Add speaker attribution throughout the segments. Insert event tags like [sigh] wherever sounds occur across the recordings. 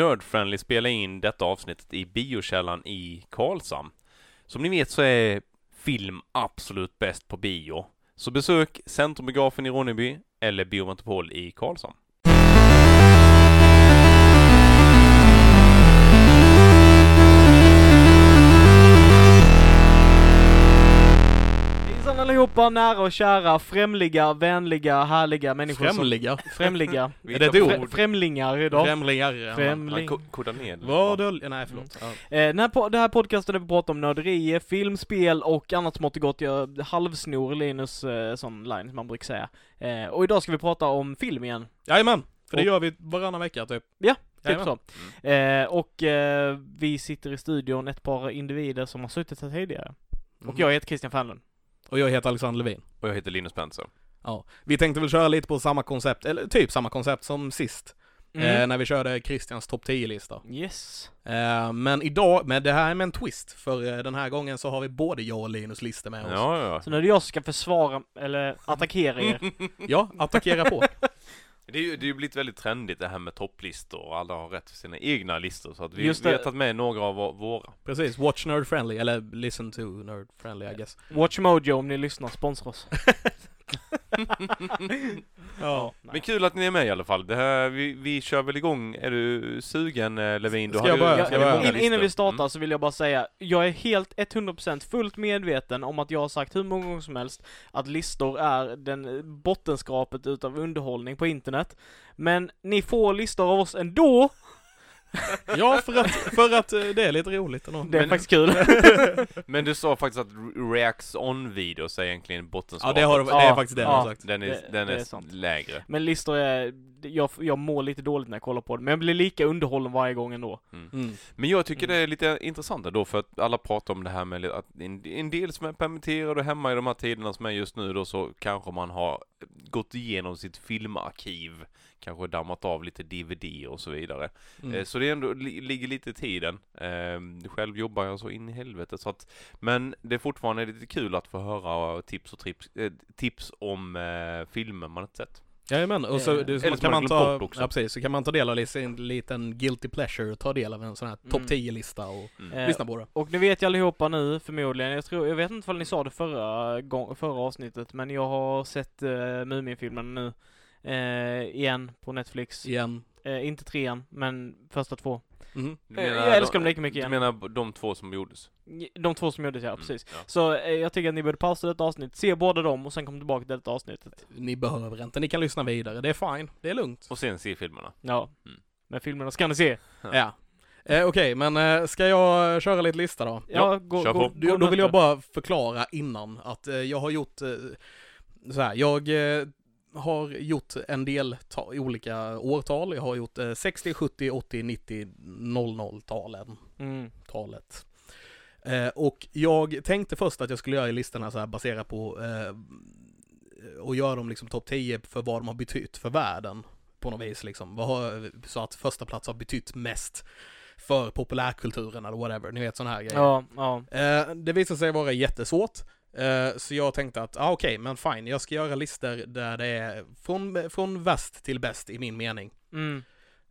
Speaker 1: Nerdfriendly spelar in detta avsnittet i biokällan i Karlshamn. Som ni vet så är film absolut bäst på bio. Så besök Centrumbiografen i Ronneby eller Biometropol i Karlshamn.
Speaker 2: Hejsan allihopa, nära och kära, främliga, vänliga, härliga människor
Speaker 3: Främlingar.
Speaker 2: som... [laughs] Främliga.
Speaker 3: Är det ett
Speaker 2: Frä,
Speaker 3: ord?
Speaker 2: främlingar idag.
Speaker 3: Främlingar. ja.
Speaker 2: Främling.
Speaker 1: Han kodar ner det.
Speaker 3: Vad döljer... Nej, förlåt. Ja.
Speaker 2: Eh, den, här, po- den här podcasten där vi pratar om nörderier, film, spel och annat smått och gott. Jag halvsnor Linus eh, sån line som man brukar säga. Eh, och idag ska vi prata om film igen.
Speaker 3: Jajamän! För det
Speaker 2: Och-
Speaker 3: gör vi varannan vecka, typ.
Speaker 2: Typ
Speaker 3: Jajamän.
Speaker 2: så. Eh, och eh, vi sitter i studion, ett par individer som har suttit här tidigare. Och jag heter Christian Fernlund.
Speaker 3: Mm. Och jag heter Alexander Levin.
Speaker 1: Och jag heter Linus Penser.
Speaker 3: Ja. Vi tänkte väl köra lite på samma koncept, eller typ samma koncept som sist.
Speaker 2: Mm.
Speaker 3: Eh, när vi körde Christians topp 10-lista.
Speaker 2: Yes.
Speaker 3: Eh, men idag, men det här är med en twist. För eh, den här gången så har vi både jag och Linus listor med oss.
Speaker 1: Ja, ja.
Speaker 2: Så nu är det jag som ska försvara, eller attackera er.
Speaker 3: Ja, attackera
Speaker 2: [laughs]
Speaker 3: på.
Speaker 1: Det är ju det är ju blivit väldigt trendigt det här med topplistor och alla har rätt för sina egna listor. Så att vi,
Speaker 2: Just
Speaker 1: vi har
Speaker 2: det.
Speaker 1: tagit med några av vå- våra.
Speaker 3: Precis, watch nerd friendly, eller listen to nerd friendly I guess.
Speaker 2: Watch Mojo om ni lyssnar, sponsra oss.
Speaker 3: Ja.
Speaker 1: Men kul att ni är med i alla fall. Det här, vi, vi kör väl igång. Är du sugen eh, Levin? Du
Speaker 3: Ska
Speaker 1: har
Speaker 3: jag
Speaker 1: ju-
Speaker 3: börja?
Speaker 1: du
Speaker 3: Ska
Speaker 1: har ju
Speaker 3: jag
Speaker 1: många
Speaker 3: börja?
Speaker 2: in,
Speaker 1: listor.
Speaker 2: innan vi startar
Speaker 1: Mm.
Speaker 2: så vill jag bara säga, jag är helt 100% fullt medveten om att jag har sagt hur många gånger som helst att listor är den bottenskrapet utav underhållning på internet. Men ni får listor av oss ändå!
Speaker 3: Ja, för att, för att eh, det är lite roligt ändå.
Speaker 2: Det är
Speaker 1: Men-
Speaker 2: faktiskt kul.
Speaker 1: Mm. Men du sa faktiskt att re- Reacts On-videos är egentligen
Speaker 3: Ja,
Speaker 1: bottenskapet.
Speaker 3: det, har, det är
Speaker 2: Ja.
Speaker 3: faktiskt det
Speaker 2: Ja.
Speaker 3: jag har sagt.
Speaker 1: Den är,
Speaker 2: Det-
Speaker 1: den
Speaker 2: det
Speaker 1: är,
Speaker 2: är sant.
Speaker 1: lägre.
Speaker 2: Men listor är, jag, jag mår lite dåligt när jag kollar på det, men jag blir lika underhållen varje gång ändå.
Speaker 3: Mm.
Speaker 1: Men jag tycker det är lite intressant då för att alla pratar om det här med att en, en del som är permitterade och hemma i de här tiderna som är just nu då så kanske man har gått igenom sitt filmarkiv. Kanske dammat av lite DVD och så vidare.
Speaker 3: Mm.
Speaker 1: Eh, Så det är ändå, li, ligger lite i tiden. Eh, själv jobbar jag så in i helvete så att, men det är fortfarande lite kul att få höra tips och trips, eh, tips om eh, filmer man inte sett.
Speaker 3: Jajamän, och så,
Speaker 2: Eh,
Speaker 3: det, så
Speaker 1: eller
Speaker 3: man
Speaker 1: som
Speaker 3: kan
Speaker 1: man
Speaker 3: man
Speaker 1: glömt
Speaker 3: ta,
Speaker 1: bort också.
Speaker 3: ja, precis, så kan man ta del av li- sin liten guilty pleasure, ta del av en sån här topp
Speaker 2: Mm.
Speaker 3: 10-lista och
Speaker 1: Mm.
Speaker 2: Eh,
Speaker 3: lyssna på det.
Speaker 2: Och ni vet ju allihopa nu förmodligen, jag tror, jag vet inte om ni sa det förra, gång, förra avsnittet, men jag har sett uh, Muminfilmen nu. Eh, igen på Netflix.
Speaker 3: Igen.
Speaker 2: Eh, inte trean, men första två.
Speaker 3: Mhm.
Speaker 1: Du
Speaker 2: Eh, jag älskar dem lika mycket
Speaker 1: Du
Speaker 2: igen.
Speaker 1: menar de två som gjordes?
Speaker 2: De två som gjordes ja,
Speaker 1: Mm,
Speaker 2: precis.
Speaker 1: ja.
Speaker 2: Så eh, jag tycker att ni borde pausa detta avsnitt, se båda dem och sen komma tillbaka till detta avsnittet.
Speaker 3: Ni behöver inte, ni kan lyssna vidare, det är fine, det är lugnt.
Speaker 1: Och sen se filmerna.
Speaker 2: Ja.
Speaker 1: Mm.
Speaker 2: Men filmerna ska ni se.
Speaker 1: Ja.
Speaker 3: Ja. Eh, Okej, men eh, ska jag köra lite lista då?
Speaker 2: Ja, gå,
Speaker 1: kör
Speaker 2: gå,
Speaker 1: på.
Speaker 2: gå
Speaker 3: Du, då
Speaker 2: möte.
Speaker 3: vill jag bara förklara innan att eh, jag har gjort eh, så här, jag eh, har gjort en del ta- olika årtal. Jag har gjort eh, 60, 70, 80, 90, 00-talen.
Speaker 2: Mm.
Speaker 3: talet. Eh, och jag tänkte först att jag skulle göra listorna så här baserat på eh, och göra dem liksom topp 10 för vad de har betytt för världen på något vis liksom. Vad har, så att första plats har betytt mest för populärkulturen eller whatever, ni vet sådana här grejer.
Speaker 2: Ja, ja.
Speaker 3: Eh, det visade sig vara jättesvårt. Eh, så jag tänkte att, ah, okej, men fine, jag ska göra listor där det är från, från väst till bäst i min mening.
Speaker 2: Mm.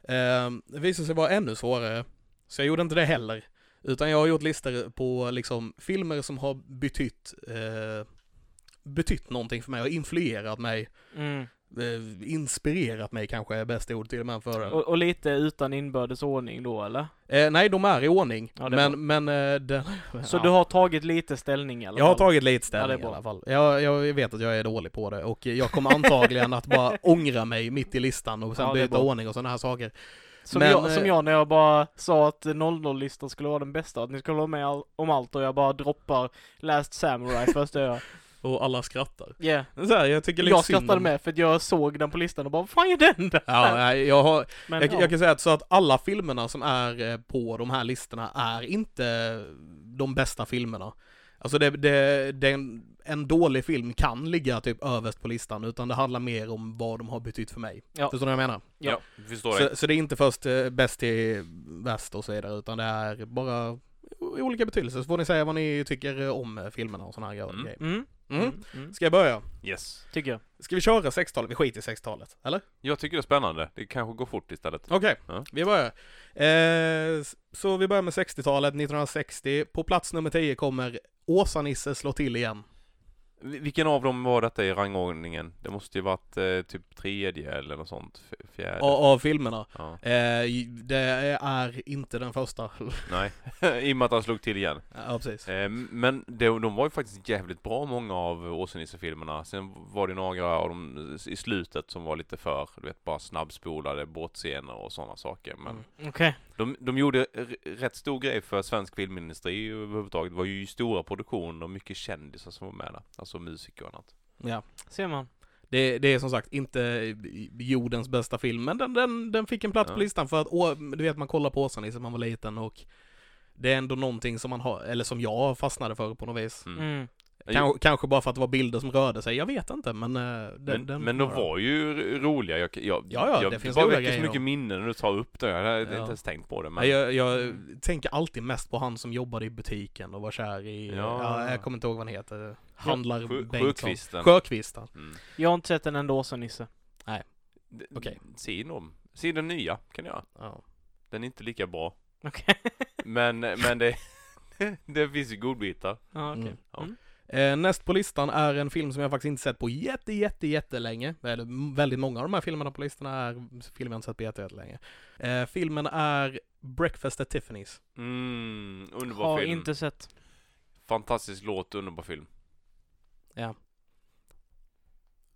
Speaker 3: Eh, det visade sig vara ännu svårare. Så jag gjorde inte det heller. Utan jag har gjort listor på liksom filmer som har betytt, eh, betytt någonting för mig, har influerat mig,
Speaker 2: Mm.
Speaker 3: eh, inspirerat mig kanske är bästa ord till och med för det.
Speaker 2: Och, och lite utan inbördes ordning då eller?
Speaker 3: Eh, nej, de är i ordning.
Speaker 2: Ja, det är
Speaker 3: men, men eh, den...
Speaker 2: Så
Speaker 3: ja.
Speaker 2: du har tagit lite ställning i alla
Speaker 3: Jag har
Speaker 2: fall?
Speaker 3: tagit lite
Speaker 2: Ja, det är
Speaker 3: ställning i
Speaker 2: bra.
Speaker 3: alla fall. Jag, jag vet att jag är dålig på det och jag kommer antagligen att bara ångra mig mitt i listan och sen
Speaker 2: Ja, det är
Speaker 3: byta
Speaker 2: bra.
Speaker 3: ordning och sådana här saker.
Speaker 2: Som,
Speaker 3: Men,
Speaker 2: jag, som
Speaker 3: eh,
Speaker 2: jag när jag bara sa att 00-listan skulle vara den bästa, att ni skulle hålla med all, om allt och jag bara droppar Last Samurai först jag [laughs] gör.
Speaker 3: Och alla skrattar.
Speaker 2: Yeah.
Speaker 3: Så här, jag tycker lite
Speaker 2: Jag
Speaker 3: synd om-
Speaker 2: skrattade med för att jag såg den på listan och bara vad fan är den där? [laughs]
Speaker 3: Ja, nej, jag har,
Speaker 2: Men,
Speaker 3: jag,
Speaker 2: ja.
Speaker 3: jag kan säga att, så att alla filmerna som är eh, på de här listorna är inte de bästa filmerna. Alltså det, det, det är en, en dålig film kan ligga typ överst på listan utan det handlar mer om vad de har betytt för mig.
Speaker 2: Ja.
Speaker 3: Förstår du vad jag menar?
Speaker 2: Ja.
Speaker 1: Ja, vi förstår det.
Speaker 3: Så, så det är inte först eh, bäst till väst och så vidare utan det är bara o- olika betydelser. Så får ni säga vad ni tycker om eh, filmerna och sådana här
Speaker 1: Mm.
Speaker 3: grejer.
Speaker 2: Mm.
Speaker 3: Mm.
Speaker 2: Mm.
Speaker 3: Ska jag börja?
Speaker 1: Yes.
Speaker 2: Tycker jag.
Speaker 3: Ska vi köra 60-talet? Vi skiter i 60-talet, eller?
Speaker 1: Jag tycker det är spännande. Det kanske går fort istället.
Speaker 3: Okej,
Speaker 1: Ja.
Speaker 3: vi börjar. Eh, s- så vi börjar med 60-talet, 1960. På plats nummer 10 kommer Åsa-Nisse slår till igen.
Speaker 1: Vi- Vilken av dem var detta i rangordningen? Det måste ju varit eh, typ tredje eller något sånt. f- Fjärde.
Speaker 3: Av, av filmerna.
Speaker 1: Ja. [laughs]
Speaker 3: Eh, det är inte den första. [laughs]
Speaker 1: Nej. I och med att han slog till igen.
Speaker 3: ja, precis.
Speaker 1: Eh, men de, de var ju faktiskt jävligt bra många av Åsenisse-filmerna. Sen var det några av dem i slutet som var lite för, du vet, bara snabbspolade båtscener och sådana saker. Men
Speaker 3: Mm.
Speaker 2: Okej.
Speaker 1: de, de gjorde r- rätt stor grej för svensk filmindustri överhuvudtaget. Det var ju stora produktioner och mycket kändisar som var med där. Alltså musiker och annat.
Speaker 3: Ja.
Speaker 2: Ser man.
Speaker 3: Det, det är som sagt inte jordens bästa film, men den, den, den fick en plats
Speaker 1: Ja.
Speaker 3: på listan för att, å, du vet man kollar på Åsa-Nisse när man var liten och det är ändå någonting som man har, eller som jag fastnade för på något vis.
Speaker 1: Mm.
Speaker 2: Mm.
Speaker 3: Kans- kanske bara för att det var bilder som rörde sig, jag vet inte, men eh, den,
Speaker 1: Men,
Speaker 3: den
Speaker 1: men de var ju r- roliga. Jag, jag,
Speaker 3: Ja, ja,
Speaker 1: jag,
Speaker 3: det finns
Speaker 1: bara
Speaker 3: roliga
Speaker 1: väcker så
Speaker 3: grejer
Speaker 1: mycket
Speaker 3: då.
Speaker 1: minnen när du tar upp det. Jag hade
Speaker 3: Ja.
Speaker 1: inte ens tänkt på det. Men
Speaker 3: Nej, Jag, jag tänker alltid mest på han som jobbade i butiken och var kär i,
Speaker 1: Ja.
Speaker 3: ja. jag kommer inte ihåg vad han heter, handlar
Speaker 1: Sjö-
Speaker 3: Bengtsson.
Speaker 1: Sjökvisten.
Speaker 3: Sjökvisten.
Speaker 1: Mm.
Speaker 2: Jag har inte sett den ändå, så Nisse. [laughs]
Speaker 1: D-
Speaker 3: Okej.
Speaker 1: Se dem. Se den nya kan jag.
Speaker 3: Ja.
Speaker 1: Den är inte lika bra.
Speaker 2: Okej.
Speaker 1: Men, [laughs] men det, det finns ju godbitar.
Speaker 2: Ja, okej.
Speaker 3: Mm.
Speaker 1: Ja.
Speaker 2: Mm.
Speaker 3: Eh, näst på listan är en film som jag faktiskt inte sett på jätte, jätte, jättelänge. Eller m- väldigt många av de här filmerna på listan är filmer jag inte sett på jätte, jättelänge. Eh, filmen är Breakfast at Tiffany's.
Speaker 1: Mm, underbar
Speaker 2: Har
Speaker 1: film.
Speaker 2: inte sett.
Speaker 1: Fantastisk låt, underbar film.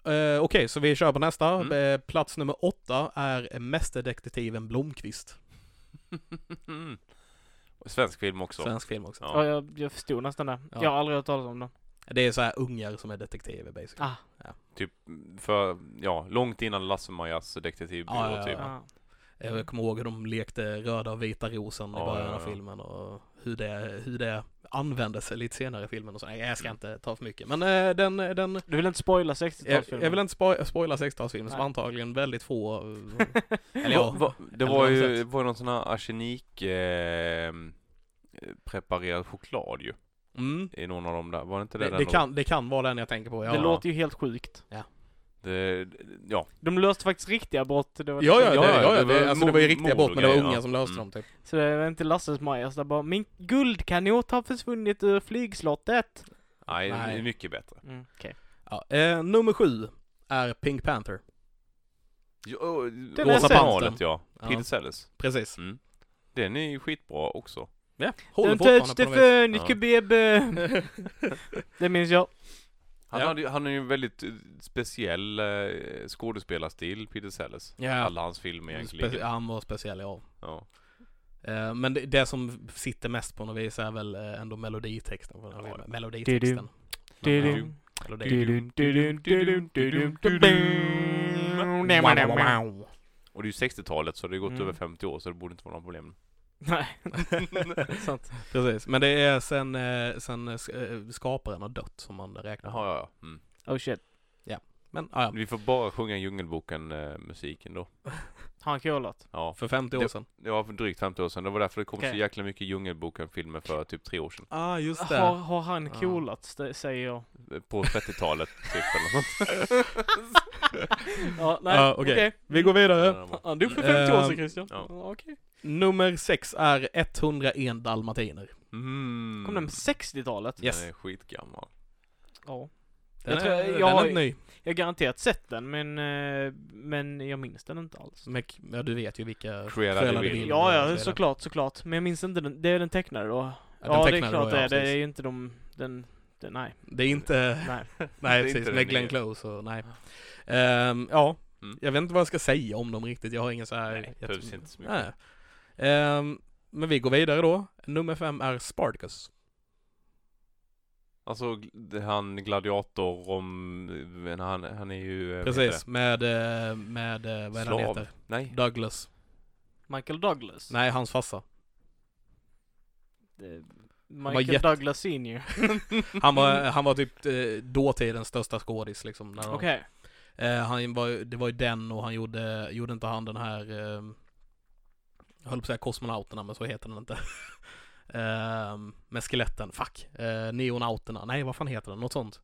Speaker 3: Eh, Okej, så vi kör på nästa.
Speaker 1: Mm.
Speaker 3: Eh, plats nummer åtta är Mästerdetektiven Blomkvist.
Speaker 1: Mm. Svensk film också.
Speaker 3: Svensk film också.
Speaker 1: Ja.
Speaker 2: Ja. jag, jag förstod nästan det.
Speaker 3: Ja.
Speaker 2: Jag har aldrig hört talas om den.
Speaker 3: Det är så här ungar som är detektiver basically.
Speaker 2: Ah,
Speaker 1: Typ för, ja, långt innan Lasse-Majas detektivbyrå
Speaker 3: Ja, ja, ja.
Speaker 1: typ.
Speaker 2: ja.
Speaker 3: Eh, Jag kommer ihåg hur de lekte röda och vita rosen i
Speaker 1: Ja,
Speaker 3: början
Speaker 1: ja,
Speaker 3: av
Speaker 1: ja.
Speaker 3: filmen och hur det, hur det användes lite senare i filmen och så. Nej, jag
Speaker 1: Mm.
Speaker 3: ska inte ta för mycket. Men eh, den, den
Speaker 2: Du vill inte spoila
Speaker 3: jag,
Speaker 2: 60-talsfilmen?
Speaker 3: jag vill inte spo- spoila 60-talsfilmen som
Speaker 2: Nej.
Speaker 3: antagligen väldigt få...
Speaker 1: [laughs]
Speaker 3: eh, eller
Speaker 1: Va-
Speaker 3: ja,
Speaker 1: va- det
Speaker 3: eller
Speaker 1: var
Speaker 3: har
Speaker 1: ju
Speaker 3: sett.
Speaker 1: var ju någon sån här arsenik eh, preparerad choklad ju.
Speaker 3: Mm.
Speaker 1: I någon av dem där. Var det inte det?
Speaker 3: Det,
Speaker 1: den
Speaker 3: det,
Speaker 1: då?
Speaker 3: kan, det kan vara den jag tänker på. Ja,
Speaker 2: Det låter ju helt sjukt.
Speaker 1: Det, ja.
Speaker 2: De löste faktiskt riktiga brott. Det var
Speaker 3: ja, ja,
Speaker 1: Ja,
Speaker 3: det,
Speaker 1: ja,
Speaker 3: ja,
Speaker 1: det
Speaker 3: ja,
Speaker 1: var
Speaker 3: det, alltså, det var ju
Speaker 1: mord-
Speaker 3: riktiga brott, men det var
Speaker 1: mordgrejer,
Speaker 3: unga
Speaker 1: ja.
Speaker 3: som löste
Speaker 1: Mm.
Speaker 3: dem typ.
Speaker 2: Så det var inte Lasses Majas där bara Min guldkanot har försvunnit ur flygslottet.
Speaker 1: Nej,
Speaker 3: Nej.
Speaker 1: det är mycket bättre.
Speaker 2: Mm, okej.
Speaker 3: Ja, eh, nummer sju är Pink Panther.
Speaker 1: Jo, och-
Speaker 2: Den
Speaker 1: Rosa
Speaker 2: är svensk.
Speaker 1: Panorlet ja.
Speaker 3: Ja.
Speaker 1: Pilsellers.
Speaker 3: Precis.
Speaker 1: Mm. Den är ju skitbra också.
Speaker 3: Ja, håller
Speaker 2: Don't touch the
Speaker 3: fortfarande på något vis.
Speaker 2: fun,
Speaker 1: Ja.
Speaker 2: ja. baby. [laughs] Det minns jag.
Speaker 3: Mm.
Speaker 1: Han,
Speaker 3: Ja.
Speaker 1: hade, ju- han har ju en väldigt eh, speciell eh, skådespelarstil, Peter Sellers.
Speaker 3: [laughs] Ja,
Speaker 1: Alla hans filmer egentligen.
Speaker 3: spe- han var speciell, ja.
Speaker 1: Ja.
Speaker 3: Eh, Men det, det som sitter mest på något vis är väl eh, ändå meloditexten. på den här
Speaker 1: Ja, ja.
Speaker 3: filmen. Meloditexten. Mm.
Speaker 2: Didum,
Speaker 3: Melodi.
Speaker 2: didum, didum, didum, didum, didum.
Speaker 3: [laughs] Wow, wow, wow.
Speaker 1: Och det är ju 60-talet så det har gått
Speaker 2: Mm.
Speaker 1: över 50 år så det borde inte vara några problem.
Speaker 2: [laughs] Nej,
Speaker 1: [laughs]
Speaker 2: sant.
Speaker 3: Precis, men det är sen, eh, sen eh, sk- eh, skaparen har dött som man räknar.
Speaker 1: Jaha, ja, ja. Mm.
Speaker 2: Oh shit.
Speaker 3: Men ah, ja,
Speaker 1: Vi får bara sjunga Djungelboken-musiken då.
Speaker 2: Har han kolat?
Speaker 1: Ja,
Speaker 3: för 50 år
Speaker 1: Det-
Speaker 3: sedan.
Speaker 1: det var för drygt 50 år sedan. Det var därför det kom så
Speaker 2: Okej.
Speaker 1: jäkla mycket Djungelboken-filmer för typ tre år sedan.
Speaker 3: Ah, just
Speaker 2: Har, har han
Speaker 3: Ja.
Speaker 2: kolat, det säger
Speaker 3: [laughs]
Speaker 2: jag.
Speaker 1: Eh, På 30-talet typ eller något.
Speaker 2: Ja, nej,
Speaker 3: Ja, okej.
Speaker 2: okej.
Speaker 3: Vi går vidare.
Speaker 1: Ja, det var-
Speaker 2: Ja, du är för 50 år sedan
Speaker 3: Ehm,
Speaker 2: Christian.
Speaker 1: ja.
Speaker 2: Ja, okej.
Speaker 3: Nummer sex är 101 dalmatiner.
Speaker 1: Mm.
Speaker 2: Kom den med 60-talet?
Speaker 1: Den
Speaker 3: Yes.
Speaker 1: är skitgammal.
Speaker 2: Ja.
Speaker 3: Den
Speaker 2: Jag tror-
Speaker 3: är,
Speaker 2: jag
Speaker 3: den
Speaker 2: har-
Speaker 3: är ny.
Speaker 2: Jag har garanterat sett den, men, eh, men jag minns den inte alls.
Speaker 3: Men, ja, du vet ju vilka
Speaker 1: Cruella de Vil.
Speaker 3: Vil
Speaker 2: Ja,
Speaker 3: och
Speaker 2: ja,
Speaker 3: så vidare.
Speaker 2: såklart, såklart. Men jag minns inte den. Det är den tecknade då.
Speaker 3: Ja, den
Speaker 2: Ja, det är
Speaker 3: tecknade
Speaker 2: klart
Speaker 3: då,
Speaker 2: det
Speaker 3: ja,
Speaker 2: är. Det är
Speaker 3: precis.
Speaker 2: ju inte de, den, den nej,
Speaker 3: Det är inte...
Speaker 2: nej.
Speaker 1: [laughs] Det är
Speaker 3: Nej
Speaker 1: inte
Speaker 3: precis,
Speaker 1: den
Speaker 3: med Glenn
Speaker 1: nya.
Speaker 3: Close och nej. Ehm, ja,
Speaker 1: Mm.
Speaker 3: jag vet inte vad jag ska säga om dem riktigt. Jag har ingen så här...
Speaker 1: Nej, det
Speaker 3: jag-
Speaker 1: behövs inte så mycket.
Speaker 3: Nej. Ehm, men vi går vidare då. Nummer fem är Spartacus.
Speaker 1: Alltså gl- det- han gladiator om, men han, han är ju... eh, vad heter
Speaker 3: Precis, med, eh, med, eh, vad är det
Speaker 1: Slav.
Speaker 3: han heter?
Speaker 1: det? Nej.
Speaker 3: Douglas.
Speaker 2: Michael Douglas.
Speaker 3: Nej, hans farsa.
Speaker 2: Det-
Speaker 3: var
Speaker 2: Eh, Michael
Speaker 3: jätte-
Speaker 2: Douglas senior.
Speaker 1: [laughs]
Speaker 3: Han var, han var typ eh, dåtidens största skådis liksom. När de,
Speaker 2: Okej.
Speaker 3: eh, han var, ju- det var ju den och han gjorde, gjorde inte han den här, eh, jag höll på att säga kosmonauterna men så heter den inte. [laughs] Ehm, med skeletten, fuck. Eh, neonauterna, nej vad fan heter den? Något sånt.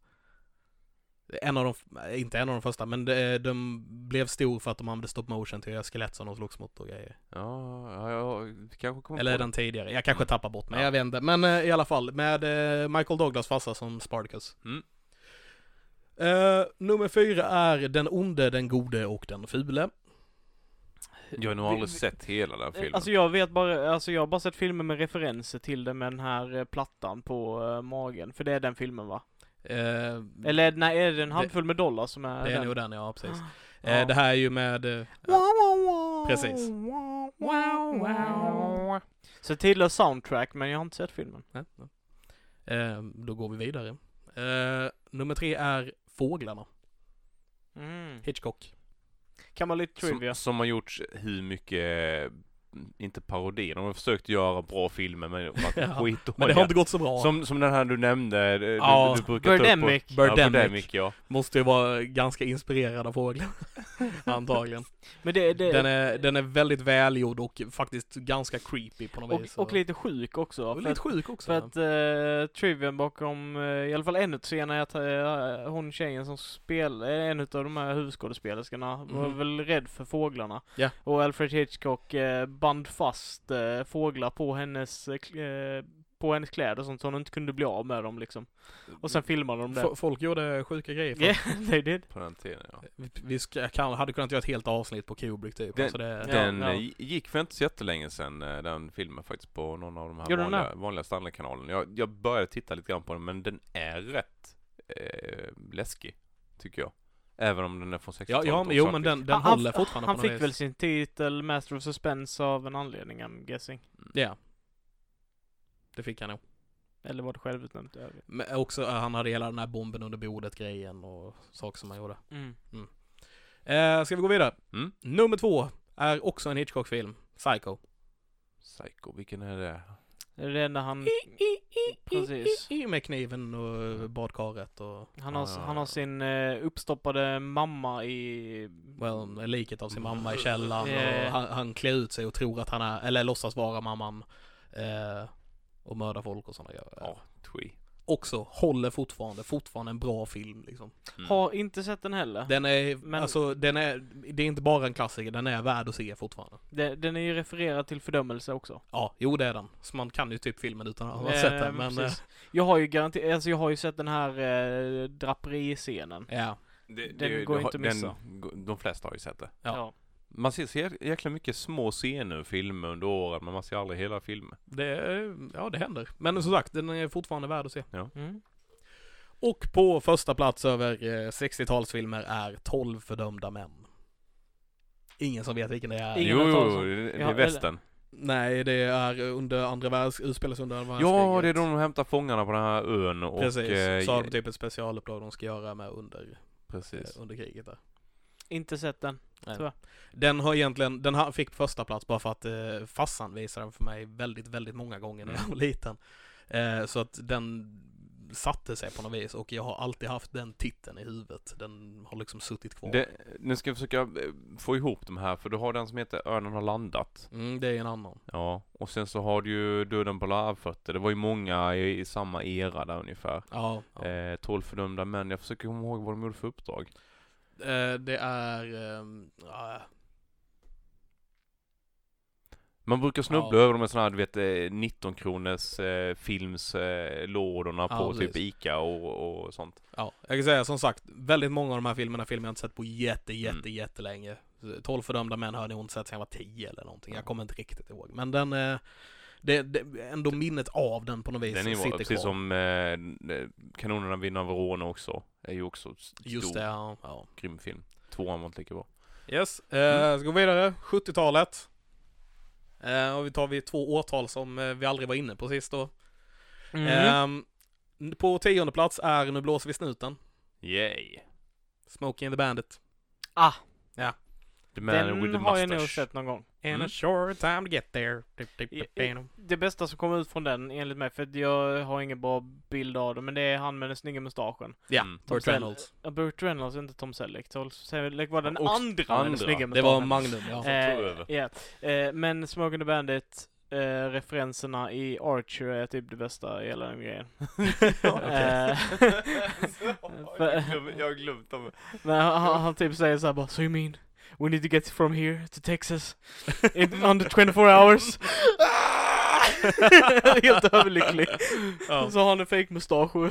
Speaker 3: En av de, eh, inte en av de första, men de, de blev stor för att de använde stop motion till att göra skelett som de slogs mot och grejer.
Speaker 1: Ja, ja, ja vi kanske kommer
Speaker 3: Eller
Speaker 1: på
Speaker 3: den tidigare, jag kanske tappar bort mig,
Speaker 1: Ja.
Speaker 3: jag vet inte. Men eh, i alla fall, med eh, Michael Douglas farsa som Spartacus.
Speaker 1: Mm.
Speaker 3: Eh, nummer fyra är Den onde, den gode och den fule.
Speaker 1: det. Jag har nog
Speaker 2: vi-
Speaker 1: aldrig
Speaker 2: vi-
Speaker 1: sett hela den filmen.
Speaker 2: Alltså jag vet bara, alltså jag har bara sett filmer med referenser till det med den här eh, plattan på eh, magen. För det är den filmen va?
Speaker 3: Eh,
Speaker 2: Eller är det- nej, är det en handfull med dollar som är
Speaker 3: det är
Speaker 2: den?
Speaker 3: nog den, ja precis.
Speaker 2: Ja.
Speaker 3: Eh, det här är ju med... eh, Precis.
Speaker 2: Så tidlös soundtrack, men jag har inte sett filmen.
Speaker 3: Nej, nej. Eh, då går vi vidare. Eh, nummer tre är Fåglarna,
Speaker 2: Mm.
Speaker 3: Hitchcock.
Speaker 2: Kan man lite
Speaker 1: som,
Speaker 2: trivia.
Speaker 1: som har gjorts hur mycket, eh, inte parodier, de har försökt göra bra filmer
Speaker 3: [laughs]
Speaker 1: men de har
Speaker 3: Ja,
Speaker 1: varit
Speaker 3: Men det
Speaker 1: skitdåliga.
Speaker 3: har inte gått så bra.
Speaker 1: Som, som den här du nämnde, eh, du,
Speaker 3: Ja,
Speaker 1: du, du brukar
Speaker 2: Birdemic.
Speaker 1: ta upp på... Ja,
Speaker 3: Birdemic.
Speaker 1: Birdemic. Ja.
Speaker 3: Måste ju vara ganska inspirerad av fåglar. [laughs] Antagligen.
Speaker 2: Men det, det
Speaker 3: Den är, den är väldigt välgjord och faktiskt ganska creepy på något
Speaker 2: och,
Speaker 3: vis.
Speaker 2: och lite sjuk också.
Speaker 3: och
Speaker 2: för
Speaker 3: lite
Speaker 2: att-
Speaker 3: sjuk också.
Speaker 2: För att eh, trivian bakom, eh, i alla fall en utav scenerna, är att eh, hon tjejen som spelar, en utav de här huvudskådespelerskorna, var
Speaker 3: Mhm.
Speaker 2: väl rädd för fåglarna.
Speaker 3: Ja.
Speaker 2: Och Alfred Hitchcock eh, band fast eh, fåglar på hennes, eh, kl- eh, på hennes kläder och sånt så hon inte kunde bli av med dem liksom. Och
Speaker 3: Mm.
Speaker 2: sen filmade de det.
Speaker 3: F- Folk gjorde sjuka grejer.
Speaker 2: [laughs]
Speaker 3: för-
Speaker 2: Yeah, they did.
Speaker 1: På den tiden ja.
Speaker 3: Vi, vi ska, kan, hade kunnat göra ett helt avsnitt på Kubrick typ.
Speaker 1: Den-
Speaker 3: alltså det,
Speaker 2: Ja,
Speaker 1: Den
Speaker 2: ja.
Speaker 1: eh, gick för inte så jättelänge sedan eh, den filmen faktiskt på någon av de här
Speaker 2: Gjorde den
Speaker 1: vanliga, vanliga Stanley-kanalen. Jag, jag började titta lite grann på den men den är rätt eh, läskig, tycker jag. Även om den är från 60-talet.
Speaker 3: ja, ja,
Speaker 1: och
Speaker 3: men, jo men
Speaker 1: svartvit.
Speaker 3: den, den
Speaker 2: Ah, han-
Speaker 3: håller fortfarande
Speaker 2: Han
Speaker 3: på något
Speaker 2: fick
Speaker 3: vis.
Speaker 2: väl sin titel Master of Suspense av en anledning, I'm guessing.
Speaker 3: Ja. Det fick han nog.
Speaker 2: Eller var det självutnämnt? jag vet.
Speaker 3: Men också, eh, han hade hela den här bomben under bordet grejen och saker som han gjorde.
Speaker 2: Mm.
Speaker 3: Eh, ska vi gå vidare?
Speaker 1: Mm.
Speaker 3: Nummer två är också en Hitchcock-film. Psycho.
Speaker 1: Psycho, vilken är det?
Speaker 2: Det är det när han... Precis.
Speaker 3: I, i, med kniven och badkaret och
Speaker 2: Han har,
Speaker 3: Ah.
Speaker 1: Ja, ja,
Speaker 2: han
Speaker 1: ja.
Speaker 2: har sin eh, uppstoppade mamma i... Mm.
Speaker 3: well, liket av sin mamma i källaren
Speaker 2: Ja.
Speaker 3: och han, han klär ut sig och tror att han är, eller låtsas vara mamman. Eh, och mördar folk och sådana grejer.
Speaker 1: Ja, Twee.
Speaker 3: Också, håller fortfarande, fortfarande en bra film liksom.
Speaker 1: Mm.
Speaker 2: Har inte sett den heller. Den,
Speaker 3: Den är,
Speaker 2: Men-
Speaker 3: alltså den är, det är inte bara en klassiker, den är värd att se fortfarande.
Speaker 2: den, är ju refererad till fördömelse också.
Speaker 3: Ja, jo det är den. Så man kan ju typ filmen utan att ha sett den, men... eh,
Speaker 2: precis. Jag har ju garanterat, alltså jag har ju sett den här eh, draperiscenen.
Speaker 3: eh, Ja,
Speaker 1: Det, det,
Speaker 2: Den går
Speaker 1: har-
Speaker 2: inte att missa.
Speaker 1: Den, de flesta har ju sett det.
Speaker 3: Ja.
Speaker 1: Man ser så jä- jäkla mycket små scener ur filmer under åren, men man ser aldrig hela filmen.
Speaker 3: det, är- ja, det händer. Men som sagt, den är fortfarande värd att se.
Speaker 2: Mm.
Speaker 3: Och på första plats över eh, 60-talsfilmer är 12 fördömda män. Ingen som vet vilken det är.
Speaker 2: Ingen
Speaker 1: jo,
Speaker 2: har talat
Speaker 1: jo,
Speaker 2: om.
Speaker 1: det, det
Speaker 2: Ja,
Speaker 1: är
Speaker 2: eller-
Speaker 1: västern.
Speaker 3: Nej, det är under andra världs... utspelas under andra
Speaker 1: Ja, det är då de hämtar fångarna på den här ön och...
Speaker 3: Precis,
Speaker 1: eh,
Speaker 3: så har de typ ett specialuppdrag de ska göra med under,
Speaker 1: Precis.
Speaker 3: eh, under kriget där.
Speaker 2: Inte sett den.
Speaker 3: Den har egentligen, den här fick första plats bara för att eh, farsan visade den för mig väldigt, väldigt många gånger
Speaker 1: Mm.
Speaker 3: när jag var liten. Eh, så att den satte sig på något vis och jag har alltid haft den titeln i huvudet. Den har liksom suttit kvar.
Speaker 1: Det, nu ska jag försöka eh, få ihop de här, för du har den som heter Örnen har landat.
Speaker 3: Mm, det är en annan.
Speaker 1: Ja, och sen så har du ju Döden på larvfötter. Det var ju många i, i samma era där ungefär.
Speaker 3: Ja. ja.
Speaker 1: Eh, 12 fördömda män. Jag försöker komma ihåg vad de gjorde för uppdrag.
Speaker 3: Eh, det är... ehm, ah,
Speaker 1: Man brukar snubbla
Speaker 3: Ja.
Speaker 1: över dem med sådana här, du vet, 19 kronors eh, filmslådorna eh, lådorna
Speaker 3: Ja,
Speaker 1: på
Speaker 3: precis.
Speaker 1: typ Ica och, och sånt.
Speaker 3: ja, jag kan säga som sagt, väldigt många av de här filmerna filmer jag inte sett på jätte, jätte,
Speaker 1: Mm.
Speaker 3: jättelänge. 12 fördömda män har jag nog inte sett sedan jag var 10 eller någonting. Jag
Speaker 1: Ja.
Speaker 3: kommer inte riktigt ihåg. Men den... Eh, det, det, ändå minnet av den på något vis
Speaker 1: Den är ju
Speaker 3: sitter
Speaker 1: bra,
Speaker 3: kvar.
Speaker 1: precis som eh, Kanonerna vinner Verona också. Är ju också s- stor,
Speaker 3: Just det, ja. ja.
Speaker 1: grym film. Tvåan var inte lika bra.
Speaker 3: Yes, eh, ska gå vidare. 70-talet. Eh, och vi tar vi två årtal som eh, vi aldrig var inne på sist då.
Speaker 2: Mm.
Speaker 3: Ehm, på tionde plats är Nu blåser vi snuten.
Speaker 1: Yay!
Speaker 3: Smokey and the Bandit.
Speaker 2: ah,
Speaker 1: The man with
Speaker 2: den
Speaker 1: the
Speaker 2: har jag nog
Speaker 1: mustache.
Speaker 2: sett någon gång.
Speaker 3: In
Speaker 1: Mm.
Speaker 3: a short time to get there.
Speaker 2: Det bästa som kommer ut från den, enligt mig, för att jag har ingen bra bild av det, men det är han med den snygga mustaschen. [laughs]
Speaker 3: Ja,
Speaker 1: Mm.
Speaker 3: Burt Reynolds.
Speaker 2: Ja, Burt Reynolds, inte Tom Selleck. Tom Selleck var den
Speaker 1: Och
Speaker 2: andra, med
Speaker 1: andra.
Speaker 2: den snygga
Speaker 3: Det var
Speaker 1: Alltså,
Speaker 2: mustaschen.
Speaker 3: Magnum, ja.
Speaker 1: som tog
Speaker 2: Eh,
Speaker 1: över.
Speaker 2: ja. Eh, men Smoking the Bandit, eh, referenserna i Archer är typ det bästa i hela den grejen.
Speaker 1: Okej. [laughs]
Speaker 2: Eh,
Speaker 1: jag har glömt- jag har glömt dem.
Speaker 2: Men han, han- han typ säger såhär bara So you mean we need to get from here to Texas in under 24 hours? [laughs] Helt överlycklig. [laughs]
Speaker 3: Ja.
Speaker 2: Så har han en fake mustasch och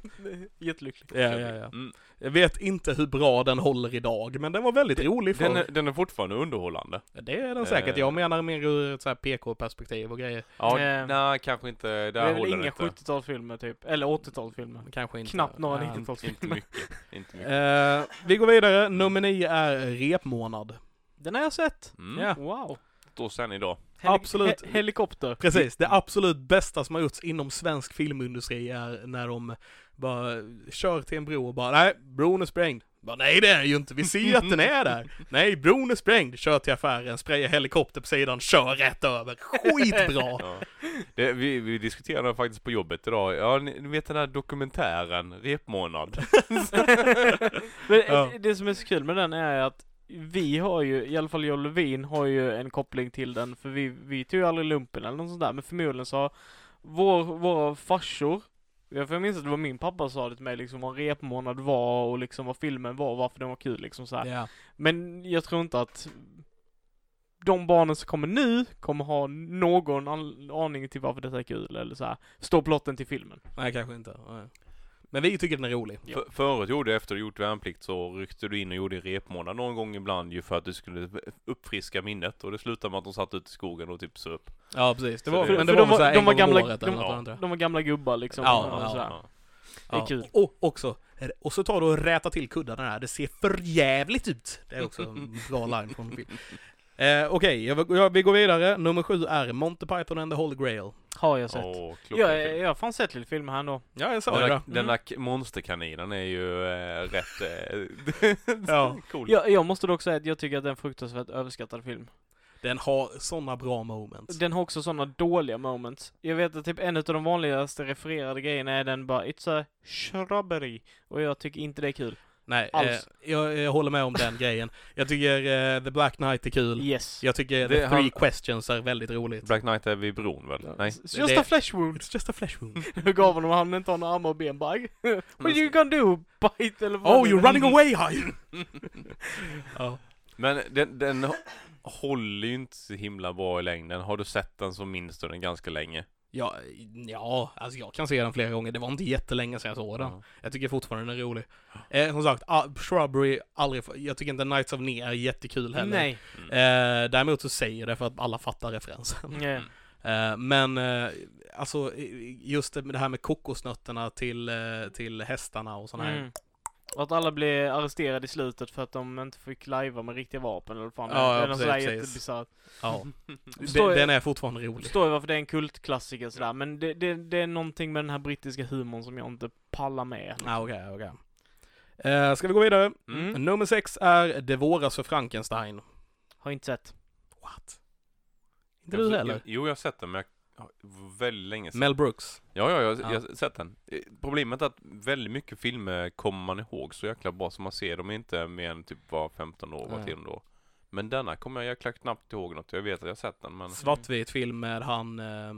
Speaker 2: [laughs] jättelycklig.
Speaker 3: Ja, ja, ja.
Speaker 1: Mm.
Speaker 3: Jag vet inte hur bra den håller idag, men den var väldigt rolig för.
Speaker 1: Den, är, den är fortfarande underhållande.
Speaker 3: Det är den säkert.
Speaker 1: Eh.
Speaker 3: Jag menar mer ur ett så här PK-perspektiv och grejer.
Speaker 1: Ja,
Speaker 2: Eh,
Speaker 1: nej, kanske inte.
Speaker 2: Det
Speaker 1: Där
Speaker 2: är väl
Speaker 1: håller det
Speaker 2: inga
Speaker 1: inte.
Speaker 2: 70-talsfilmer typ, eller 80-talsfilmer.
Speaker 3: Kanske inte.
Speaker 2: Knappt några
Speaker 3: Ja.
Speaker 2: 90-talsfilmer.
Speaker 1: Inte mycket. Inte mycket.
Speaker 3: Eh, vi går vidare. Nummer nio är repmånad.
Speaker 2: Den har jag sett!
Speaker 1: Mm.
Speaker 3: ja.
Speaker 2: Wow!
Speaker 1: Och sen idag.
Speaker 2: Heli-
Speaker 3: Absolut.
Speaker 2: he- helikopter.
Speaker 3: Precis, det absolut bästa som har gjorts inom svensk filmindustri är när de bara kör till en bro och bara nej, bron är sprängd. Bara, nej det är den ju inte, vi ser ju att den är där.
Speaker 2: [laughs]
Speaker 3: Nej, bron är sprängd. Kör till affären, sprayar helikopter på sidan, kör rätt över.
Speaker 2: [laughs]
Speaker 3: Skitbra! [laughs]
Speaker 1: Ja. Det, vi, vi diskuterade det faktiskt på jobbet idag. Ja, ni, ni vet den här dokumentären, Repmånad.
Speaker 2: [laughs] Men
Speaker 3: Ja.
Speaker 2: eh, det som är så kul med den är att vi har ju, i alla fall jag och Levin har ju en koppling till den för vi, vi tog ju aldrig lumpen eller något sånt där men förmodligen så har vår, våra farsor jag för jag minns att det var min pappa som sa det till mig liksom vad repmånad var och liksom vad filmen var och varför den var kul liksom så här.
Speaker 3: Ja.
Speaker 2: Men jag tror inte att de barnen som kommer nu kommer ha någon an- aning till varför detta är kul eller så här. Står plotten till filmen.
Speaker 3: Nej, kanske inte. Nej. Men vi tycker den är rolig.
Speaker 1: För, förut gjorde du, efter du gjort värnplikt, så ryckte du in och gjorde repmånad någon gång ibland ju för att du skulle uppfriska minnet. Och det slutade med att de satt ute i skogen och typ söp.
Speaker 3: Ja, precis. Det var,
Speaker 1: För-
Speaker 3: men
Speaker 2: för
Speaker 3: det
Speaker 2: de
Speaker 3: var, väl
Speaker 2: var-
Speaker 3: så här
Speaker 2: de
Speaker 3: en
Speaker 2: var
Speaker 3: gång
Speaker 2: gamla-
Speaker 3: om året
Speaker 2: de-
Speaker 3: eller något, antar jag.
Speaker 2: De var gamla gubbar liksom.
Speaker 3: Ja,
Speaker 2: och
Speaker 3: ja,
Speaker 2: så här.
Speaker 1: Ja.
Speaker 2: Det är kul.
Speaker 3: Och också, är det- och så tar du och rätar till kuddarna här, det ser för jävligt ut. Det är också en bra line från en film. Eh, Okej, jag, jag, vi går vidare. Nummer sju är Monty Python and the Holy Grail.
Speaker 2: Har jag sett.
Speaker 1: Åh, klockan
Speaker 2: jag,
Speaker 1: till.
Speaker 2: jag har fan sett lite filmer här ändå.
Speaker 3: Ja, jag sa
Speaker 1: Den där,
Speaker 3: det. då. Mm.
Speaker 1: den där k- monsterkaninen är ju eh, rätt eh,
Speaker 3: [laughs] Ja.
Speaker 1: [laughs] cool.
Speaker 2: Jag, jag måste dock säga att jag tycker att det är en fruktansvärt överskattad film.
Speaker 3: Den har såna bra moments.
Speaker 2: Den har också sådana dåliga moments. Jag vet att typ en av de vanligaste refererade grejerna är den bara It's a shrubbery. Och jag tycker inte det är kul.
Speaker 3: Nej, eh,
Speaker 2: Alls.
Speaker 3: jag, jag håller med om den grejen. Jag tycker eh, The Black Knight är kul.
Speaker 2: Yes.
Speaker 3: Jag
Speaker 1: Det-
Speaker 3: tycker The Three
Speaker 1: han-
Speaker 3: Questions är väldigt roligt.
Speaker 1: Black Knight är vid bron väl? Nej?
Speaker 2: It's just
Speaker 3: det-
Speaker 2: a flesh wound. [laughs]
Speaker 3: It's just a flesh wound.
Speaker 2: Jag gav honom han inte har några armar och ben bara [laughs] What you gonna do? Bite eller vad
Speaker 3: Oh,
Speaker 2: det
Speaker 3: you're
Speaker 2: var.
Speaker 3: running away, high! [laughs] ja.
Speaker 1: Men den, den hå- håller ju inte så himla bra i längden. Har du sett den så minns du den ganska länge.
Speaker 3: Ja, ja, alltså jag kan se den flera gånger. Det var inte jättelänge sedan jag såg den. Jag tycker fortfarande den är rolig. Eh, som sagt, ah, Shrubbery, aldrig, f- jag tycker inte Knights of Nia är jättekul heller.
Speaker 2: Nej.
Speaker 1: Mm.
Speaker 3: Eh, däremot så säger jag det för att alla fattar referensen.
Speaker 2: Nej.
Speaker 3: [laughs] Eh, men eh, alltså, i- just det det här med kokosnötterna till, eh, till hästarna och sådana här.
Speaker 2: Mm. Och att alla blev arresterade i slutet för att de inte fick lajva med riktiga vapen eller vad fan det
Speaker 3: Ja,
Speaker 2: är.
Speaker 3: ja,
Speaker 2: Det är något
Speaker 3: precis,
Speaker 2: sådär
Speaker 3: precis.
Speaker 2: jättebisarrt.
Speaker 3: Ja.
Speaker 2: Förstår
Speaker 3: Den,
Speaker 2: jag-
Speaker 3: den är fortfarande rolig.
Speaker 2: Förstår ju varför det är en kultklassiker sådär, men det, det, det är någonting med den här brittiska humorn som jag inte pallar med.
Speaker 3: Ah, okej, okej. Eh, ska vi gå vidare?
Speaker 1: Mm.
Speaker 3: Nummer sex är Det våras för Frankenstein.
Speaker 2: Har inte sett.
Speaker 3: What? Inte du heller?
Speaker 1: Jo, jag har sett den, men jag har väldigt länge sedan.
Speaker 3: Mel Brooks.
Speaker 1: Ja, ja, jag,
Speaker 3: Ja.
Speaker 1: jag har sett den. Eh, Problemet är att väldigt mycket filmer kommer man ihåg så jäkla bra som man ser dem inte mer än typ var 15 år, var
Speaker 3: Ja.
Speaker 1: 10 år. Men denna kommer jag jäkla knappt ihåg något. Jag vet att jag har sett den, men...
Speaker 3: svartvit film med han eh,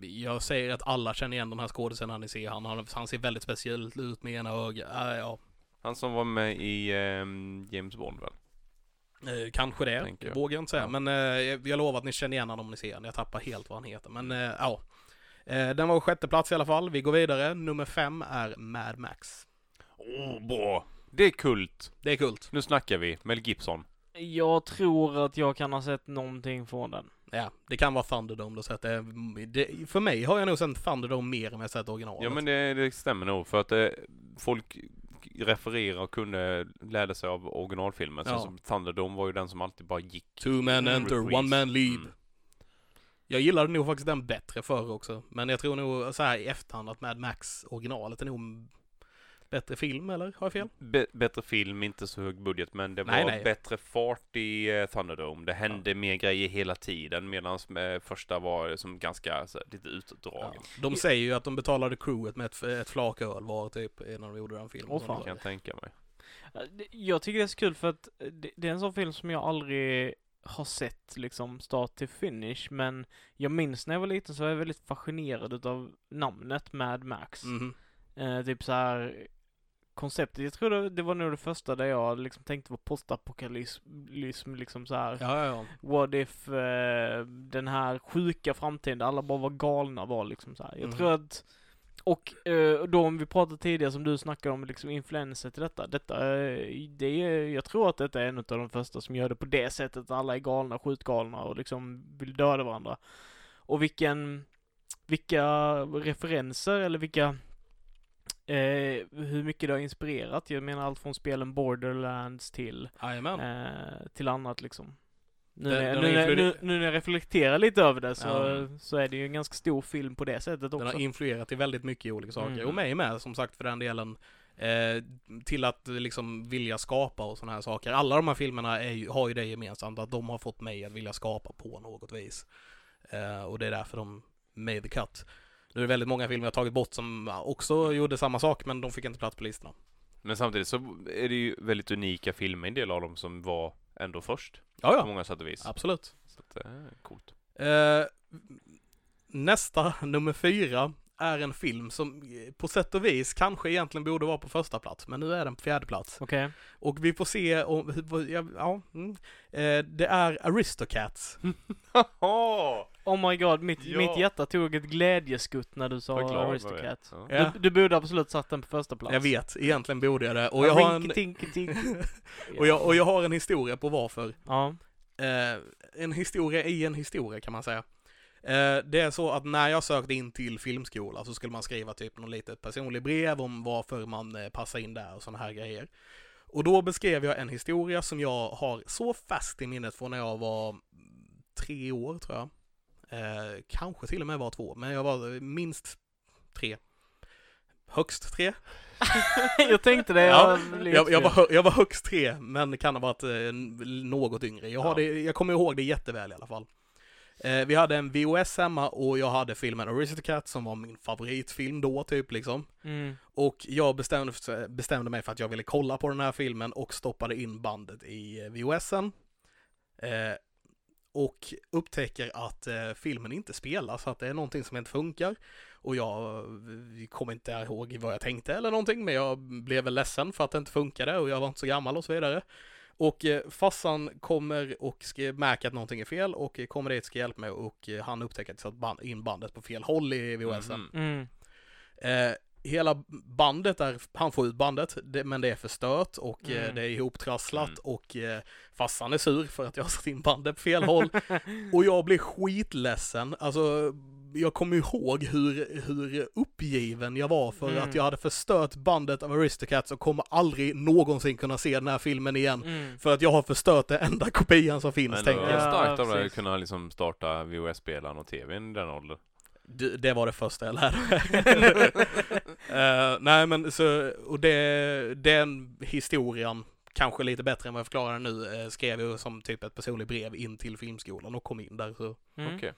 Speaker 3: jag säger att alla känner igen de här skådespelarna ni ser. Han, han, han ser väldigt speciell ut med ena ögat. Ah, ja,
Speaker 1: Han som var med i ehm, James Bond väl?
Speaker 3: eh, kanske det.
Speaker 1: Tänker jag.
Speaker 3: Vågar jag inte säga.
Speaker 1: Ja.
Speaker 3: Men eh, jag, jag lovar att ni känner igen honom om ni ser honom. Jag tappar helt vad han heter. Men eh, ja. Eh, den var sjätte plats i alla fall. Vi går vidare. Nummer fem är Mad Max.
Speaker 1: Åh, oh, bra! Det är kult!
Speaker 3: Det är kult.
Speaker 1: Nu snackar vi. Mel Gibson.
Speaker 2: Jag tror att jag kan ha sett någonting från den.
Speaker 3: Ja, det kan vara Thunderdome då, så att det, det, För mig har jag nog sett Thunderdome mer än jag har sett originalet.
Speaker 1: Ja men det, det stämmer nog för att eh, folk refererar och kunde lära sig av originalfilmen.
Speaker 3: Ja.
Speaker 1: Så som Thunderdome var ju den som alltid bara gick.
Speaker 3: Two men
Speaker 1: Mm.
Speaker 3: enter,
Speaker 1: Reprise.
Speaker 3: one man leave.
Speaker 1: Mm.
Speaker 3: Jag gillade nog faktiskt den bättre förr också. Men jag tror nog så här i efterhand att Mad Max originalet är nog en bättre film, eller? Har jag fel?
Speaker 1: Be- bättre film, inte så hög budget men det
Speaker 3: Nej,
Speaker 1: var
Speaker 3: nej.
Speaker 1: bättre fart i eh, Thunderdome. Det hände mer grejer hela tiden medan första var som ganska så, här, lite
Speaker 3: Ja.
Speaker 1: utdragen.
Speaker 3: De säger ju att de betalade crewet med ett, ett flak öl var typ när de gjorde den filmen.
Speaker 2: Åh,
Speaker 3: Så
Speaker 2: fan.
Speaker 3: de-
Speaker 1: Kan jag tänka mig.
Speaker 2: Jag tycker det är så kul för att det, det är en sån film som jag aldrig har sett liksom start till finish, men jag minns när jag var liten så var jag väldigt fascinerad utav namnet Mad Max.
Speaker 3: Mhm.
Speaker 2: Eh, typ så här konceptet. Jag tror det, det var nog det första där jag liksom tänkte på postapokalypsm, liksom så här.
Speaker 3: Ja, ja, ja.
Speaker 2: What if eh, den här sjuka framtiden, där alla bara var galna var liksom så här. Jag
Speaker 3: Mhm.
Speaker 2: tror att och eh, då om vi pratade tidigare som du snackade om liksom influenser till detta. Detta, eh, det är, jag tror att detta är en av de första som gör det på det sättet. att Alla är galna, skjutgalna och liksom vill döda varandra. Och vilken, vilka referenser eller vilka, eh, hur mycket det har inspirerat. Jag menar allt från spelen Borderlands till
Speaker 3: Jajamän.
Speaker 2: eh, till annat liksom. Nu,
Speaker 3: Den-
Speaker 2: när,
Speaker 3: den
Speaker 2: nu,
Speaker 3: har
Speaker 2: när- nu,
Speaker 3: influerat-
Speaker 2: nu när jag reflekterar lite över det så,
Speaker 3: Ja.
Speaker 2: så är det ju en ganska stor film på det sättet
Speaker 3: Den
Speaker 2: också.
Speaker 3: har influerat i väldigt mycket i olika saker.
Speaker 2: Mm.
Speaker 3: Och mig med, som sagt, för den delen. Eh, till att eh, liksom vilja skapa och sådana här saker. Alla de här filmerna är ju, har ju det gemensamt, att de har fått mig att vilja skapa på något vis. Eh, och det är därför de made the cut. Nu är det väldigt många filmer jag tagit bort som också gjorde samma sak, men de fick inte plats på listorna.
Speaker 1: Men samtidigt så är det ju väldigt unika filmer, en del av dem som var ändå först.
Speaker 3: Ja,
Speaker 1: På
Speaker 3: ja,
Speaker 1: många sätt och vis.
Speaker 3: absolut.
Speaker 1: Så att, eh, coolt.
Speaker 3: Eh, nästa, [laughs] nummer fyra, är en film som eh, på sätt och vis kanske egentligen borde vara på första plats, men nu är den på fjärde plats.
Speaker 2: Okej.
Speaker 3: Och vi får se om, hur- vad- ja, ja mm. eh, det är Aristocats.
Speaker 1: Åh!
Speaker 2: Oh my god, mitt,
Speaker 1: Ja.
Speaker 2: mitt hjärta tog ett glädjeskutt när du
Speaker 1: Vad glad
Speaker 2: sa
Speaker 1: man
Speaker 2: Aristocats.
Speaker 1: är. Ja.
Speaker 3: Ja.
Speaker 2: Du, du borde absolut satt den på första plats.
Speaker 3: Jag vet, egentligen borde jag det. Och jag, har en, [laughs] och, jag, och jag har en historia på varför.
Speaker 2: Ja. [laughs]
Speaker 3: Eh, en historia i en historia kan man säga. Eh, det är så att när jag sökte in till filmskola så skulle man skriva typ något litet personligt brev om varför man eh, passar in där och sådana här grejer. Och då beskrev jag en historia som jag har så fast i minnet från när jag var tre år tror jag. Eh, kanske till och med var två, men jag var minst tre. Högst tre.
Speaker 2: jag tänkte det.
Speaker 3: Ja,
Speaker 2: jag,
Speaker 3: Jag, jag, var, hö- jag var högst tre, men kan ha varit eh, n- något yngre. Jag, har
Speaker 1: Ja.
Speaker 3: det, jag kommer ihåg det jätteväl i alla fall. Eh, vi hade en VOS hemma och jag hade filmen Aristocats som var min favoritfilm då, typ liksom.
Speaker 2: Mm.
Speaker 3: Och jag bestämde, bestämde mig för att jag ville kolla på den här filmen och stoppade in bandet i eh, VOSen. Eh, och upptäcker att eh, filmen inte spelas, att det är någonting som inte funkar. Och jag eh, kommer inte ihåg vad jag tänkte eller någonting, men jag blev väl ledsen för att det inte funkade och jag var inte så gammal och så vidare. Och eh, farsan kommer och ska märker att någonting är fel och eh, kommer dit och ska hjälpa mig och eh, han upptäcker att jag satt ban- in bandet på fel håll i VHSen.
Speaker 1: Mhm.
Speaker 2: Mm.
Speaker 3: Eh, hela bandet är, han får ut bandet, det, men det är förstört och eh,
Speaker 2: Mm.
Speaker 3: det är ihoptrasslat
Speaker 1: Mm.
Speaker 3: och eh, farsan är sur för att jag har satt in bandet på fel håll. och jag blir skitledsen, alltså jag kommer ihåg hur, hur uppgiven jag var för
Speaker 2: Mm.
Speaker 3: att jag hade förstört bandet av Aristocats och kommer aldrig någonsin kunna se den här filmen igen.
Speaker 2: [laughs] Mm.
Speaker 3: För att jag har förstört den enda kopian som finns,
Speaker 1: Men det
Speaker 3: tänker
Speaker 1: var
Speaker 3: jag.
Speaker 2: Ja,
Speaker 1: starkt av dig att
Speaker 2: precis.
Speaker 1: kunna liksom starta VHS-spelaren och TVn i den åldern.
Speaker 3: Det, det var det första jag lärde mig. Eh, nej men så, och det, den historien, kanske lite bättre än vad jag förklarar den nu, eh, skrev jag som typ ett personligt brev in till filmskolan och kom in där. Så
Speaker 2: Mm.
Speaker 1: Okej,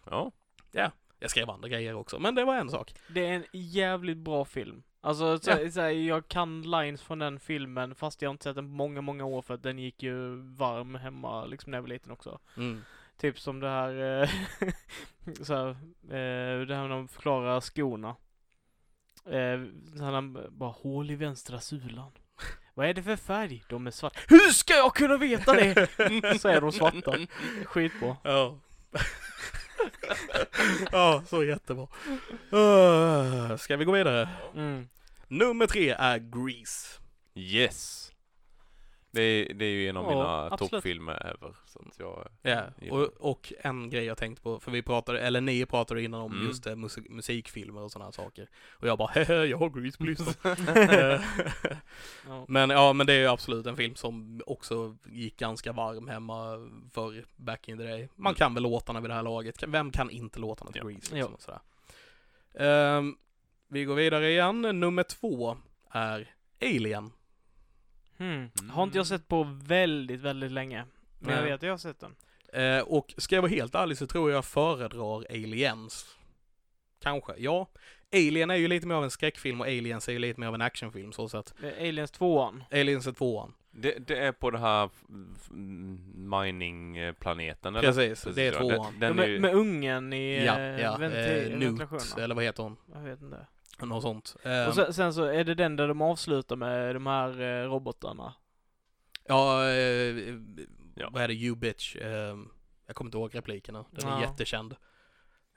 Speaker 1: ja.
Speaker 3: jag skrev andra grejer också, men det var en sak.
Speaker 2: Det är en jävligt bra film. Alltså, så,
Speaker 3: Ja.
Speaker 2: så här, jag kan lines från den filmen fast jag har inte sett den på många, många år för att den gick ju varm hemma liksom när jag var liten också.
Speaker 3: Mm.
Speaker 2: Typ som det här, eh, [laughs] så här eh, det här när de förklarar skorna. Eh, så här, han bara hål i vänstra sulan. Vad är det för färg? De är svarta. Hur ska jag kunna veta
Speaker 3: [laughs]
Speaker 2: det? Så är de svarta. Skitbra.
Speaker 3: Ja. ja, så jättebra. Uh, ska vi gå vidare? [laughs]
Speaker 2: Mm.
Speaker 3: Nummer tre är Grease.
Speaker 1: Yes! Det är, det är ju en av
Speaker 2: Ja,
Speaker 1: mina
Speaker 2: absolut.
Speaker 1: toppfilmer ever. Så att jag... eh,
Speaker 3: Ja, och, och en grej jag tänkt på, för vi pratade, eller ni pratade innan om
Speaker 1: Mm.
Speaker 3: just eh, musik, musikfilmer och sådana här saker. Och jag bara, [laughs] hehe, jag har Grease på listan. Eh,
Speaker 2: Ja.
Speaker 3: [laughs] men ja, men det är ju absolut en film som också gick ganska varm hemma för back in the day. Man
Speaker 1: Mm.
Speaker 3: kan väl låtarna vid det här laget. Kan- Vem kan inte låtarna till
Speaker 1: Ja.
Speaker 2: Ja.
Speaker 3: Grease? Liksom, och sådär. Ehm, vi går vidare igen. Nummer två är Alien.
Speaker 2: Hmm. Har inte jag sett på väldigt, väldigt länge. Men jag
Speaker 3: Nej.
Speaker 2: vet att jag har sett den.
Speaker 3: Eh, och ska jag vara helt ärlig så tror jag jag föredrar Aliens. Kanske, ja. Alien är ju lite mer av en skräckfilm och Aliens är ju lite mer av en actionffilm så att
Speaker 2: Eh, Aliens 2
Speaker 3: Aliens är tvåan.
Speaker 1: Det, det är på den här f- f- mining-planeten eller?
Speaker 3: Precis, det är
Speaker 1: ja.
Speaker 3: tvåan.
Speaker 1: Den, den
Speaker 2: med,
Speaker 1: är ju,
Speaker 2: med ungen i
Speaker 3: ja,
Speaker 2: eh,
Speaker 3: ja.
Speaker 2: venti-
Speaker 3: Eh, Newt,
Speaker 2: ventilationen.
Speaker 3: eller vad heter hon?
Speaker 2: Jag vet inte.
Speaker 3: Något sånt.
Speaker 2: Och
Speaker 3: Ehm,
Speaker 2: sen, sen så är det den där de avslutar med de här eh, robotarna.
Speaker 3: ja, eh,
Speaker 1: Ja.
Speaker 3: vad är det? You bitch. Ehm, jag kommer inte ihåg replikerna. Den är
Speaker 2: Ja.
Speaker 3: jättekänd.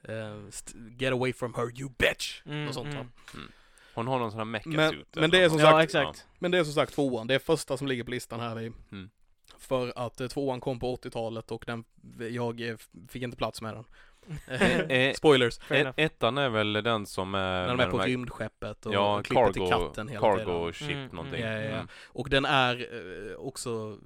Speaker 3: Ehm, st- get away from her you bitch.
Speaker 2: Mm,
Speaker 3: Något sånt va?
Speaker 2: mm.
Speaker 1: hon har någon sån här mecha
Speaker 3: Men- men det är som
Speaker 2: Ja,
Speaker 3: sagt-
Speaker 2: exakt.
Speaker 3: Men det är som sagt tvåan, det är första som ligger på listan här i.
Speaker 1: Mm.
Speaker 3: För att eh, tvåan kom på 80-talet och den, jag eh, fick inte plats med den. Eh,
Speaker 1: Eh,
Speaker 3: [laughs] Spoilers.
Speaker 2: Fair enough.
Speaker 1: ettan är väl den som är...
Speaker 3: När de
Speaker 1: med
Speaker 3: är på
Speaker 1: här-
Speaker 3: rymdskeppet och
Speaker 1: Ja,
Speaker 3: klipper
Speaker 1: cargo,
Speaker 3: till katten hela
Speaker 1: cargo
Speaker 3: tiden.
Speaker 1: chip
Speaker 2: Mm, mm.
Speaker 1: någonting.
Speaker 3: Ja, ja, ja.
Speaker 1: Mm.
Speaker 3: Och den är eh, också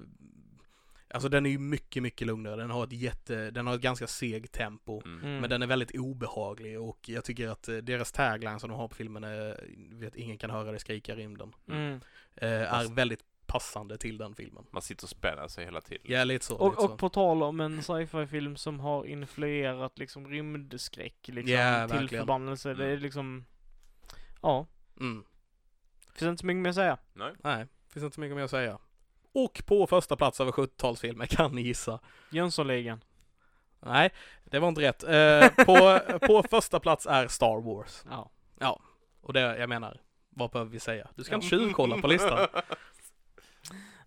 Speaker 3: Alltså den är ju mycket, mycket lugnare. Den har ett jätte, den har ett ganska seg tempo.
Speaker 1: Mm.
Speaker 2: Mm.
Speaker 3: Men den är väldigt obehaglig och jag tycker att eh, deras tagline som de har på filmen är, vet, ingen kan höra dig skrika i rymden.
Speaker 2: Mm.
Speaker 3: eh, Är
Speaker 1: Fast-
Speaker 3: väldigt passande till den filmen.
Speaker 1: Man sitter och spänner sig hela tiden.
Speaker 3: Ja, lite så.
Speaker 2: Och,
Speaker 3: lite så.
Speaker 2: och på tal om en sci-fi film som har influerat liksom rymdskräck liksom,
Speaker 3: Ja,
Speaker 2: till
Speaker 3: verkligen.
Speaker 2: förbannelse. Det är
Speaker 1: Mm.
Speaker 2: liksom, ja,
Speaker 3: Mm.
Speaker 2: finns inte så mycket mer att säga.
Speaker 1: Nej.
Speaker 3: Nej, finns inte så mycket mer att säga. Och på första plats över 70-talsfilmer, [laughs] kan ni gissa?
Speaker 2: Jönssonligan.
Speaker 3: Nej, det var inte rätt. Eh, på, på första plats är Star Wars.
Speaker 2: Ja.
Speaker 3: Och det, jag menar, vad behöver vi säga? Du ska inte tjuvkolla på listan.
Speaker 1: [laughs]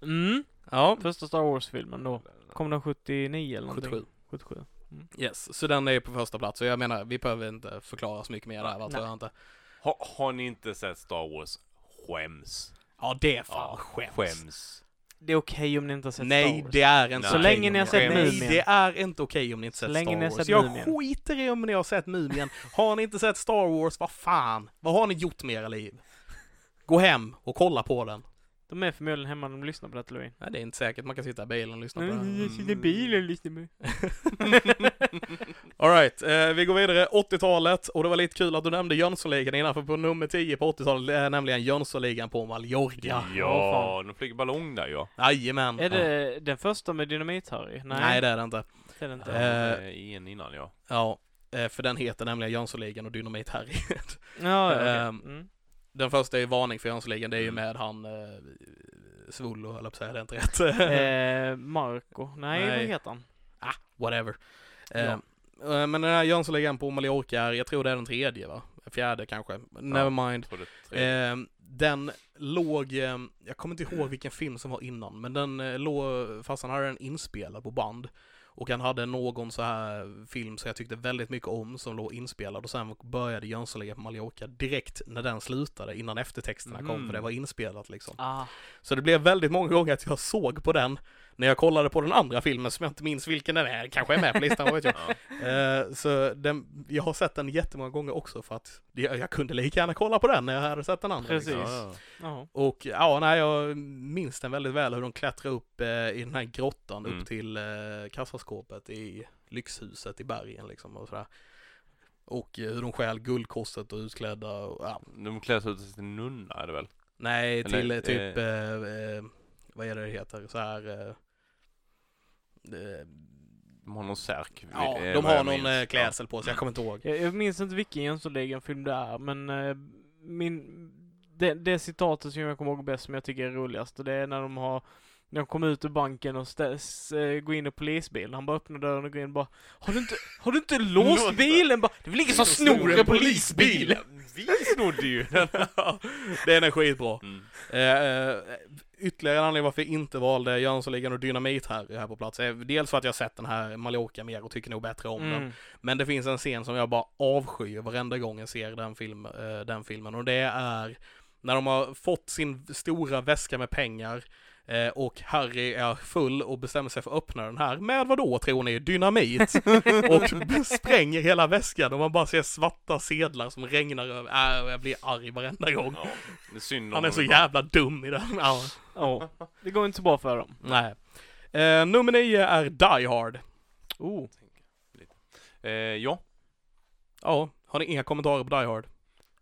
Speaker 2: Mm.
Speaker 3: Ja,
Speaker 2: Första Star Wars-filmen då. Kom den 79 eller någonting?
Speaker 3: 77.
Speaker 2: 77.
Speaker 3: Yes, så den är på första plats. Så jag menar, vi behöver inte förklara så mycket mer där, va,
Speaker 2: Nej.
Speaker 3: tror jag inte.
Speaker 1: Har, har ni inte sett Star Wars? Skäms.
Speaker 3: Ja, det är fan
Speaker 1: Ja,
Speaker 3: skäms.
Speaker 1: Skäms.
Speaker 2: Det är okej om ni inte har sett
Speaker 3: Nej,
Speaker 2: Star Wars.
Speaker 3: det är inte
Speaker 1: Så
Speaker 3: okej
Speaker 2: länge
Speaker 3: om
Speaker 2: ni har sett
Speaker 3: Nej,
Speaker 2: Mumien.
Speaker 3: det är inte okej om ni inte sett
Speaker 2: länge
Speaker 3: Star
Speaker 2: ni har
Speaker 3: Wars.
Speaker 2: sett
Speaker 3: jag
Speaker 2: Mumien.
Speaker 3: skiter i om ni har sett Mumien. Har ni inte sett Star Wars, vad fan? Vad har ni gjort med era liv? Gå hem och kolla på den.
Speaker 2: De är förmodligen hemma när de lyssnar på detta Levin.
Speaker 3: Nej, det är inte säkert. Man kan sitta i bilen och lyssna på
Speaker 2: Nu
Speaker 3: den. Mm.
Speaker 2: sitter i bilen och lyssnar på
Speaker 3: [laughs] Alright, eh, vi går vidare. 80-talet. Och det var lite kul att du nämnde Jönssonligan innan, för på nummer 10 på 80-talet är nämligen Jönssonligan på Mallorca.
Speaker 1: Ja,
Speaker 2: åh, fan.
Speaker 1: de flyger ballong där
Speaker 3: Eh,
Speaker 1: ja.
Speaker 3: Jajamän.
Speaker 2: Är det den första med Dynamit-Harry?
Speaker 3: Nej.
Speaker 2: Nej,
Speaker 3: Nej, det är det inte.
Speaker 2: det är det
Speaker 1: Det
Speaker 2: inte.
Speaker 1: var väl, eh, en innan ja.
Speaker 3: Ja, eh, för den heter nämligen Jönssonligan och Dynamit-Harry.
Speaker 2: Ja, ja, okej.
Speaker 3: ehm, [laughs]
Speaker 2: mm.
Speaker 3: Den första är ju varning för Jönssonligan, det är ju
Speaker 1: Mm.
Speaker 3: med han eh, Svullo, höll jag på att säga, det är inte rätt.
Speaker 2: eh, Marco. Nej,
Speaker 3: nej.
Speaker 2: vad heter han?
Speaker 3: [laughs] Whatever. Eh,
Speaker 2: Ja.
Speaker 3: eh, Men den här Jönssonligan på Mallorca, är- jag tror det är den tredje va? Fjärde kanske, nevermind.
Speaker 1: Jag tror det
Speaker 3: [laughs]
Speaker 1: är tre.
Speaker 3: Eh, den låg, eh, jag kommer inte ihåg vilken film som var innan, men den eh, låg, fast han hade den inspelad på band. Och han hade någon så här film som jag tyckte väldigt mycket om som låg inspelad och sen började Jönssonligan på Mallorca direkt när den slutade innan eftertexterna kom
Speaker 1: Mm.
Speaker 3: för det var inspelat liksom.
Speaker 2: Ah.
Speaker 3: Så det blev väldigt många gånger att jag såg på den när jag kollade på den andra filmen som jag inte minns vilken den är, kanske är med på listan, vad vet jag.
Speaker 1: Ja.
Speaker 3: [laughs] Eh, så den, jag har sett den jättemånga gånger också för att det- jag kunde lika gärna kolla på den när jag hade sett den andra.
Speaker 2: Precis.
Speaker 3: liksom.
Speaker 1: Ja,
Speaker 2: Ja.
Speaker 3: Och ja, nej, jag minns den väldigt väl hur de klättrar upp eh, i den här grottan
Speaker 1: Mm.
Speaker 3: upp till eh, kassaskåpet i lyxhuset i bergen liksom och sådär. Och eh, hur de stjäl guldkorset och är utklädda och, ja,
Speaker 1: De klär sig ut till nunna är det väl?
Speaker 3: Nej,
Speaker 1: Eller,
Speaker 3: till eh, typ, eh, eh, vad är det det heter, så här... Eh, eh,
Speaker 1: De har någon särk.
Speaker 3: ja,
Speaker 1: eh,
Speaker 3: de
Speaker 1: vad
Speaker 3: har
Speaker 1: jag
Speaker 3: någon
Speaker 1: minns.
Speaker 3: eh, klädsel på sig, jag kommer
Speaker 1: [laughs]
Speaker 3: inte ihåg.
Speaker 2: Jag, jag minns inte vilken Jönssonligan-film det är, men eh, min, det, det citatet som jag kommer ihåg bäst, som jag tycker är roligast, och det är när de har när de kommer ut ur banken och stä- s- eh, går in i polisbilen, han bara öppnar dörren och går in och bara Har du inte, har du inte låst
Speaker 1: Låst-
Speaker 2: bilen? Bara, det är väl ingen som snor en polisbil?
Speaker 1: Vi snodde
Speaker 3: [laughs]
Speaker 1: ju den!
Speaker 3: Den är skitbra.
Speaker 1: Mm.
Speaker 3: Eh, eh, ytterligare en anledning varför jag inte valde Jönssonligan och Dynamit här, här på plats är dels för att jag har sett den här Mallorca mer och tycker nog bättre om den.
Speaker 2: Mm.
Speaker 3: Men det finns en scen som jag bara avskyr varenda gång jag ser den, film, eh, den filmen och det är när de har fått sin stora väska med pengar eh, och Harry är full och bestämmer sig för att öppna den här med vad då tror ni? Dynamit! och spränger hela väskan och man bara ser svarta sedlar som regnar över. Äh, jag blir arg varenda gång.
Speaker 1: Ja, det är synd om
Speaker 3: Han är
Speaker 1: de
Speaker 3: så
Speaker 1: bara-
Speaker 3: jävla dum i den. Ja,
Speaker 2: Ja, det går inte så bra för dem.
Speaker 3: nej. Eh, nummer nio är Die Hard.
Speaker 2: Oh.
Speaker 1: Eh, ja,
Speaker 3: Ja, har ni inga kommentarer på Die Hard?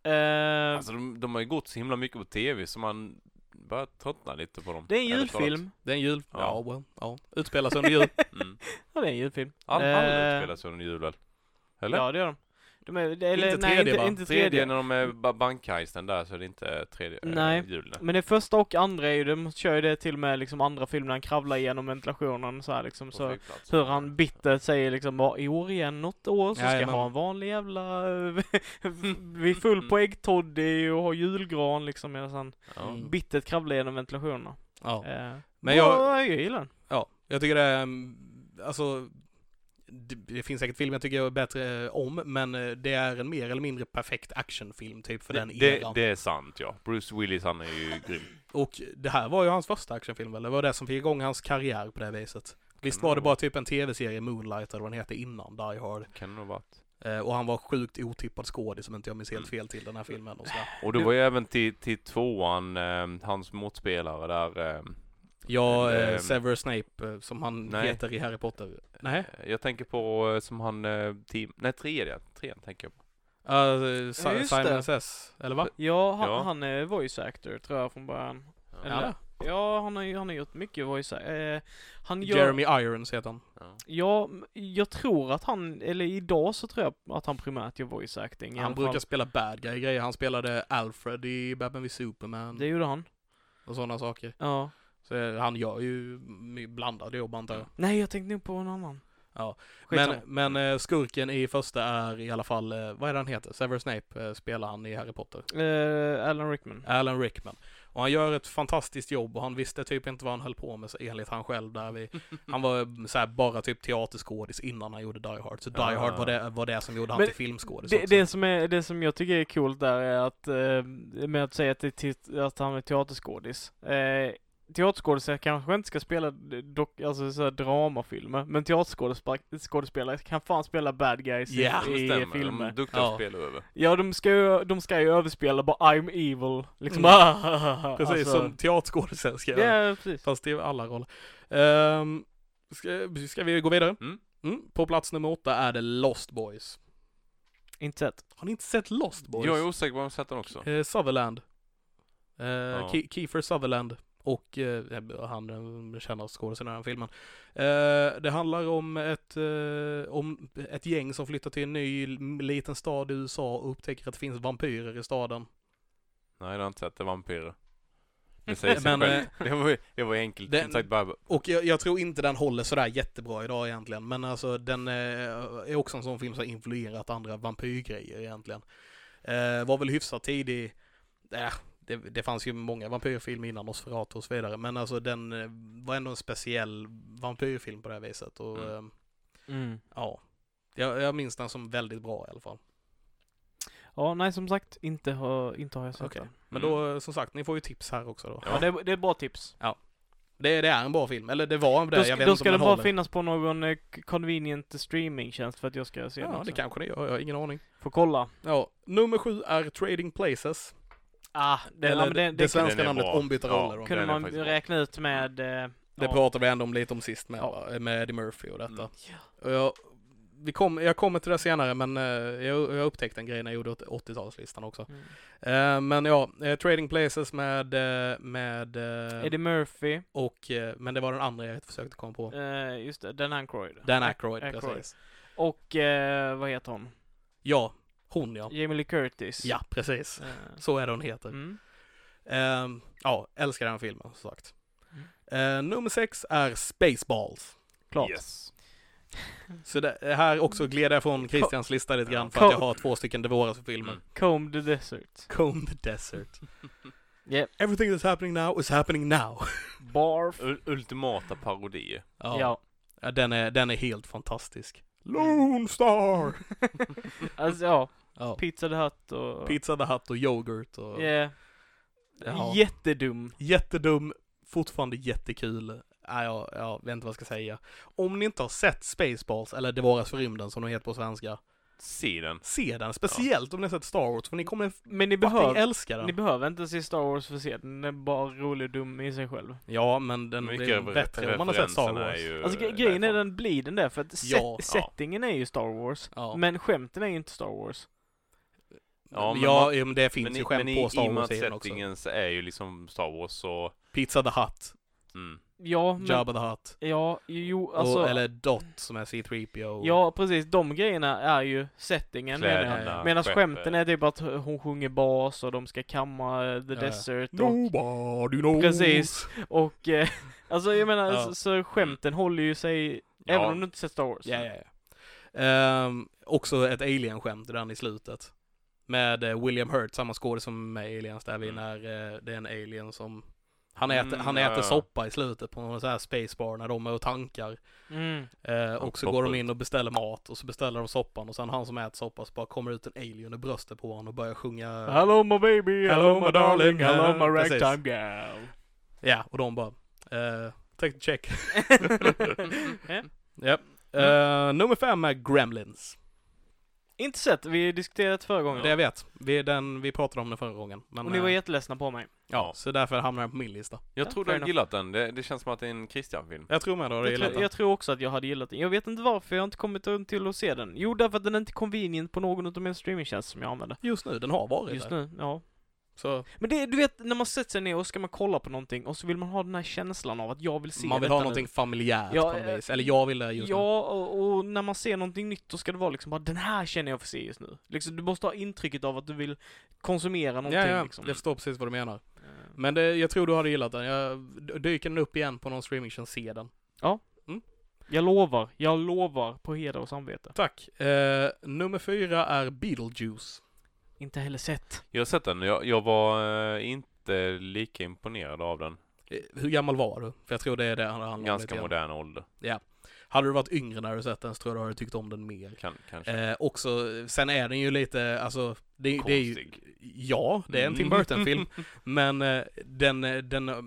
Speaker 2: Eh,
Speaker 1: alltså de, de har ju gått så himla mycket på tv så man börjar tröttna lite på dem.
Speaker 2: det är en
Speaker 1: ärligt talat.
Speaker 2: julfilm.
Speaker 3: Det är en jul...
Speaker 1: Ja.
Speaker 3: Ja, well, ja. Utspelas under jul.
Speaker 1: Mm.
Speaker 2: Ja, det är en julfilm.
Speaker 1: All,
Speaker 2: Eh,
Speaker 1: alla utspelar sig under julen. Eller?
Speaker 2: Ja, det gör de. De är, eller,
Speaker 3: Inte
Speaker 2: nej,
Speaker 3: tredje,
Speaker 2: inte,
Speaker 3: va?
Speaker 2: inte tredje.
Speaker 1: Tredje när de är ba- bankheisten där så är det inte tredje
Speaker 2: Nej. Mm,
Speaker 1: eh, hjulen.
Speaker 2: Men det första och andra är ju, de kör ju det till och med liksom andra filmen när han kravlar igenom ventilationen så här liksom
Speaker 1: på
Speaker 2: så.
Speaker 1: flygplatsen.
Speaker 2: Hur han bittert säger liksom "Ja, i år igen, något år, så ska jag
Speaker 3: Jajamän.
Speaker 2: ha en vanlig jävla, [laughs] vi är full på äggtoddy och ha julgran liksom medan han
Speaker 1: Ja.
Speaker 3: Mm.
Speaker 2: bittert kravlar igenom ventilationen.
Speaker 3: Ja.
Speaker 2: Eh,
Speaker 3: Men jag,
Speaker 2: ja, jag gillar den.
Speaker 3: ja, jag tycker det är, mm, alltså, det, det finns säkert filmer jag tycker är bättre eh, om, men eh, det är en mer eller mindre perfekt actionfilm typ för den
Speaker 1: det,
Speaker 3: eran.
Speaker 1: det är sant ja. Bruce Willis han är ju grym.
Speaker 3: Och det här var ju hans första actionfilm väl? Det var det som fick igång hans karriär på det viset. Visst var det bara typ en tv-serie, Moonlight eller vad den hette innan, Die Hard.
Speaker 1: Kan det nog varit.
Speaker 3: Eh, och han var sjukt otippad skådis som inte jag minns helt
Speaker 1: Mm.
Speaker 3: fel till den här filmen och sådär.
Speaker 1: [laughs] Och det var ju även till, till tvåan, eh, hans motspelare där. Eh,
Speaker 3: Ja,
Speaker 1: Men,
Speaker 3: eh,
Speaker 1: ehm,
Speaker 3: Severus Snape eh, som han
Speaker 1: nej.
Speaker 3: heter i Harry Potter. Nej.
Speaker 1: jag tänker på eh, som han, eh, team, nej tredje, trean tänker jag på.
Speaker 3: Uh,
Speaker 2: Ja,
Speaker 3: si-
Speaker 2: just
Speaker 3: Simon
Speaker 2: det.
Speaker 3: Says, eller va?
Speaker 2: Ja, han,
Speaker 1: Ja.
Speaker 2: han är voice actor tror jag från början.
Speaker 1: Ja.
Speaker 2: Eller? Ja, han har, ju- han har gjort mycket voice eh, han gör,
Speaker 3: Jeremy Irons heter han.
Speaker 1: Ja.
Speaker 2: Ja, m- jag tror att han, eller idag så tror jag att han primärt gör voice acting i
Speaker 3: han
Speaker 2: alla
Speaker 3: brukar
Speaker 2: fall.
Speaker 3: spela bad guy grejer. Han spelade Alfred i Batman vid Superman
Speaker 2: Det gjorde han.
Speaker 3: och sådana saker.
Speaker 2: Ja.
Speaker 3: Så eh, han gör ju my- blandade jobb antar jag.
Speaker 2: Nej, jag tänkte nog på en annan.
Speaker 3: Ja,
Speaker 2: Skitsamma.
Speaker 3: Men, men eh, skurken i första är i alla fall, eh, vad är det han heter? Severus Snape eh, spelar han i Harry Potter.
Speaker 2: Eh, Alan Rickman.
Speaker 3: Alan Rickman. Och han gör ett fantastiskt jobb och han visste typ inte vad han höll på med enligt han själv där vi,
Speaker 2: [laughs]
Speaker 3: Han var eh, såhär bara typ teaterskådis innan han gjorde Die Hard. Så Die
Speaker 1: Ja.
Speaker 3: Hard var det, var det som gjorde han
Speaker 2: Ah. Men
Speaker 3: till filmskådis
Speaker 2: Det,
Speaker 3: också.
Speaker 2: det, som är, det som jag tycker är coolt där är att, eh, med att säga att, det, är tit- att han är teaterskådis. Eh, teaterskådisar kanske inte ska spela dok, alltså så här dramafilmer, men teaterskådespelare kan fan spela bad guys i-
Speaker 3: Ja,
Speaker 1: Det
Speaker 2: i
Speaker 1: stämmer, de
Speaker 2: filmer.
Speaker 1: är duktiga
Speaker 3: Ja.
Speaker 1: spelare.
Speaker 2: Ja, de ska ju, de ska ju överspela bara I'm evil, liksom
Speaker 3: Mm.
Speaker 2: [laughs] mm.
Speaker 3: Precis som teaterskådisar ska
Speaker 2: Ja,
Speaker 3: göra.
Speaker 2: precis.
Speaker 3: Fast det är alla roller. Ehm, ska, ska vi gå vidare?
Speaker 1: Mm.
Speaker 3: På plats nummer åtta är det Lost Boys.
Speaker 2: Inte sett.
Speaker 3: Har ni inte sett Lost Boys?
Speaker 1: Jag är osäker på om jag har sett den också.
Speaker 3: Eh, Sutherland. Eh,
Speaker 1: Ja.
Speaker 3: Ke- Kiefer Sutherland och eh, han eh, känner skådisen i den här filmen. Eh, det handlar om ett, eh, om ett gäng som flyttar till en ny l- liten stad i USA och upptäcker att det finns vampyrer i staden.
Speaker 1: Nej, det har jag inte sett. Det är vampyrer. Det säger
Speaker 3: [laughs]
Speaker 1: sig
Speaker 3: Men, eh,
Speaker 1: själv. Det var, det var enkelt.
Speaker 3: den-
Speaker 1: Som sagt, bara,
Speaker 3: Och jag, jag tror inte den håller sådär jättebra idag egentligen, men alltså den eh, är också en sån film som har influerat andra vampyrgrejer egentligen. Eh, var väl hyfsat tidig, äh, det, det fanns ju många vampyrfilmer innan Nosferatu och så vidare, men alltså den eh, var ändå en speciell vampyrfilm på det här viset och
Speaker 1: Mm.
Speaker 3: eh, ja, jag, jag minns den som väldigt bra i alla fall.
Speaker 2: Ja, nej som sagt, inte har, inte har jag sett
Speaker 3: Okej.
Speaker 2: den.
Speaker 3: Men
Speaker 1: Mm.
Speaker 3: då, eh, som sagt, ni får ju tips här också då.
Speaker 1: Ja.
Speaker 2: Ja. det, det är bra tips.
Speaker 3: Det, det är en bra film, eller det var en det,
Speaker 2: då
Speaker 3: jag
Speaker 2: ska,
Speaker 3: vet
Speaker 2: då
Speaker 3: inte
Speaker 2: ska
Speaker 3: om
Speaker 2: den
Speaker 3: den
Speaker 2: bara
Speaker 3: håller.
Speaker 2: finnas på någon eh, convenient streamingtjänst för att jag ska se
Speaker 3: Ja,
Speaker 2: den
Speaker 3: det
Speaker 2: sen.
Speaker 3: kanske det gör, jag har ingen aning.
Speaker 2: Får kolla.
Speaker 3: Ja, nummer sju är Trading Places.
Speaker 2: Ah, det,
Speaker 3: Eller
Speaker 2: ja, men det,
Speaker 3: det,
Speaker 2: det,
Speaker 1: svenska
Speaker 3: svenska
Speaker 1: Den är
Speaker 3: namnet
Speaker 1: bra.
Speaker 3: ombytta
Speaker 1: Ja.
Speaker 3: roller. då.
Speaker 1: den
Speaker 2: kunde
Speaker 1: är
Speaker 2: man
Speaker 1: faktiskt bra.
Speaker 2: räkna ut med... Eh,
Speaker 3: Mm. Det
Speaker 2: ja.
Speaker 3: pratade vi ändå om lite om sist med,
Speaker 2: Ja.
Speaker 3: va? med Eddie Murphy och detta.
Speaker 1: Mm.
Speaker 3: Och jag, vi kom, jag kommer till det senare men eh, jag, jag upptäckte en grej när jag gjorde åt- 80-talslistan också.
Speaker 2: Mm.
Speaker 3: Eh, men ja, eh, Trading Places med, eh, med eh,
Speaker 2: Eddie Murphy,
Speaker 3: och, eh, men det var den andra jag försökte komma på.
Speaker 2: eh, just det, Dan Aykroyd.
Speaker 3: Dan Aykroyd,
Speaker 2: Aykroyd.
Speaker 3: precis.
Speaker 2: Och, eh, vad heter hon?
Speaker 3: Ja, hon ja.
Speaker 2: Jamie Lee Curtis.
Speaker 3: Ja, precis.
Speaker 2: Eh,
Speaker 3: Så är det hon heter.
Speaker 2: Mm.
Speaker 3: Eh, ja, älskar den filmen som sagt.
Speaker 2: Mm.
Speaker 3: Eh, nummer sex är Spaceballs.
Speaker 2: Klart.
Speaker 1: Yes.
Speaker 3: Så det, här också gled jag från Christians lista lite grann för
Speaker 2: Ja.
Speaker 3: att jag har två stycken Devoras-filmer.
Speaker 1: Mm.
Speaker 2: Comb the Desert.
Speaker 3: Comb the Desert.
Speaker 2: Yep.
Speaker 3: Everything that's happening now is happening now.
Speaker 2: Barf.
Speaker 1: U- ultimata parodier.
Speaker 2: Ja.
Speaker 3: Ja, den, är, den är helt fantastisk. Lone Star!
Speaker 2: [laughs] Alltså ja,
Speaker 3: [laughs] Ja.
Speaker 2: Pizza the Hut och...
Speaker 3: Pizza the Hut och yoghurt och...
Speaker 2: Yeah.
Speaker 3: Ja.
Speaker 2: Jättedum.
Speaker 3: Jättedum, fortfarande jättekul. Ja, jag, jag vet inte vad jag ska säga. Om ni inte har sett Spaceballs, eller Devoras för rymden som de heter på svenska,
Speaker 1: Se den.
Speaker 3: se den. Speciellt om ni har sett Star Wars, för ni kommer
Speaker 2: Men ni
Speaker 3: fucking
Speaker 2: behöver,
Speaker 3: älska
Speaker 2: ni
Speaker 3: den.
Speaker 2: behöver inte se Star Wars för att se den. Den är bara rolig och dum i sig själv.
Speaker 3: Ja, men den blir
Speaker 1: av
Speaker 3: bättre om man har sett Star
Speaker 1: referenserna
Speaker 3: Wars.
Speaker 1: är ju,
Speaker 2: Alltså
Speaker 1: eh,
Speaker 2: gre- grejen är
Speaker 1: därifrån.
Speaker 2: den blir den där för att set,
Speaker 3: Ja.
Speaker 2: settingen är ju Star Wars.
Speaker 3: Ja.
Speaker 2: Men skämten är ju inte Star Wars.
Speaker 1: Ja,
Speaker 3: Ja,
Speaker 1: men
Speaker 3: men,
Speaker 1: man-
Speaker 3: ja, men det finns
Speaker 1: Men,
Speaker 3: ju
Speaker 1: i-
Speaker 3: skämt
Speaker 1: men i-
Speaker 3: på
Speaker 1: i
Speaker 3: Star
Speaker 1: och med att
Speaker 3: Wars-serien också.
Speaker 1: settingen så är ju liksom Star Wars så...
Speaker 3: Pizza the Hut.
Speaker 1: Mm.
Speaker 2: Ja, men...
Speaker 3: Jabba the Hutt.
Speaker 2: Ja, jo,
Speaker 3: Och-
Speaker 2: alltså...
Speaker 3: eller Dot som är C3PO.
Speaker 2: Ja, precis. De grejerna är ju settingen, menar jag.
Speaker 1: Kläderna,
Speaker 2: Medan
Speaker 1: skeppet.
Speaker 2: skämten är typ att hon sjunger bas och de ska kamma eh, the
Speaker 3: eh. Ja.
Speaker 2: desert och,
Speaker 3: Nobody knows.
Speaker 2: Precis. och eh, [laughs] alltså jag menar,
Speaker 3: Ja.
Speaker 2: så, så skämten håller ju sig,
Speaker 1: Ja.
Speaker 2: även om du inte sett Star Wars.
Speaker 3: Ja, ja, ja. Ehm, också ett alien-skämt redan i slutet. Med eh, William Hurt, samma skådespelare som med Aliens där vi
Speaker 1: Mm.
Speaker 3: när eh, det är en alien som han äter,
Speaker 1: Mm,
Speaker 3: han
Speaker 1: ja,
Speaker 3: äter
Speaker 1: ja.
Speaker 3: soppa i slutet på någon sån här spacebar när de är och tankar.
Speaker 2: Mm.
Speaker 3: Eh, och så
Speaker 1: poppar
Speaker 3: går de
Speaker 1: ut.
Speaker 3: in och beställer mat och så beställer de soppan och sen han som äter soppa så bara kommer ut en alien i bröstet på honom och börjar sjunga.
Speaker 2: Hello my baby, hello,
Speaker 3: Hello,
Speaker 2: my
Speaker 3: my
Speaker 2: darling,
Speaker 3: darling,
Speaker 2: hello
Speaker 3: eh,
Speaker 2: my
Speaker 3: precis.
Speaker 2: ragtime
Speaker 3: [laughs]
Speaker 2: gal.
Speaker 3: Ja, och de bara eh, take the check.
Speaker 2: [laughs] Ja.
Speaker 3: Japp.
Speaker 2: Mm.
Speaker 3: Eh, nummer fem är Gremlins.
Speaker 2: Inte sett, vi diskuterade det förra gången.
Speaker 3: Det jag vet. Vi, är den, vi pratade om den förra gången. Men,
Speaker 2: Och ni var
Speaker 3: eh,
Speaker 2: jätteledsna på mig.
Speaker 3: ja, så därför hamnar den på min lista.
Speaker 1: Jag
Speaker 2: Ja,
Speaker 1: tror
Speaker 2: fair
Speaker 1: du har
Speaker 2: enough.
Speaker 1: gillat den. Det, det känns som att det är en Christian-film.
Speaker 3: Jag tror med då, det
Speaker 2: Jag,
Speaker 3: gillar
Speaker 2: tror-
Speaker 3: jag.
Speaker 2: jag tror också att jag hade gillat den. Jag vet inte varför jag har inte kommit runt till att se den. Jo, därför att den är inte convenient på någon av mina streamingtjänster som jag använder.
Speaker 3: Just nu, den har varit
Speaker 2: Just
Speaker 3: där.
Speaker 2: nu, ja.
Speaker 3: Så
Speaker 2: Men det, du vet, när man sätter sig ner och ska man kolla på någonting och så vill man ha den här känslan av att jag vill se
Speaker 3: man vill
Speaker 2: detta
Speaker 3: ha
Speaker 2: nu.
Speaker 3: någonting familjärt
Speaker 2: Ja,
Speaker 3: på
Speaker 2: eh,
Speaker 3: något vis. Eller jag vill det just nu.
Speaker 2: Ja, och, och när man ser någonting nytt då ska det vara liksom bara den här känner jag för se just nu. Liksom, du måste ha intrycket av att du vill konsumera någonting
Speaker 3: Ja, ja,
Speaker 2: liksom.
Speaker 3: jag förstår precis vad du menar.
Speaker 2: Eh,
Speaker 3: Men det, jag tror du hade gillat den. Jag, d- dyker den upp igen på någon streamingtjänst, se den.
Speaker 2: Jag lovar, jag lovar på heder och samvete.
Speaker 3: Tack. Eh, nummer fyra är Beetlejuice.
Speaker 2: Inte heller sett.
Speaker 1: Jag har sett den. Jag, jag var eh, inte lika imponerad av den.
Speaker 3: Eh, Hur gammal var du? För jag tror det är det han handlar om lite
Speaker 1: Ganska
Speaker 3: grann.
Speaker 1: modern ålder.
Speaker 3: Hade du varit yngre när du sett den så tror jag du hade tyckt om den mer.
Speaker 1: Kan, kanske.
Speaker 3: Eh, också, sen är den ju lite, alltså, det, det är ju,
Speaker 1: Konstig.
Speaker 3: ja, det är en Tim
Speaker 1: Mm.
Speaker 3: [laughs] Burton-film, men eh, den, eh, den, eh,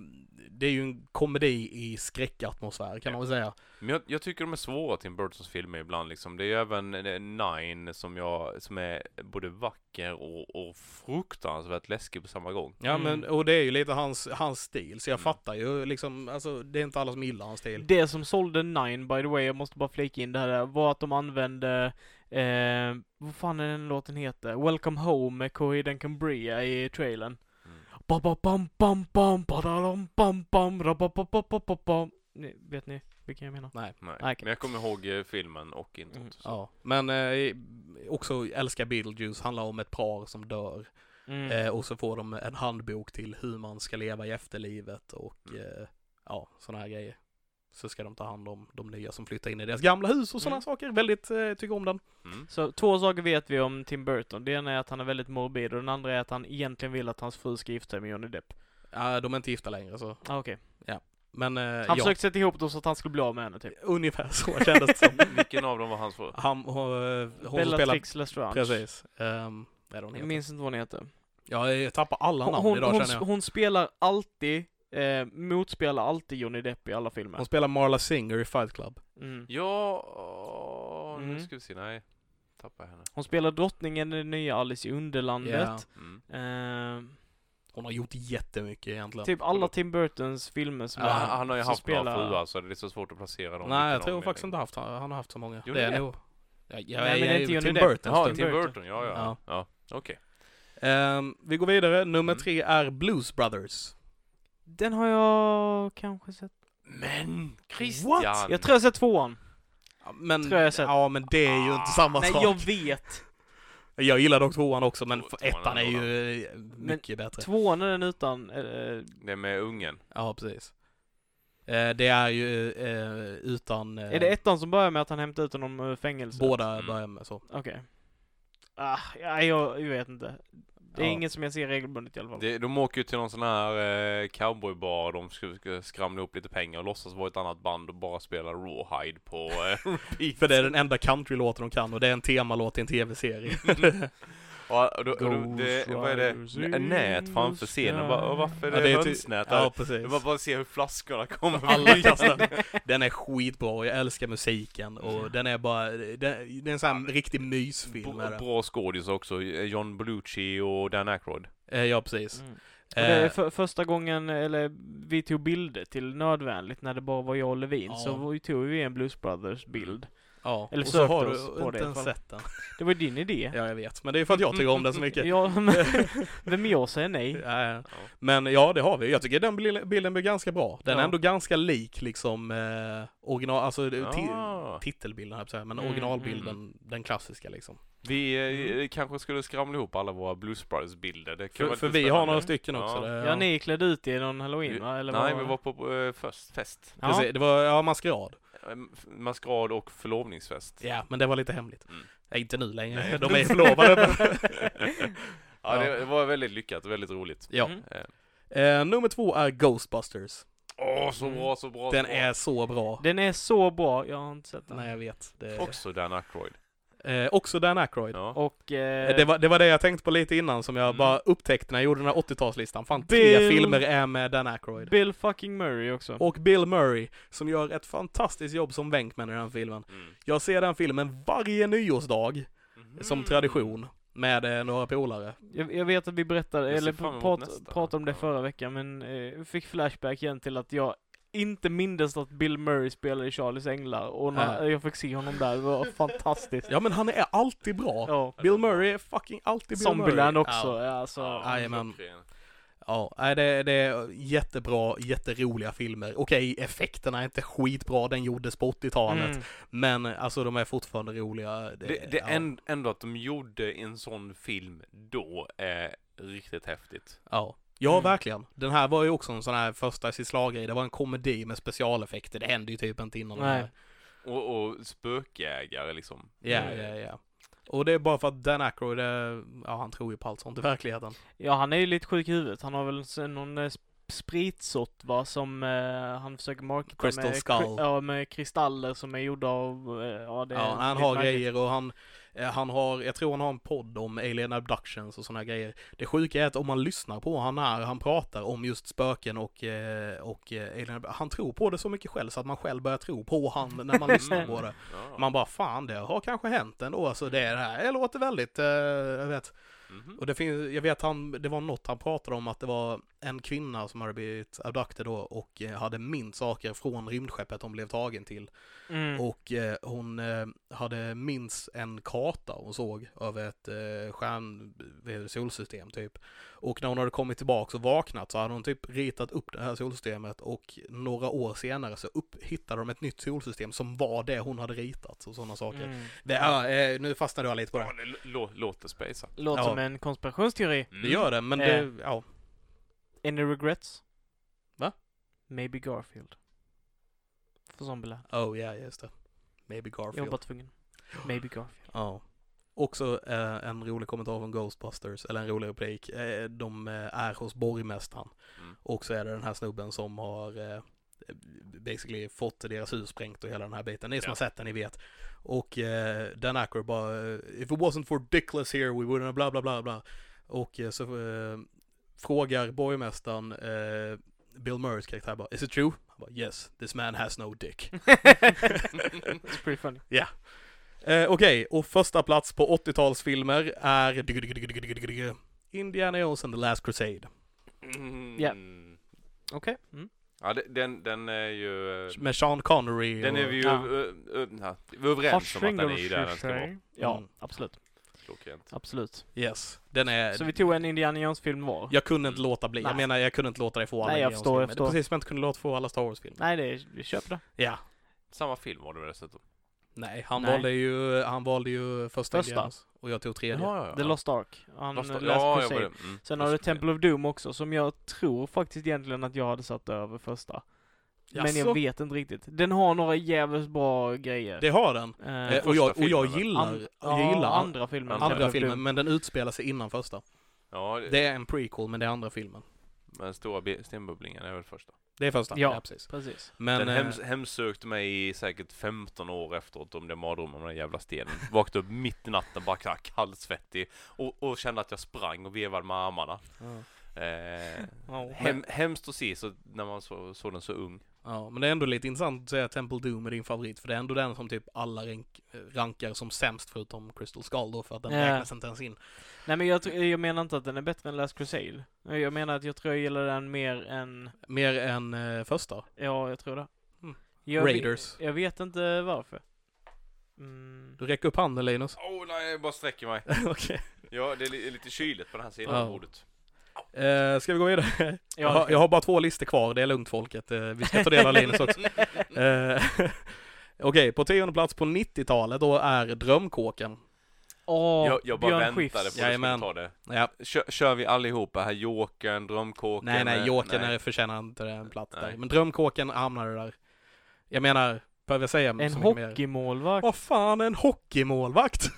Speaker 3: det är ju en komedi i skräckatmosfär kan man väl säga.
Speaker 1: Men jag, jag tycker de är svåra Tim Burtons filmer ibland liksom. Det är ju även eh, Nine som, jag, som är både vacker och, och fruktansvärt läskig på samma gång.
Speaker 3: Ja,
Speaker 2: Mm.
Speaker 3: men, och det är ju lite hans, hans stil, så jag
Speaker 1: Mm.
Speaker 3: fattar ju liksom, alltså, det är inte alla som gillar hans stil.
Speaker 2: Det som sålde Nine, by the way, jag måste bara flika in det här, var att de använde, eh, vad fan är den låten heter? Welcome Home med Coheed and Cambria i trailern.
Speaker 1: Mm.
Speaker 2: Ba ba bam bam bam badadam bam bam ra ba ba ba ba ba bam. Ni, vet ni vilken jag menar?
Speaker 1: Nej.
Speaker 2: Nej, okej.
Speaker 1: Men jag kommer ihåg eh, filmen och introt.
Speaker 2: Mm.
Speaker 1: så.
Speaker 3: Ja, men eh, också älskar Beetlejuice, handlar om ett par som dör.
Speaker 2: Mm.
Speaker 3: Eh, och så får de en handbok till hur man ska leva i efterlivet och
Speaker 1: Mm.
Speaker 3: eh, ja, sådana här grejer. Så ska de ta hand om de nya som flyttar in i deras gamla hus och sådana
Speaker 2: Mm.
Speaker 3: saker. Väldigt, eh, tycker om den.
Speaker 1: Mm.
Speaker 2: Så två saker vet vi om Tim Burton. Det ena är att han är väldigt morbid och den andra är att han egentligen vill att hans fru ska gifta sig med Johnny Depp.
Speaker 3: Ja, de är inte gifta längre så.
Speaker 2: Ah, okej.
Speaker 3: Men eh,
Speaker 2: Han
Speaker 3: ja,
Speaker 2: försökte sätta ihop dem så att han skulle bli av med henne typ.
Speaker 3: ungefär så kändes det som. [laughs]
Speaker 1: Vilken av dem var hans för?
Speaker 3: Han, hon, eh, hon som spelar...
Speaker 2: Bellatrix Lestrange.
Speaker 3: Precis. Um, vad är det
Speaker 2: Jag
Speaker 3: hon heter?
Speaker 2: minns inte vad hon heter.
Speaker 3: Ja, jag tappar alla
Speaker 2: Hon,
Speaker 3: namn
Speaker 2: hon,
Speaker 3: idag
Speaker 2: hon,
Speaker 3: känner jag.
Speaker 2: hon spelar alltid, eh, motspelar alltid Johnny Depp i alla filmer.
Speaker 3: Hon spelar Marla Singer i Fight Club.
Speaker 2: Mm.
Speaker 1: Ja, åh, nu
Speaker 2: Mm.
Speaker 1: ska vi se. Nej, tappar jag henne.
Speaker 2: Hon spelar drottningen i den nya Alice i Underlandet.
Speaker 1: Mm.
Speaker 2: Eh,
Speaker 3: Hon har gjort jättemycket egentligen.
Speaker 2: typ alla Tim Burtons filmer som
Speaker 1: Ja,
Speaker 2: är-
Speaker 1: han, Ah, han har ju
Speaker 2: som
Speaker 1: haft
Speaker 2: spelar-
Speaker 1: några fruar så det är så svårt att placera dem.
Speaker 3: Nej,
Speaker 1: utan
Speaker 3: jag tror
Speaker 1: någon
Speaker 3: faktiskt
Speaker 1: mening.
Speaker 3: inte haft, han han har haft så många.
Speaker 1: Jo,
Speaker 3: det
Speaker 1: det
Speaker 3: är
Speaker 1: är.
Speaker 3: nog... Ja, ja,
Speaker 2: Nej, men det är inte Johnny
Speaker 3: Tim
Speaker 2: Depp.
Speaker 3: Burton.
Speaker 1: Jaha,
Speaker 2: Tim
Speaker 1: Tim
Speaker 2: Burton.
Speaker 1: Burton. Ja, ja.
Speaker 3: Ja.
Speaker 1: ja. ja. Okej.
Speaker 3: Ehm, vi går vidare. Nummer
Speaker 1: Mm.
Speaker 3: tre är Blues Brothers.
Speaker 2: Den har jag kanske sett.
Speaker 1: Men Christian!
Speaker 2: Jag tror jag sett tvåan.
Speaker 3: Ja, Men,
Speaker 2: Tror jag jag har sett.
Speaker 3: ja, men det är ju inte samma
Speaker 2: Nej,
Speaker 3: sak.
Speaker 2: jag
Speaker 3: Jag... [laughs]
Speaker 2: vet.
Speaker 3: gillar dock tvåan också, men
Speaker 1: Två-
Speaker 3: för
Speaker 1: tvåan
Speaker 3: ettan är
Speaker 1: är
Speaker 3: ju eh, mycket bättre.
Speaker 2: Tvåan är den utan... Eh,
Speaker 1: Det är med ungen.
Speaker 3: Ja, precis. Eh, det är ju eh, utan... eh,
Speaker 2: är det ettan som börjar med att han hämtar ut honom ur fängelset?
Speaker 3: Båda
Speaker 1: Mm.
Speaker 3: börjar med så.
Speaker 2: Okej. Ah, ja, jag, jag vet inte. Det är
Speaker 3: Ja.
Speaker 2: inget som jag ser regelbundet i alla fall.
Speaker 1: Det, de åker ju till någon sån här eh, cowboybar och de ska, ska skramla ihop lite pengar och låtsas vara ett annat band och bara spela Rawhide på eh, [laughs] repeat.
Speaker 3: För det är den enda countrylåten de kan och det är en temalåt i
Speaker 1: [laughs]
Speaker 3: en tv-serie.
Speaker 1: och, och, då- och, då- det, vad är det?
Speaker 2: Riders
Speaker 1: N-
Speaker 2: in
Speaker 1: nät
Speaker 2: the
Speaker 1: framför scenen. Och Bara, "Åh, varför är
Speaker 3: Ja,
Speaker 1: det,
Speaker 3: det är ty-
Speaker 1: hönsnät där?
Speaker 3: ja,
Speaker 1: Det
Speaker 3: precis.
Speaker 1: är bara, bara se hur flaskorna kommer.
Speaker 2: [laughs]
Speaker 3: Alla [laughs] kastar. Den är skitbra och jag älskar musiken och den är bara, den, den är en sån här riktig mysfilm. är
Speaker 1: B-
Speaker 3: det.
Speaker 1: bra skådis också. John Belushi och Dan Aykroyd.
Speaker 3: Eh, Ja, precis.
Speaker 2: Mm. Och det är
Speaker 3: Eh,
Speaker 2: för, första gången, eller vi tog bilder till Nödvändigt när det bara var jag och Levin,
Speaker 3: Ja.
Speaker 2: så vi tog vi en Blues Brothers bild.
Speaker 3: Eh, Ja,
Speaker 2: Eller
Speaker 3: och så
Speaker 2: sökte
Speaker 3: har
Speaker 2: oss på det
Speaker 3: du inte
Speaker 2: i
Speaker 3: ens
Speaker 2: alla fall.
Speaker 3: sett den.
Speaker 2: Det var ju din idé.
Speaker 3: Ja, jag vet. Men det är för att jag tycker om den så mycket.
Speaker 2: [laughs] Ja, men, vem jag säger nej.
Speaker 3: [laughs] Ja, ja. Men ja, det har vi. Jag tycker den bil- bilden blir ganska bra. Den är
Speaker 2: Ja.
Speaker 3: ändå ganska lik liksom eh, original, alltså
Speaker 1: Ja.
Speaker 3: ti- titelbilden här på så här, men
Speaker 2: Ah. Mm,
Speaker 3: originalbilden, den klassiska liksom.
Speaker 1: Vi eh,
Speaker 2: Mm.
Speaker 1: kanske skulle skramla ihop alla våra Blues Brothers-bilder. Det kan vara
Speaker 3: För,
Speaker 1: lite
Speaker 3: för vi har
Speaker 1: spännande.
Speaker 3: några stycken också.
Speaker 1: Ja.
Speaker 3: Det,
Speaker 2: Ja, ni klädde ut er i någon halloween va? Eller
Speaker 1: Nej,
Speaker 2: vad
Speaker 1: vi
Speaker 2: det?
Speaker 1: var på eh, först, fest.
Speaker 2: Ja.
Speaker 3: Precis, det var ja, maskerad.
Speaker 1: Eh, Maskerad och förlovningsfest.
Speaker 3: Ja, men det var lite hemligt.
Speaker 1: Mm.
Speaker 3: Nej, inte nu längre. De
Speaker 1: [laughs]
Speaker 3: är förlovade.
Speaker 1: Ja,
Speaker 3: Ja.
Speaker 1: det var väldigt lyckat och väldigt roligt.
Speaker 3: ja.
Speaker 2: Mm.
Speaker 1: Eh,
Speaker 3: Eh, nummer två är Ghostbusters.
Speaker 1: Åh, så bra, så bra.
Speaker 3: Mm. Den
Speaker 1: så bra.
Speaker 3: är så bra.
Speaker 2: Den är så bra, jag har inte sett den.
Speaker 3: Nej, jag vet. Det,
Speaker 1: Också Dan Aykroyd.
Speaker 3: eh, också Dan Aykroyd.
Speaker 1: Ja.
Speaker 2: Och... Eh,
Speaker 3: Eh, Det var, det var det jag tänkte på lite innan som jag
Speaker 1: Mm.
Speaker 3: bara upptäckte när jag gjorde den här 80-talslistan. Fan, tre
Speaker 2: Bill-
Speaker 3: filmer är med Dan Aykroyd.
Speaker 2: eh, Bill fucking Murray också.
Speaker 3: Och Bill Murray, som gör ett fantastiskt jobb som Venkman i den filmen.
Speaker 1: Mm.
Speaker 3: Jag ser den filmen varje nyårsdag, som
Speaker 1: Mhm.
Speaker 3: tradition, med eh, några polare.
Speaker 2: Jag, jag vet att vi berättade,
Speaker 1: Jag ser
Speaker 2: eller
Speaker 1: fram emot
Speaker 2: prat,
Speaker 1: nästa.
Speaker 2: pratade om det
Speaker 1: Ja.
Speaker 2: förra veckan, men eh, fick flashback igen till att jag inte mindes att Bill Murray spelade i Charlies Änglar och när
Speaker 3: Nej.
Speaker 2: jag fick se honom där, det
Speaker 3: [laughs]
Speaker 2: var fantastiskt.
Speaker 3: Ja, men han är alltid bra.
Speaker 2: Ja.
Speaker 3: Bill Murray är fucking alltid Bill
Speaker 2: Zombieland
Speaker 3: Murray.
Speaker 2: också,
Speaker 3: Ja.
Speaker 2: ja. alltså.
Speaker 1: Ja,
Speaker 3: Jajamän.
Speaker 1: klockren.
Speaker 3: Ja, nej, det, det är jättebra, jätteroliga filmer. Okej, effekterna är inte skitbra, den gjordes på 80-talet.
Speaker 2: Mm.
Speaker 3: Men alltså de är fortfarande roliga.
Speaker 1: Det, det
Speaker 3: ja.
Speaker 1: änd- ändå att de gjorde en sån film då är riktigt häftigt.
Speaker 3: Ja. Ja,
Speaker 2: Mm.
Speaker 3: verkligen. Den här var ju också en sån här första i sitt slag Det var en komedi med specialeffekter. Det hände ju typ inte innan. den
Speaker 2: Nej.
Speaker 3: här.
Speaker 1: Och, och spökjägare liksom.
Speaker 3: Ja,
Speaker 1: Eh,
Speaker 3: ja, ja. Och det är bara för att Dan Aykroyd, eh, ja han tror ju på allt sånt i verkligheten.
Speaker 2: Ja, han är ju lite sjuk i huvudet. Han har väl s- någon eh, sp- spritsort va, som eh, han försöker marketa
Speaker 3: Crystal
Speaker 2: med,
Speaker 3: Skull.
Speaker 2: kri- ja, med kristaller som är gjorda av, eh, ja det är
Speaker 3: ja, han
Speaker 2: lite
Speaker 3: har
Speaker 2: märkligt.
Speaker 3: grejer och han, eh, han har, jag tror han har en podd om alien abductions och såna här grejer. Det sjuka är att om man lyssnar på han när han pratar om just spöken och, eh, och eh, alien abductions, han tror på det så mycket själv så att man själv börjar tro på han när man lyssnar på det.
Speaker 1: Ja.
Speaker 3: Man bara fan det har kanske hänt ändå, alltså det, är det här det låter väldigt, eh, jag vet
Speaker 1: Mhm.
Speaker 3: Och det finns, jag vet han, det var något han pratade om att det var en kvinna som hade blivit abducted då och eh, hade mint saker från rymdskeppet hon blev tagen till.
Speaker 2: Mm.
Speaker 3: Och eh, hon eh, hade minst en karta hon såg över ett eh, stjärn, vad heter det, solsystem typ. Och när hon hade kommit tillbaka och vaknat så hade hon typ ritat upp det här solsystemet och några år senare så upp, hittade de ett nytt solsystem som var det hon hade ritat och sådana saker.
Speaker 2: Mm.
Speaker 3: Det, ja, eh, nu fastnade jag lite på det.
Speaker 1: Ja, det lå- lå- låter space.
Speaker 2: Låter
Speaker 3: Ja.
Speaker 2: som en konspirationsteori.
Speaker 1: Mm.
Speaker 3: Det gör det, men det,
Speaker 2: Eh.
Speaker 3: ja.
Speaker 2: Any regrets?
Speaker 3: Va?
Speaker 2: Maybe Garfield. För Zombieland.
Speaker 3: Oh ja, just det. Maybe
Speaker 2: Jag
Speaker 3: Garfield.
Speaker 2: var bara tvungen. Maybe
Speaker 3: [laughs]
Speaker 2: Garfield.
Speaker 3: Ja. Också eh, en rolig kommentar från Ghostbusters, eller en rolig replik. Eh, de eh, är hos borgmästaren.
Speaker 1: Mm.
Speaker 3: Och så är det den här snubben som har eh, basically fått deras hus sprängt och hela den här biten. Ni som
Speaker 1: Ja.
Speaker 3: har sett den, ni vet. Och eh, Dan Aykroyd bara eh, If it wasn't for Dickless here we wouldn't bla bla bla bla. Och eh, så eh, frågar borgmästaren eh, Bill Murrays karaktär bara Is it true? Han bara Yes, this man has
Speaker 1: [laughs]
Speaker 3: no dick. [laughs]
Speaker 2: It's pretty funny.
Speaker 3: Eh, Okej, och första plats på 80-talsfilmer är Indiana Jones and the Last Crusade.
Speaker 1: Mm.
Speaker 2: Ja. Okej. Mm.
Speaker 1: Ja, det- den, den är ju... eh,
Speaker 3: Med Sean Connery.
Speaker 1: Den är vi ju eh,
Speaker 2: Ja.
Speaker 1: ö- ö- ö- vi är överens om att den är i där den ska vara.
Speaker 2: Haschring. Ja,
Speaker 3: Mm.
Speaker 2: absolut.
Speaker 1: Klockrent.
Speaker 2: Absolut.
Speaker 3: Yes, den är...
Speaker 2: Så vi tog en Indiana Jones-film var?
Speaker 3: Jag kunde inte låta bli. Jag
Speaker 2: Nej.
Speaker 3: menar, jag kunde inte låta dig få alla
Speaker 2: Nej, jag
Speaker 3: Indiana
Speaker 2: förstår, jag
Speaker 3: Jones-filmer. Det är
Speaker 2: förstår.
Speaker 3: Precis som jag inte kunde låta få alla Star Wars-filmer.
Speaker 2: Nej, det är, vi köper det.
Speaker 3: Ja.
Speaker 1: Samma film var det väl dessutom?
Speaker 3: Nej, han,
Speaker 2: Nej.
Speaker 3: Valde ju, han valde ju
Speaker 2: Första.
Speaker 3: första, Indiana Jones. Och jag tog tredje.
Speaker 1: Ja, ja, ja.
Speaker 2: The Lost Ark. Han
Speaker 1: Lost-
Speaker 2: Lost, läste
Speaker 1: ja, jag var
Speaker 2: Crusade.
Speaker 1: det. Mm.
Speaker 2: Sen har du
Speaker 1: Just det.
Speaker 2: Temple of Doom också, som jag tror faktiskt egentligen att jag hade satt över första. Men
Speaker 3: Jaså?
Speaker 2: jag vet inte riktigt. Den har några jävligt bra grejer.
Speaker 3: Det har den.
Speaker 2: Eh,
Speaker 3: Eh, och, jag, och
Speaker 1: första
Speaker 3: jag
Speaker 1: filmen, va?
Speaker 3: gillar,
Speaker 2: an-
Speaker 3: jag gillar
Speaker 2: ja,
Speaker 3: andra,
Speaker 2: andra filmen.
Speaker 1: andra
Speaker 2: Temple of Doom.
Speaker 3: filmen, men den utspelar sig innan första.
Speaker 1: Ja, det,
Speaker 3: Det är en prequel, men det är andra filmen.
Speaker 1: men stora be- stenbubblingen är väl första.
Speaker 3: Det är första.
Speaker 2: Ja.
Speaker 3: precis.
Speaker 2: Precis.
Speaker 3: Men,
Speaker 1: den
Speaker 3: eh,
Speaker 1: hems- hemsökte mig i säkert 15 år efteråt om det mardrömmen om den jävla stenen. Vaknade upp mitt i natten, bara så här kallsvettig och, och kände att jag sprang och vevade med armarna.
Speaker 2: [laughs]
Speaker 1: Eh,
Speaker 2: Ja,
Speaker 1: hem, hemskt att se så, när man så, såg den så ung.
Speaker 3: Ja, men det är ändå lite intressant att säga att Temple Doom är din favorit, för det är ändå den som typ alla rank, rankar som sämst förutom Crystal Skull då, för att den
Speaker 2: Ja.
Speaker 3: räknas inte ens in.
Speaker 2: Nej men jag, tr- jag menar inte att den är bättre än Last Crusade. Jag menar att jag tror jag gillar den mer än,
Speaker 3: Mer än eh, första.
Speaker 2: ja jag tror det.
Speaker 3: Mm.
Speaker 2: Jag
Speaker 3: Raiders.
Speaker 2: Ve, jag vet inte varför. Mm.
Speaker 3: Du räcker upp handen Linus. [laughs]
Speaker 1: Åh oh, nej, jag bara sträcker mig.
Speaker 3: Okej.
Speaker 1: Ja, det är li- lite kyligt på den här sidan
Speaker 3: Ja.
Speaker 1: av bordet.
Speaker 3: Eh, ska vi gå vidare? Jag
Speaker 2: Ja,
Speaker 3: har, jag har bara två listor kvar, det är lugnt folket. Eh, vi ska ta
Speaker 2: [laughs]
Speaker 3: del av Linus också. Eh, [laughs] Okej, på tionde plats på 90-talet då är Drömkåken.
Speaker 2: Åh,
Speaker 1: jag, jag bara
Speaker 2: Björn
Speaker 1: väntade
Speaker 2: Skifs.
Speaker 1: på att du skulle
Speaker 3: Jajamän.
Speaker 1: ta det.
Speaker 3: Ja.
Speaker 1: Kör, kör vi allihopa här? Jokern, Drömkåken?
Speaker 3: Nej, nej,
Speaker 1: eh,
Speaker 3: Jokern
Speaker 1: nej.
Speaker 3: är- förtjänar inte en plats
Speaker 1: Nej.
Speaker 3: där. Men Drömkåken hamnade där. Jag menar, behöver jag säga
Speaker 2: En
Speaker 3: så mycket mer?
Speaker 2: hockeymålvakt.
Speaker 3: [laughs] Vad fan, en hockeymålvakt?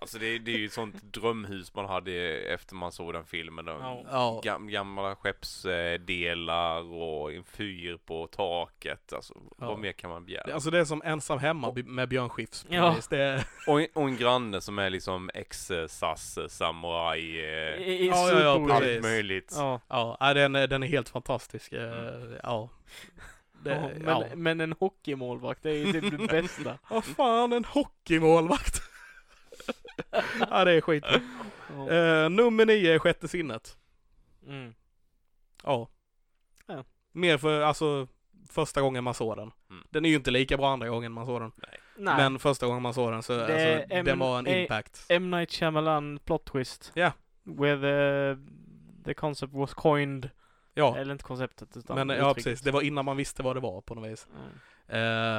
Speaker 1: Alltså det, är- det är ju ett sånt drömhus man hade efter man såg den filmen.
Speaker 2: Ja.
Speaker 1: Oh.
Speaker 3: Ja,
Speaker 1: Gam, gamla skeppsdelar och en fyr på taket. Alltså,
Speaker 3: Ja.
Speaker 1: vad mer kan man begära?
Speaker 3: alltså det är som ensam hemma bi- med Björn Skifs. på
Speaker 2: Ja.
Speaker 3: något vis. Det är,
Speaker 1: Och, en- och en granne som är liksom ex-SAS, samurai, eh,
Speaker 2: I, i
Speaker 3: Ja, ja, ja,
Speaker 2: Superbowl.
Speaker 1: allt
Speaker 3: precis.
Speaker 1: möjligt.
Speaker 2: Ja.
Speaker 3: ja, nej, den, är- den är helt fantastisk. Eh, Ja. Det,
Speaker 2: Ja,
Speaker 3: ja,
Speaker 2: men, men en hockeymålvakt, det är ju typ det
Speaker 3: [laughs]
Speaker 2: bästa.
Speaker 3: Vad fan, en hockeymålvakt? ja, det är skit.
Speaker 2: Ja.
Speaker 3: Eh, nummer nio är sjätte sinnet.
Speaker 2: Mm.
Speaker 3: Ja.
Speaker 2: Ja.
Speaker 3: Mer för, alltså, första gången man såg den.
Speaker 1: Mm.
Speaker 3: Den är ju inte lika bra andra gången man såg den.
Speaker 2: Nej.
Speaker 3: Men första gången man såg den så,
Speaker 2: Det
Speaker 3: alltså,
Speaker 2: är-
Speaker 3: den var en
Speaker 2: är-
Speaker 3: impact.
Speaker 2: M. Night Shyamalan plot twist.
Speaker 3: Ja.
Speaker 2: Where the, the concept was coined.
Speaker 3: Ja,
Speaker 2: Eller inte konceptet utan
Speaker 3: men ja
Speaker 2: uttrycket.
Speaker 3: precis. Det var innan man visste vad det var på något vis.
Speaker 2: Mm.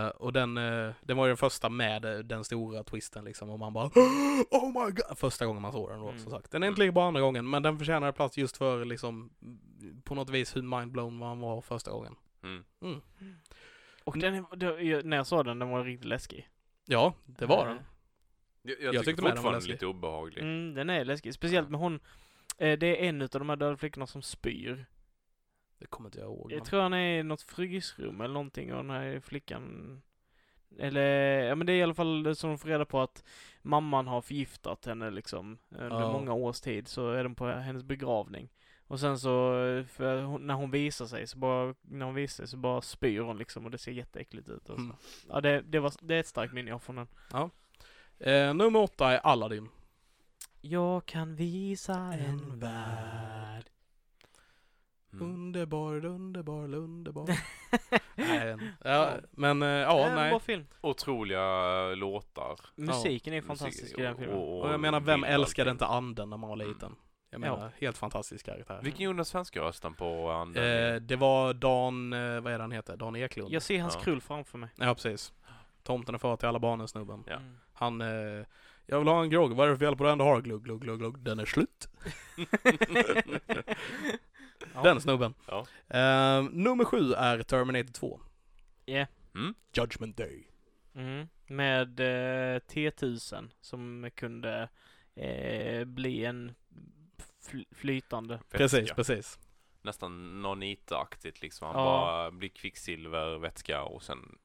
Speaker 3: Eh, och den, eh, den var ju den första med eh, den stora twisten liksom och man bara [gasps] Oh my god! Första gången man såg den då
Speaker 2: Mm.
Speaker 3: som sagt. Den är inte lika bra andra gången men den förtjänar plats just för liksom mm, på något vis hur mindblown man var första gången.
Speaker 1: Mm.
Speaker 2: Och den, är- det- jag- när jag såg den, den var riktigt läskig.
Speaker 3: Ja, det var den.
Speaker 2: Eh,
Speaker 1: Jag, jag,
Speaker 3: Jag
Speaker 1: tycker
Speaker 3: tyckte med den var
Speaker 1: fortfarande
Speaker 3: läskig.
Speaker 1: lite obehaglig.
Speaker 2: Mm, den är läskig. Speciellt med hon, eh, det är en av de här döda flickorna som spyr.
Speaker 3: Det kommer inte jag ihåg. men-
Speaker 2: Jag tror han är i något frysrum eller någonting och den här flickan eller, ja men det är i alla fall det som de får reda på att mamman har förgiftat henne liksom under
Speaker 3: Ja.
Speaker 2: många års tid så är den på hennes begravning. Och sen så, eh, för hon, när hon visar sig så bara, när hon visar sig så bara spyr hon liksom och det ser jätteäckligt ut och så.
Speaker 3: Mm.
Speaker 2: Ja det, det var, det är ett starkt minne jag har från den.
Speaker 3: Eh, nummer åtta är Aladdin.
Speaker 2: Jag kan visa en
Speaker 3: En
Speaker 2: värld.
Speaker 1: Mm.
Speaker 3: Underbar, underbar,
Speaker 2: [laughs]
Speaker 3: underbar. nej, en- ja, men eh, ja,
Speaker 2: en Äh, bra
Speaker 3: nej.
Speaker 2: film.
Speaker 1: Otroliga eh, låtar.
Speaker 2: Musiken är
Speaker 1: Musik-
Speaker 2: fantastisk i den filmen.
Speaker 1: och-
Speaker 3: Och jag menar, vem
Speaker 1: bild och
Speaker 3: älskade
Speaker 1: allting.
Speaker 3: inte anden när man var liten? Jag
Speaker 2: Ja.
Speaker 3: menar, helt fantastisk karaktär.
Speaker 1: Vilken gjorde den svenska rösten på anden?
Speaker 3: Eh, det var Dan, eh, vad är det han heter? Dan Eklund?
Speaker 2: Jag ser hans
Speaker 1: Ja.
Speaker 2: krull framför mig.
Speaker 3: Ja, precis. Tomten är far till alla barnen snubben.
Speaker 1: Ja.
Speaker 2: Mm.
Speaker 3: Han, eh, jag vill ha en grogg, vad är det för fel på den du har? Glugg, glugg, glugg, glugg. Den är slut.
Speaker 2: Mm. Ja.
Speaker 3: Den snubben.
Speaker 1: Ja.
Speaker 3: Eh, nummer sju är Terminator 2.
Speaker 2: Ja.
Speaker 1: Mm.
Speaker 3: Judgment Day.
Speaker 2: Mm. Med eh, T1000 som kunde eh, bli en fl- flytande.
Speaker 3: Precis,
Speaker 1: Vätska.
Speaker 3: precis.
Speaker 1: Nästan nonita-aktigt liksom. Han
Speaker 2: Ja.
Speaker 1: bara blir kvicksilver, vätska och sen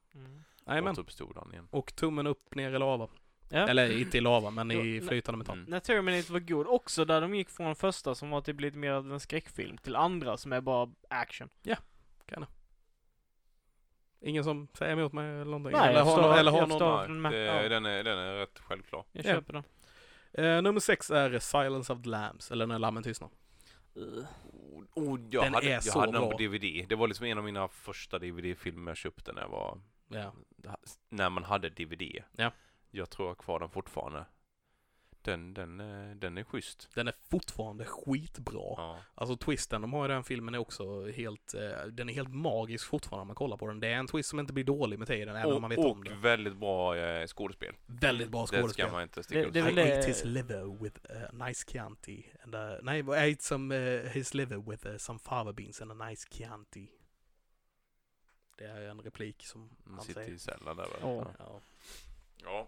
Speaker 3: Jajamän.
Speaker 1: återuppstod han igen.
Speaker 3: Och tummen upp ner i lava.
Speaker 2: Ja.
Speaker 3: Eller inte i lava, men i
Speaker 2: Jo,
Speaker 3: flytande metall.
Speaker 1: Mm.
Speaker 2: När Terminator var god också, där de gick från första som var typ lite mer av en skräckfilm till andra som är bara action.
Speaker 3: Ingen som säger emot mig eller någonting?
Speaker 2: Nej, jag
Speaker 3: eller har,
Speaker 2: förstår.
Speaker 3: någon- eller har
Speaker 2: Jag
Speaker 3: någon...
Speaker 2: förstår.
Speaker 1: Nej,
Speaker 2: den med.
Speaker 1: det,
Speaker 2: Ja.
Speaker 1: Eh, den, är, den är rätt självklar.
Speaker 2: Jag
Speaker 3: Ja.
Speaker 2: köper den.
Speaker 3: Eh, nummer sex är Silence of the Lambs, eller När Lammen Tystnar.
Speaker 1: Oh, oh, jag
Speaker 3: Den
Speaker 1: hade,
Speaker 3: är
Speaker 1: jag
Speaker 3: så
Speaker 1: hade den
Speaker 3: bra.
Speaker 1: på DVD. Det var liksom en av mina första DVD-filmer jag köpte när jag var...
Speaker 3: Ja.
Speaker 1: När man hade DVD.
Speaker 3: Ja.
Speaker 1: Jag tror jag har kvar den fortfarande. Den, den, eh, den är schysst.
Speaker 3: Den är fortfarande skitbra.
Speaker 1: Ja.
Speaker 3: Alltså twisten de har i den filmen är också helt, eh, den är helt magisk fortfarande när man kollar på den. Det är en twist som inte blir dålig med tiden, även om
Speaker 1: Och,
Speaker 3: man vet om
Speaker 1: och
Speaker 3: det.
Speaker 1: väldigt bra eh, skådespel.
Speaker 3: Väldigt bra
Speaker 1: Det ska
Speaker 3: skådespel.
Speaker 1: man inte sticka
Speaker 2: Det-
Speaker 1: ut
Speaker 2: det är väl eh,
Speaker 1: med.
Speaker 3: I ate his liver with a nice Chianti. And, uh, nej, I ate some, eh, his liver with eh, some fava beans and a nice Chianti. Det är en replik som
Speaker 1: Man
Speaker 3: han
Speaker 1: sitter i
Speaker 3: säger.
Speaker 1: cellen där. va?
Speaker 2: Ja.
Speaker 3: Ja.
Speaker 1: Ja.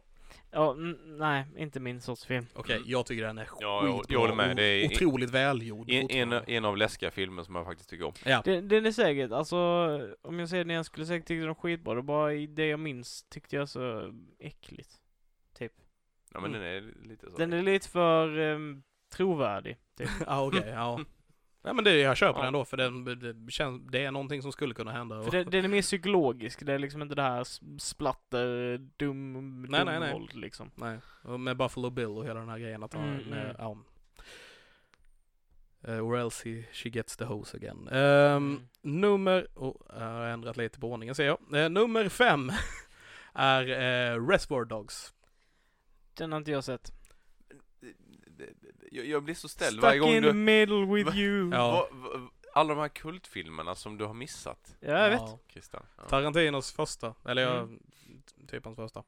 Speaker 2: Ja, n- nej, inte min sorts film.
Speaker 3: Okej,
Speaker 1: Mm.
Speaker 3: jag tycker den är
Speaker 1: jag-
Speaker 3: skitbra.
Speaker 1: jag håller med. Det är-
Speaker 3: och otroligt välgjord.
Speaker 1: En, en,
Speaker 3: fortfarande.
Speaker 1: en av läskiga filmer som jag faktiskt tycker om.
Speaker 3: ja.
Speaker 2: Den, den är säkert, alltså om jag säger den igen skulle jag säkert tycka den var skitbra. Det är bara i det jag minns tyckte jag så äckligt. Typ.
Speaker 1: Ja, men
Speaker 3: Mm.
Speaker 1: den är lite så.
Speaker 2: Den är lite för um, trovärdig. Typ.
Speaker 3: Ja, ah, okej,
Speaker 1: [laughs]
Speaker 3: ja. Nej men det, jag köper
Speaker 1: Ja.
Speaker 3: den då för den, det, känns, det är någonting som skulle kunna hända.
Speaker 2: För
Speaker 3: Och,
Speaker 2: den, den är mer psykologisk, det är liksom inte det här s- splatter, dum,
Speaker 3: Nej,
Speaker 2: dum
Speaker 3: nej, nej.
Speaker 2: våld liksom.
Speaker 3: nej, och med Buffalo Bill och hela den här grejen att han,
Speaker 2: Mm, mm.
Speaker 3: ja. Eh, or else he, she gets the hose again. Ehm,
Speaker 2: Mm.
Speaker 3: Nummer, oh, jag [laughs] har ändrat lite på ordningen ser jag. Eh, nummer fem är eh, Reservoir Dogs.
Speaker 2: Den har inte jag sett.
Speaker 1: Jag, jag blir så ställd varje
Speaker 2: Stuck
Speaker 1: gång
Speaker 2: in
Speaker 1: du...
Speaker 2: middle with
Speaker 1: Va?
Speaker 2: you. Ja,
Speaker 3: Ja.
Speaker 1: Va, va, alla de här kultfilmerna som du har missat,
Speaker 2: jag vet.
Speaker 3: Ja.
Speaker 1: Christian. Ja.
Speaker 3: Äh, Tarantinos första, eller ja,
Speaker 2: Mm.
Speaker 3: typ hans första.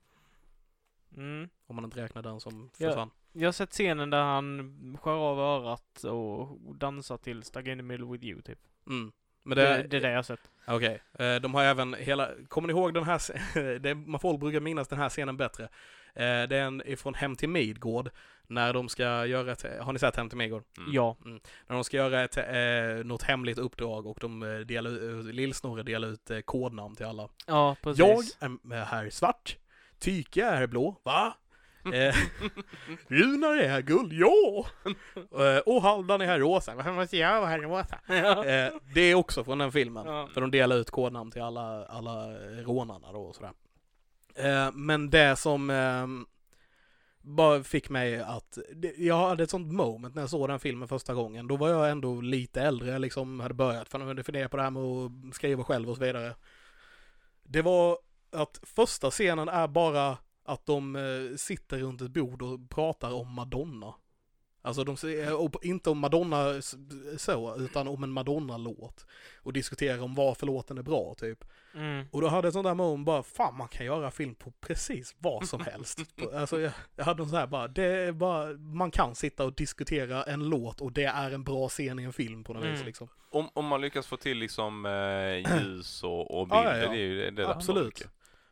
Speaker 2: Mm.
Speaker 3: Om man inte räknar den som
Speaker 2: Ja.
Speaker 3: försvann.
Speaker 2: Jag har sett scenen där han skär av örat och dansar till Stuck in the middle with you typ.
Speaker 3: Mm. Men
Speaker 2: Det, det,
Speaker 3: det,
Speaker 2: är det jag har sett.
Speaker 3: okej. Eh, De har även hela, kommer ni ihåg den här, sc- [laughs] det, man folk brukar minnas den här scenen bättre. Eh, Det är en ifrån Hem till Midgård, när de ska göra ett, har ni sett Hem till Midgård?
Speaker 1: Mm.
Speaker 2: Ja.
Speaker 3: När de ska göra ett, eh, något hemligt uppdrag och de eh, delar ut, Lillsnorre delar ut eh, kodnamn till alla.
Speaker 2: Ja, precis.
Speaker 3: Jag är med här svart. Tyke är blå. Va?
Speaker 2: Mm. [laughs]
Speaker 3: Eh, Runar är här guld, ja! Eh, Och Haldan är här rosa. Varför måste jag vara här rosa?
Speaker 2: [laughs] Ja.
Speaker 3: Eh, Det är också från den filmen.
Speaker 2: Ja.
Speaker 3: För de delar ut kodnamn till alla, alla rånarna då och sådär. Eh, Men det som ehm, bara fick mig att, det- jag hade ett sånt moment när jag såg den filmen första gången. Då var jag ändå lite äldre, jag liksom hade börjat fan- fundera på det här med att skriva själv och så vidare. Det var att första scenen är bara att de eh, sitter runt ett bord och pratar om Madonna. Alltså de ser, och inte om Madonna s- så, utan om en Madonna-låt. Och diskuterar om varför låten är bra, typ.
Speaker 2: Mm.
Speaker 3: Och då hade jag ett sånt där moment bara, fan man kan göra film på precis vad som
Speaker 1: [laughs]
Speaker 3: helst. På- alltså jag, jag hade någon sån här bara, det är bara, man kan sitta och diskutera en låt och det är en bra scen i en film på något
Speaker 2: Mm.
Speaker 3: vis liksom.
Speaker 1: Om, om man lyckas få till liksom
Speaker 2: [clears throat]
Speaker 1: eh, ljus och, och bilder,
Speaker 3: Ja, ja, ja.
Speaker 1: det är ju det, det är
Speaker 3: Absolut.
Speaker 1: det.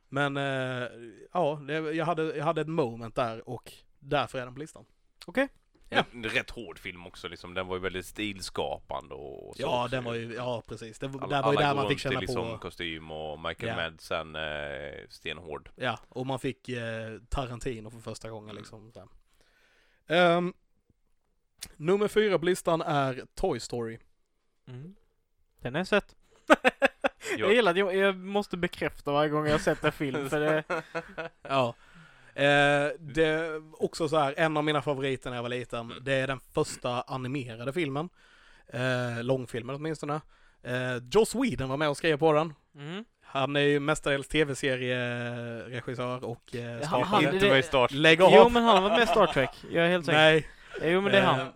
Speaker 3: Men eh, ja, det, jag, hade, jag hade ett moment där och därför är den på listan. Ja.
Speaker 1: En rätt hård film också liksom, den var ju väldigt stilskapande och så
Speaker 3: Ja,
Speaker 1: också
Speaker 3: den var ju, ja precis. Det, var-
Speaker 1: Alla,
Speaker 3: där var ju
Speaker 1: alla
Speaker 3: där
Speaker 1: går
Speaker 3: man fick
Speaker 1: runt i
Speaker 3: känna
Speaker 1: liksom
Speaker 3: på,
Speaker 1: kostym och Michael
Speaker 3: Ja.
Speaker 1: Madsen eh, stenhård.
Speaker 3: ja, och man fick eh, Tarantino för första
Speaker 2: Mm.
Speaker 3: gången liksom. Så. här. Ehm, nummer fyra på listan är Toy Story.
Speaker 2: Mm. Den har jag sett.
Speaker 1: Jag-
Speaker 2: Jag gillar att jag, jag måste bekräfta varje gång jag sett en film [laughs]
Speaker 1: [laughs]
Speaker 2: för det...
Speaker 3: Ja. Eh, det är också så här, en av mina favoriter när jag var liten,
Speaker 1: Mm.
Speaker 3: det är den första animerade filmen. Eh, långfilmen åtminstone. Eh, Joss Whedon var med och skrev på den.
Speaker 2: Mm.
Speaker 3: Han är ju mestadels tv-serieregissör och eh,
Speaker 2: Han-
Speaker 3: skapare.
Speaker 2: han-
Speaker 1: inte
Speaker 2: det-
Speaker 1: med i start.
Speaker 3: Lägg av!
Speaker 2: Jo men han har varit med i Star Trek, jag är helt säker.
Speaker 3: Nej.
Speaker 2: Jo men det är
Speaker 3: Eh,
Speaker 2: han.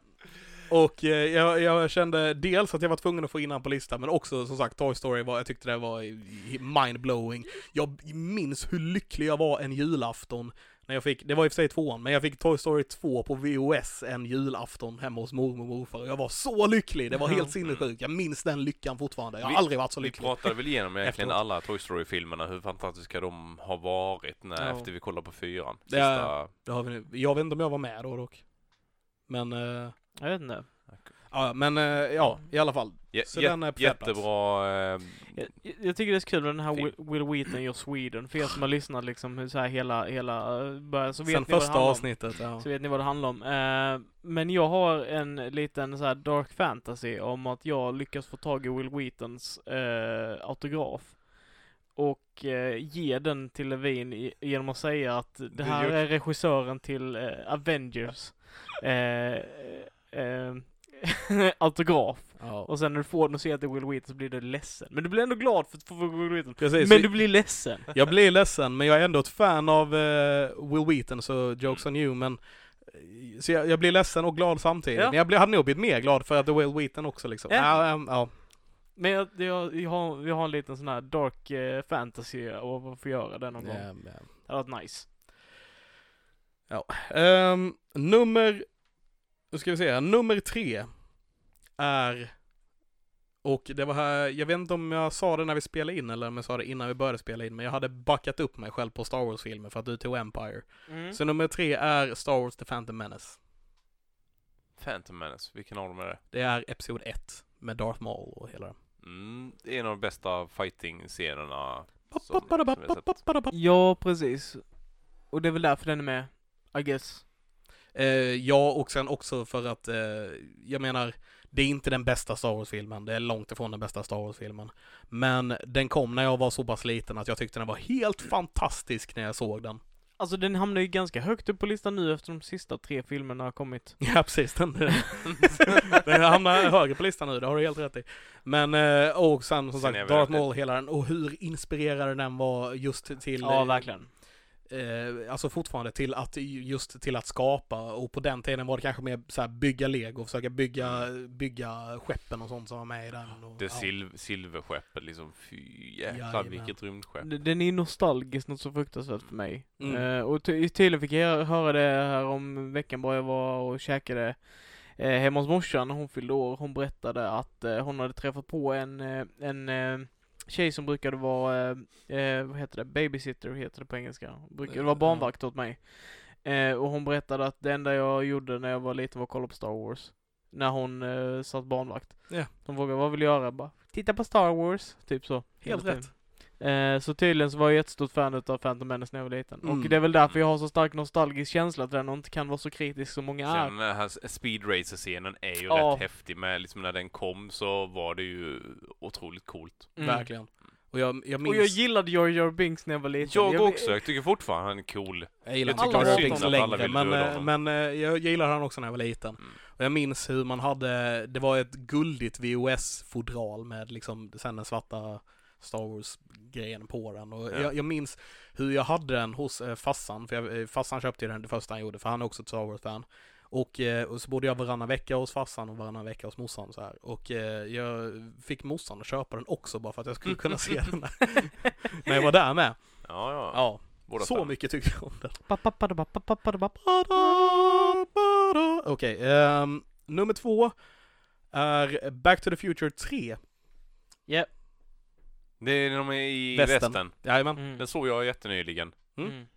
Speaker 3: och eh, jag, jag kände dels att jag var tvungen att få in han på listan, men också som sagt Toy Story, var, jag tyckte det var i- i- mindblowing. Jag minns hur lycklig jag var en julafton när jag fick, det var i och för sig tvåan, men jag fick Toy Story 2 på VOS en julafton hemma hos mormor och morfar. Jag var så lycklig, det var helt sinnessjukt. Jag minns den lyckan fortfarande. Jag har
Speaker 1: Vi-
Speaker 3: aldrig varit så
Speaker 1: Vi
Speaker 3: lycklig.
Speaker 1: pratade väl igenom egentligen
Speaker 3: Efteråt.
Speaker 1: alla Toy Story-filmerna, hur fantastiska de har varit när,
Speaker 2: Ja.
Speaker 1: efter vi kollade på fyran.
Speaker 3: Ja.
Speaker 1: Sista, ja.
Speaker 3: Det har vi nu. Jag vet inte om jag var med då dock. Men, eh,
Speaker 2: Jag vet inte.
Speaker 3: ja, men eh, ja, i alla fall. Så den är på fjärde plats.
Speaker 1: jättebra. Eh,
Speaker 2: Jag, jag tycker det är så kul med den här
Speaker 1: Film.
Speaker 2: Will- Will Wheaton gör Sweden, för er som har lyssnat liksom hur så här hela, hela eh, början, så vet
Speaker 3: Sen
Speaker 2: ni vad det
Speaker 3: första
Speaker 2: handlar om.
Speaker 3: avsnittet, ja.
Speaker 2: Så vet ni vad det handlar om. Eh, men jag har en liten så här dark fantasy om att jag lyckas få tag i Will Wheatons eh, autograf. Och eh, ge den till Levin i- genom att säga att det
Speaker 1: Du
Speaker 2: här
Speaker 1: gör-
Speaker 2: är regissören till eh, Avengers. Eh, eh, [laughs] autograf.
Speaker 3: ja.
Speaker 2: Och sen när du får den och ser att det är Will Wheaton så blir du ledsen. Men du blir ändå glad för att få Will Wheaton.
Speaker 3: Precis,
Speaker 2: Men
Speaker 3: vi-
Speaker 2: du blir ledsen.
Speaker 3: Jag blir ledsen, men jag är ändå ett fan av eh, Will Wheaton, så jokes on you, men eh, så jag, jag blir ledsen och glad samtidigt.
Speaker 2: Ja.
Speaker 3: Men jag blir, hade nog blivit mer glad för att det är Will Wheaton också liksom.
Speaker 2: Ja.
Speaker 3: Ja, ehm, ja.
Speaker 2: Men jag, jag, jag, har, vi har en liten sån här dark eh, fantasy och vad får göra den någon gång.
Speaker 3: Ehm, ja.
Speaker 2: Det hade varit nice.
Speaker 3: Ehm, nummer, nu ska vi se här, nummer tre är, och det var här, jag vet inte om jag sa det när vi spelade in eller om jag sa det innan vi började spela in, men jag hade backat upp mig själv på Star Wars-filmer för att du tog Empire.
Speaker 2: Mm.
Speaker 3: Så nummer tre är Star Wars The Phantom Menace.
Speaker 1: Phantom Menace, vilken av dem är det?
Speaker 3: Det är Episod 1 med Darth Maul och hela det.
Speaker 1: Mm, det är en av de bästa fighting-scenerna. Som- som vi har sett.
Speaker 3: Som,
Speaker 2: Ja, precis. Och det är väl därför den är med, I guess.
Speaker 3: eh, ja, och sen också för att eh, jag menar, det är inte den bästa Star Wars-filmen. Det är långt ifrån den bästa Star Wars-filmen. Men den kom när jag var så pass liten att jag tyckte den var helt fantastisk när jag såg den.
Speaker 2: Alltså den hamnar ju ganska högt upp på listan nu efter de sista tre filmerna har kommit.
Speaker 3: [laughs] Ja, precis. Den, [laughs] den hamnar högre på listan nu, det har du helt rätt i. Men, eh, och sen som
Speaker 1: Sen är
Speaker 3: sagt,
Speaker 1: väl-
Speaker 3: Darth Maul, hela den, och hur inspirerad den var just till
Speaker 2: Ja,
Speaker 3: eh,
Speaker 2: verkligen.
Speaker 3: eh, alltså fortfarande till att, just till att skapa och på den tiden var det kanske mer så här bygga lego, försöka bygga, bygga skeppen och sånt som var med i den. Och,
Speaker 1: Det
Speaker 3: ja.
Speaker 1: sil- silverskeppet liksom, fy jäklar
Speaker 3: Jajamän.
Speaker 1: vilket rymdskepp.
Speaker 2: D- Den är nostalgisk något så fruktansvärt för mig.
Speaker 3: Mm.
Speaker 2: Eh, och ty- tydligen fick jag höra det här om veckan bara jag var och käkade eh, hemma hos morsan när hon fyllde år. Hon berättade att eh, hon hade träffat på en, eh, en eh, tjej som brukade vara, eh, eh, vad heter det, babysitter heter det på engelska. Brukade vara
Speaker 3: Ja.
Speaker 2: barnvakt åt mig. Eh, och hon berättade att det enda jag gjorde när jag var liten var att kolla på Star Wars. När hon eh, satt barnvakt.
Speaker 3: Ja.
Speaker 2: Hon frågade vad vill jag göra? Jag Bara, titta på Star Wars. Typ så.
Speaker 3: Helt
Speaker 2: Hela
Speaker 3: rätt.
Speaker 2: tiden. Eh, så tydligen så var jag jättestort fan av Phantom Menace när jag var liten.
Speaker 3: Mm.
Speaker 2: Och det är väl därför jag har så stark nostalgisk känsla till den och inte kan vara så kritisk som många är.
Speaker 1: Sen den här speed racer scenen är ju
Speaker 2: Ja.
Speaker 1: rätt häftig med liksom när den kom så var det ju otroligt coolt.
Speaker 2: Mm.
Speaker 3: Verkligen. Och jag, jag minns...
Speaker 2: Och jag gillade Jar Jar Binks när jag var liten.
Speaker 1: Jag också, jag tycker fortfarande han är cool.
Speaker 3: Jag gillar
Speaker 1: Jag
Speaker 3: inte
Speaker 2: tycker
Speaker 3: Jar Jar
Speaker 2: synd
Speaker 3: Binks
Speaker 2: att
Speaker 1: alla
Speaker 3: längre,
Speaker 1: vill
Speaker 3: men,
Speaker 1: döda
Speaker 3: eh,
Speaker 1: honom.
Speaker 3: men eh, jag gillar han också när jag var liten.
Speaker 1: Mm.
Speaker 3: Och jag minns hur man hade, det var ett guldigt VOS-fodral med liksom sen den svarta Star Wars-grejen på den. Och
Speaker 1: Ja.
Speaker 3: jag, jag minns hur jag hade den hos eh, fassan, för jag, eh, fassan köpte ju den det första han gjorde, för han är också ett Star Wars-fan. Och, eh, och så bodde jag varannan vecka hos farsan och varannan vecka hos morsan så här. Och eh, jag fick morsan att köpa den också bara för att jag skulle
Speaker 1: [laughs]
Speaker 3: kunna se den när- [laughs] när jag var där med.
Speaker 1: Ja, ja.
Speaker 3: Ja,
Speaker 1: Båda
Speaker 3: så
Speaker 1: stämmer.
Speaker 3: mycket tyckte jag om den.
Speaker 2: Pappapadabapapadabapp.
Speaker 3: Ba-da, ba-da. Okej, ehm, nummer två är Back to the Future 3.
Speaker 1: Det är när de är i
Speaker 3: Västen.
Speaker 1: västen.
Speaker 3: Jajamän.
Speaker 2: Mm.
Speaker 1: Den såg jag jättenyligen.
Speaker 3: Mm.
Speaker 2: Mm.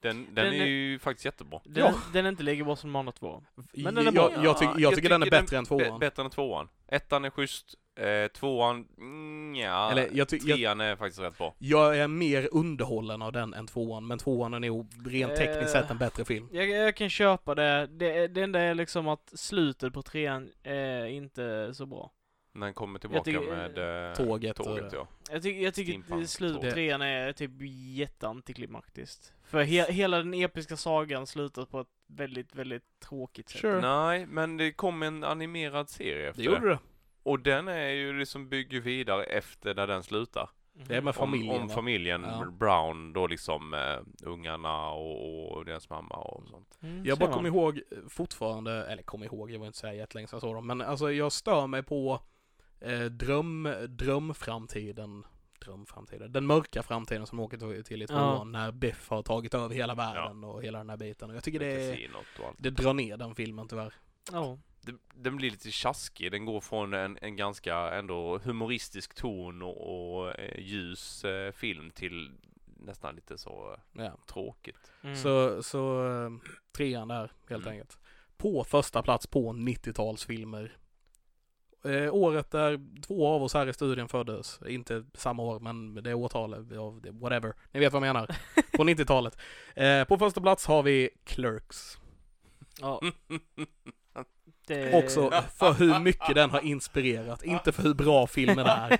Speaker 1: Den, den,
Speaker 2: Den
Speaker 1: är
Speaker 2: är-
Speaker 1: ju faktiskt jättebra.
Speaker 2: Den,
Speaker 3: Ja.
Speaker 2: den är inte lika bra som de andra två.
Speaker 3: Men
Speaker 2: Men
Speaker 3: den
Speaker 2: den
Speaker 3: är
Speaker 2: är
Speaker 3: jag,
Speaker 2: bra.
Speaker 3: jag, tycker, jag tycker den är bättre än
Speaker 1: Bä-
Speaker 3: tvåan.
Speaker 1: bättre än tvåan. Ettan är schysst, eh, tvåan, mm, ja.
Speaker 3: Eller jag, ty- jag,
Speaker 1: Trean är faktiskt rätt bra.
Speaker 3: jag är mer underhållen av den än tvåan, men tvåan är nog rent tekniskt
Speaker 2: Eh.
Speaker 3: sett en bättre film.
Speaker 2: Jag, jag kan köpa det. det. Det enda är liksom att slutet på trean är inte så bra.
Speaker 1: När han kommer tillbaka
Speaker 2: tycker-
Speaker 1: med eh,
Speaker 3: Tåget och-
Speaker 1: tåget
Speaker 3: [laughs]
Speaker 1: ja.
Speaker 2: Jag, tycker jag tycker
Speaker 1: Steampunk
Speaker 2: att slutet på
Speaker 1: två.
Speaker 2: trean är typ jätteantiklimaktiskt. För he, hela den episka sagan slutar på ett väldigt, väldigt tråkigt sätt.
Speaker 3: Sure.
Speaker 1: Nej, men det kom en animerad serie efter
Speaker 3: Det
Speaker 1: det.
Speaker 3: gjorde det.
Speaker 1: Och den är ju liksom bygger vidare efter där den slutar.
Speaker 2: Mhm.
Speaker 3: Det är med familjen.
Speaker 1: om, om
Speaker 3: va?
Speaker 1: familjen
Speaker 3: Ja. Brown
Speaker 1: Brown då liksom eh, ungarna och, och deras mamma och sånt.
Speaker 2: Mm,
Speaker 3: Jag
Speaker 2: ser
Speaker 3: bara
Speaker 2: man.
Speaker 3: kommer ihåg eh, fortfarande, eller kommer ihåg, jag var inte så här jättelänge sedan jag såg dem, men alltså jag stör mig på eh, dröm, drömframtiden, drömframtiden, den mörka framtiden som åker till- till i tvåan
Speaker 2: Ja.
Speaker 3: när Biff har tagit över hela världen och hela den här biten. Och jag tycker
Speaker 1: Med
Speaker 3: det,
Speaker 1: kasinot och allt.
Speaker 3: det drar ner den filmen tyvärr.
Speaker 2: Ja.
Speaker 1: Den- Den blir lite tjaskig, den går från en, en ganska ändå humoristisk ton och, och eh, ljus eh, film till nästan lite så eh,
Speaker 3: Ja.
Speaker 1: tråkigt.
Speaker 2: Mm.
Speaker 3: Så, så eh, trean där helt
Speaker 1: Mm.
Speaker 3: enkelt. På första plats på 90-talsfilmer. Eh, året där två av oss här i studion föddes, inte samma år men det årtalet, av det- whatever, ni vet vad jag menar. På 90-talet. Eh, på första plats har vi Clerks.
Speaker 2: ja.
Speaker 3: [laughs]
Speaker 2: Det...
Speaker 3: Också för hur mycket den har inspirerat, inte för hur bra [laughs]
Speaker 1: [laughs]
Speaker 3: filmen är.